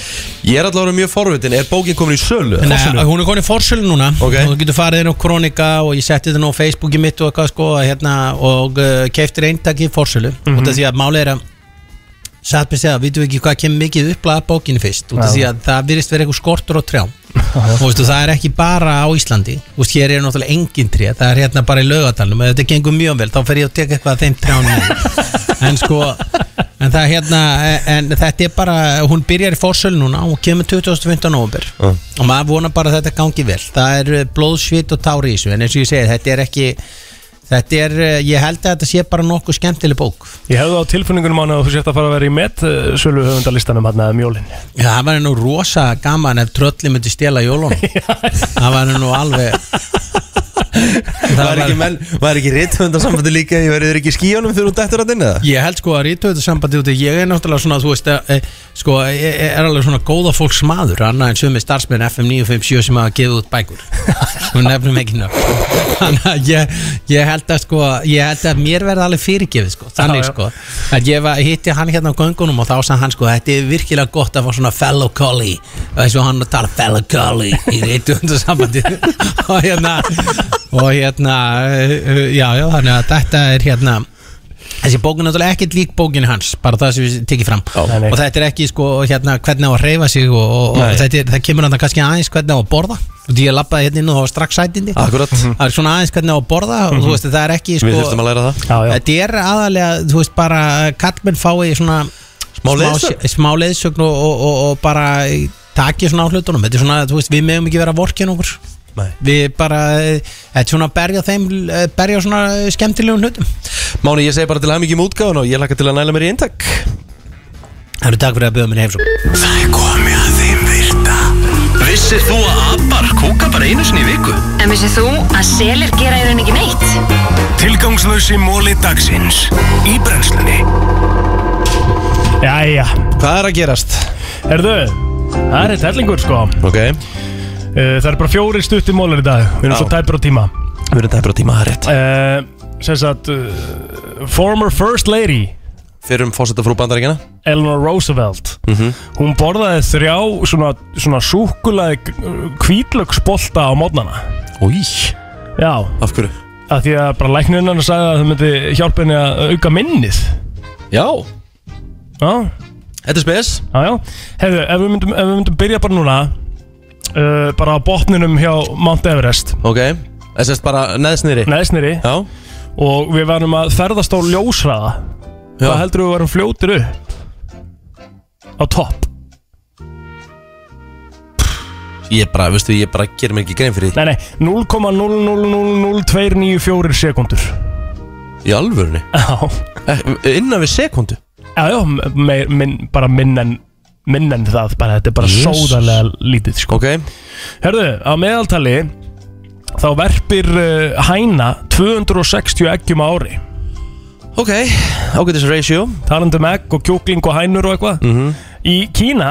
Speaker 2: Ég er allavega mjög forvitin, er bókin komin í sölu?
Speaker 11: Nei, hún er konið fórsölu núna og þú getur farið inn á Kronika og ég setti þetta nú á Facebooki mitt og eitthvað sko að hérna, og uh, keiftir eintak í fórsölu mm
Speaker 12: Mhm.
Speaker 11: út af því að málið er að satt með segja, vitum við ekki hvað kemur mikið upplega bókinu fyrst, út af
Speaker 12: Já.
Speaker 11: því að það virðist verið eitthvað skortur og trjám og veistu, það er ekki bara á Íslandi Þú veist, hér er náttúrulega engin tré, það er
Speaker 12: [LAUGHS]
Speaker 11: hérna bara í laugatalnum ef þetta gengur mjög vel, þá fer ég að teka eitthvað af þeim trjánum en sko En það hérna, en þetta er bara hún byrjar í fórsölu núna og kemur 2015. november
Speaker 2: Mm.
Speaker 11: og maður vonar bara að þetta gangi vel það er eh, blóð, svit og tár í þessu en eins og ég segi, þetta er ekki þetta er, eh, ég held að þetta sé bara nokkuð skemmtileg bók
Speaker 4: Ég hefði á tilfunningunum hann að þú sért að fara að vera í met eh, um sölu höfundalistanum hann að mjólin
Speaker 11: Já, það væri nú rosa gaman ef trölli myndi stela
Speaker 4: [LAUGHS]
Speaker 11: jólunum það væri nú alveg
Speaker 12: Það var ekki menn, var ekki rithöfundasambandi líka Ég verður ekki í skíjónum þegar hún dættur að dinna það
Speaker 11: Ég held sko að rítuðu sambandi út í- Ég er náttúrulega svona, þú veist að, e, Sko, ég ég er alveg svona góða fólks maður Annað en sömu starfsmenn FM 957 sem hafa gefið út
Speaker 4: [LAUGHS]
Speaker 11: bækur Þú nefnum ekki nöfn Þannig að ég, ég held að sko Ég held að mér verði alveg fyrirgefið sko Þannig
Speaker 4: Já, já.
Speaker 11: sko að Ég var, hitti hann hérna á göngunum og þá sagði hann sko Þetta er virkilega gott að fá svona fellow collie Þessu hann að tala fellow collie Í rítuðu sambandi [LAUGHS] Og hérna Og hérna, e, e, já, já, þannig að þetta er hérna Þessi bók er náttúrulega ekkert lík bókinu hans bara það sem við tekið fram
Speaker 4: Nei, nei.
Speaker 11: og þetta er ekki sko hérna hvernig á að reyfa sig og, og, og
Speaker 4: Nei.
Speaker 11: þetta er, það kemur hann kannski aðeins hvernig á að borða og því ég lappaði hérna inn og það var strax sætindi
Speaker 2: Akkurat.
Speaker 11: það er svona aðeins hvernig á að borða og þú veist það er ekki sko
Speaker 2: Mhm. Við þurfum að læra það
Speaker 4: Já, já.
Speaker 11: þetta er aðalega þú veist bara kallmenn fái svona smá
Speaker 2: leiðsögn?
Speaker 11: smá, smá leiðsögn og, og, og, og bara taki svona á hlutunum þetta er svona þú veist við meðum ekki vera vorkin okkur
Speaker 12: Nei.
Speaker 11: við bara eh, þetta er svona að berja þeim eh, berja svona eh, skemmtilegum hlutum
Speaker 2: Máni, ég segi bara til aðmyggjum útgáðan og ég laka til að næla mér í eintak
Speaker 11: Það eru takk fyrir að bjóða mér í heimsókn
Speaker 1: Það er komið að þeim virta Vissir þú að abar kúka bara einu sinni í viku?
Speaker 13: En vissið þú að selir gera í raun ekki neitt?
Speaker 1: Tilgangslösi móli dagsins Í brennslunni
Speaker 4: Jæja
Speaker 2: Hvað er að gerast?
Speaker 4: Herðu, það er eitt hellingur sko
Speaker 2: Ok
Speaker 4: Eh, Það er bara fjóri stuttir mólar í dag Við erum
Speaker 2: Já.
Speaker 4: svo tæpur á tíma
Speaker 2: Við erum tæpur á tíma, það er rétt
Speaker 4: uh, sem sagt uh, former first lady
Speaker 2: Fyrir um fósetta frú bandaríkjana
Speaker 4: Eleanor Roosevelt
Speaker 2: Mhm.
Speaker 4: hún borðaði þrjá svona, svona súkulaði kvítlöksbolta á mótnana
Speaker 2: Új,
Speaker 4: já,
Speaker 2: af hverju?
Speaker 4: að því að bara læknirinn hann sagði að það myndi hjálpa henni að auka minnið
Speaker 2: Já,
Speaker 4: já,
Speaker 2: þetta er spes
Speaker 4: já, já hefðu, ef við myndum, ef við myndum byrja bara núna uh, bara á botninum hjá Mount Everest
Speaker 2: Ok, það sést bara neðsnýri
Speaker 4: neðsniri
Speaker 2: Já,
Speaker 4: og við varum að ferðast á ljósraða
Speaker 2: Já.
Speaker 4: hvað heldur við varum fljótir upp á topp
Speaker 2: ég bara, veistu, ég bara gerir mér ekki grein fyrir því
Speaker 4: Nei, nei, 0,0000294 sekundur
Speaker 2: Í alvörunni
Speaker 4: Já,
Speaker 2: Eh, Innan við sekundu
Speaker 4: já, já me, min, bara minn en, minn en það bara, Þetta er bara
Speaker 2: Jesus.
Speaker 4: sóðarlega lítið sko.
Speaker 2: Ok,
Speaker 4: Herðu, á meðaltali þá verpir uh, hæna 260 eggjum á ári
Speaker 2: ok, ágætis ratio
Speaker 4: talandi um egg og kjúkling og hænur og eitthvað
Speaker 2: Mhm.
Speaker 4: Í Kína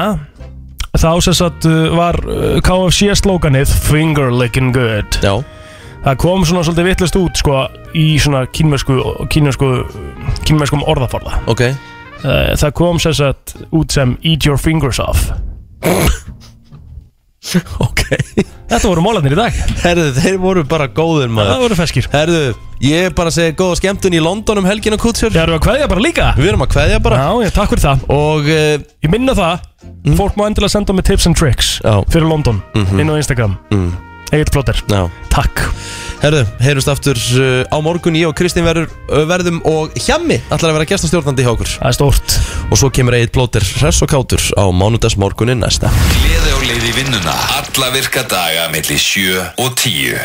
Speaker 4: þá sem sagt uh, var uh, KFC slóganið Finger licking good
Speaker 2: Já,
Speaker 4: það kom svona svolítið vittlust út sko, í svona kínversku, kínversku, kínverskum orðaforða
Speaker 2: ok
Speaker 4: Eh, það kom sem sagt út sem Eat your fingers off
Speaker 2: Ok
Speaker 4: Þetta voru mólarnir í dag
Speaker 2: Herðu, þeir voru bara góður
Speaker 4: Það
Speaker 2: maður
Speaker 4: voru feskir
Speaker 2: Herðu, ég er bara að segja góða skemmtun í London um helgina kútsjör
Speaker 4: Það eru að kveðja bara líka
Speaker 2: Við erum að kveðja bara
Speaker 4: Já, ég takk fyrir það
Speaker 2: Og, eh,
Speaker 4: Ég minna það Fólk má endilega senda með tips and tricks
Speaker 2: já,
Speaker 4: Fyrir London
Speaker 2: Mhm.
Speaker 4: Inn á Instagram
Speaker 2: mm,
Speaker 4: Egil Plóter
Speaker 2: já
Speaker 4: Takk
Speaker 2: Herðu, heyrjumst aftur uh, á morgun Ég og Kristín verður, uh, verðum og Hjami ætlar að vera gestastjórnandi hjá okkur
Speaker 4: Það er stórt
Speaker 2: Og svo kemur Egil Plóter Hress og Kátur á mánudags morgunin næsta
Speaker 1: Gleði á leið í vinnuna Alla virka daga millir 7 og 10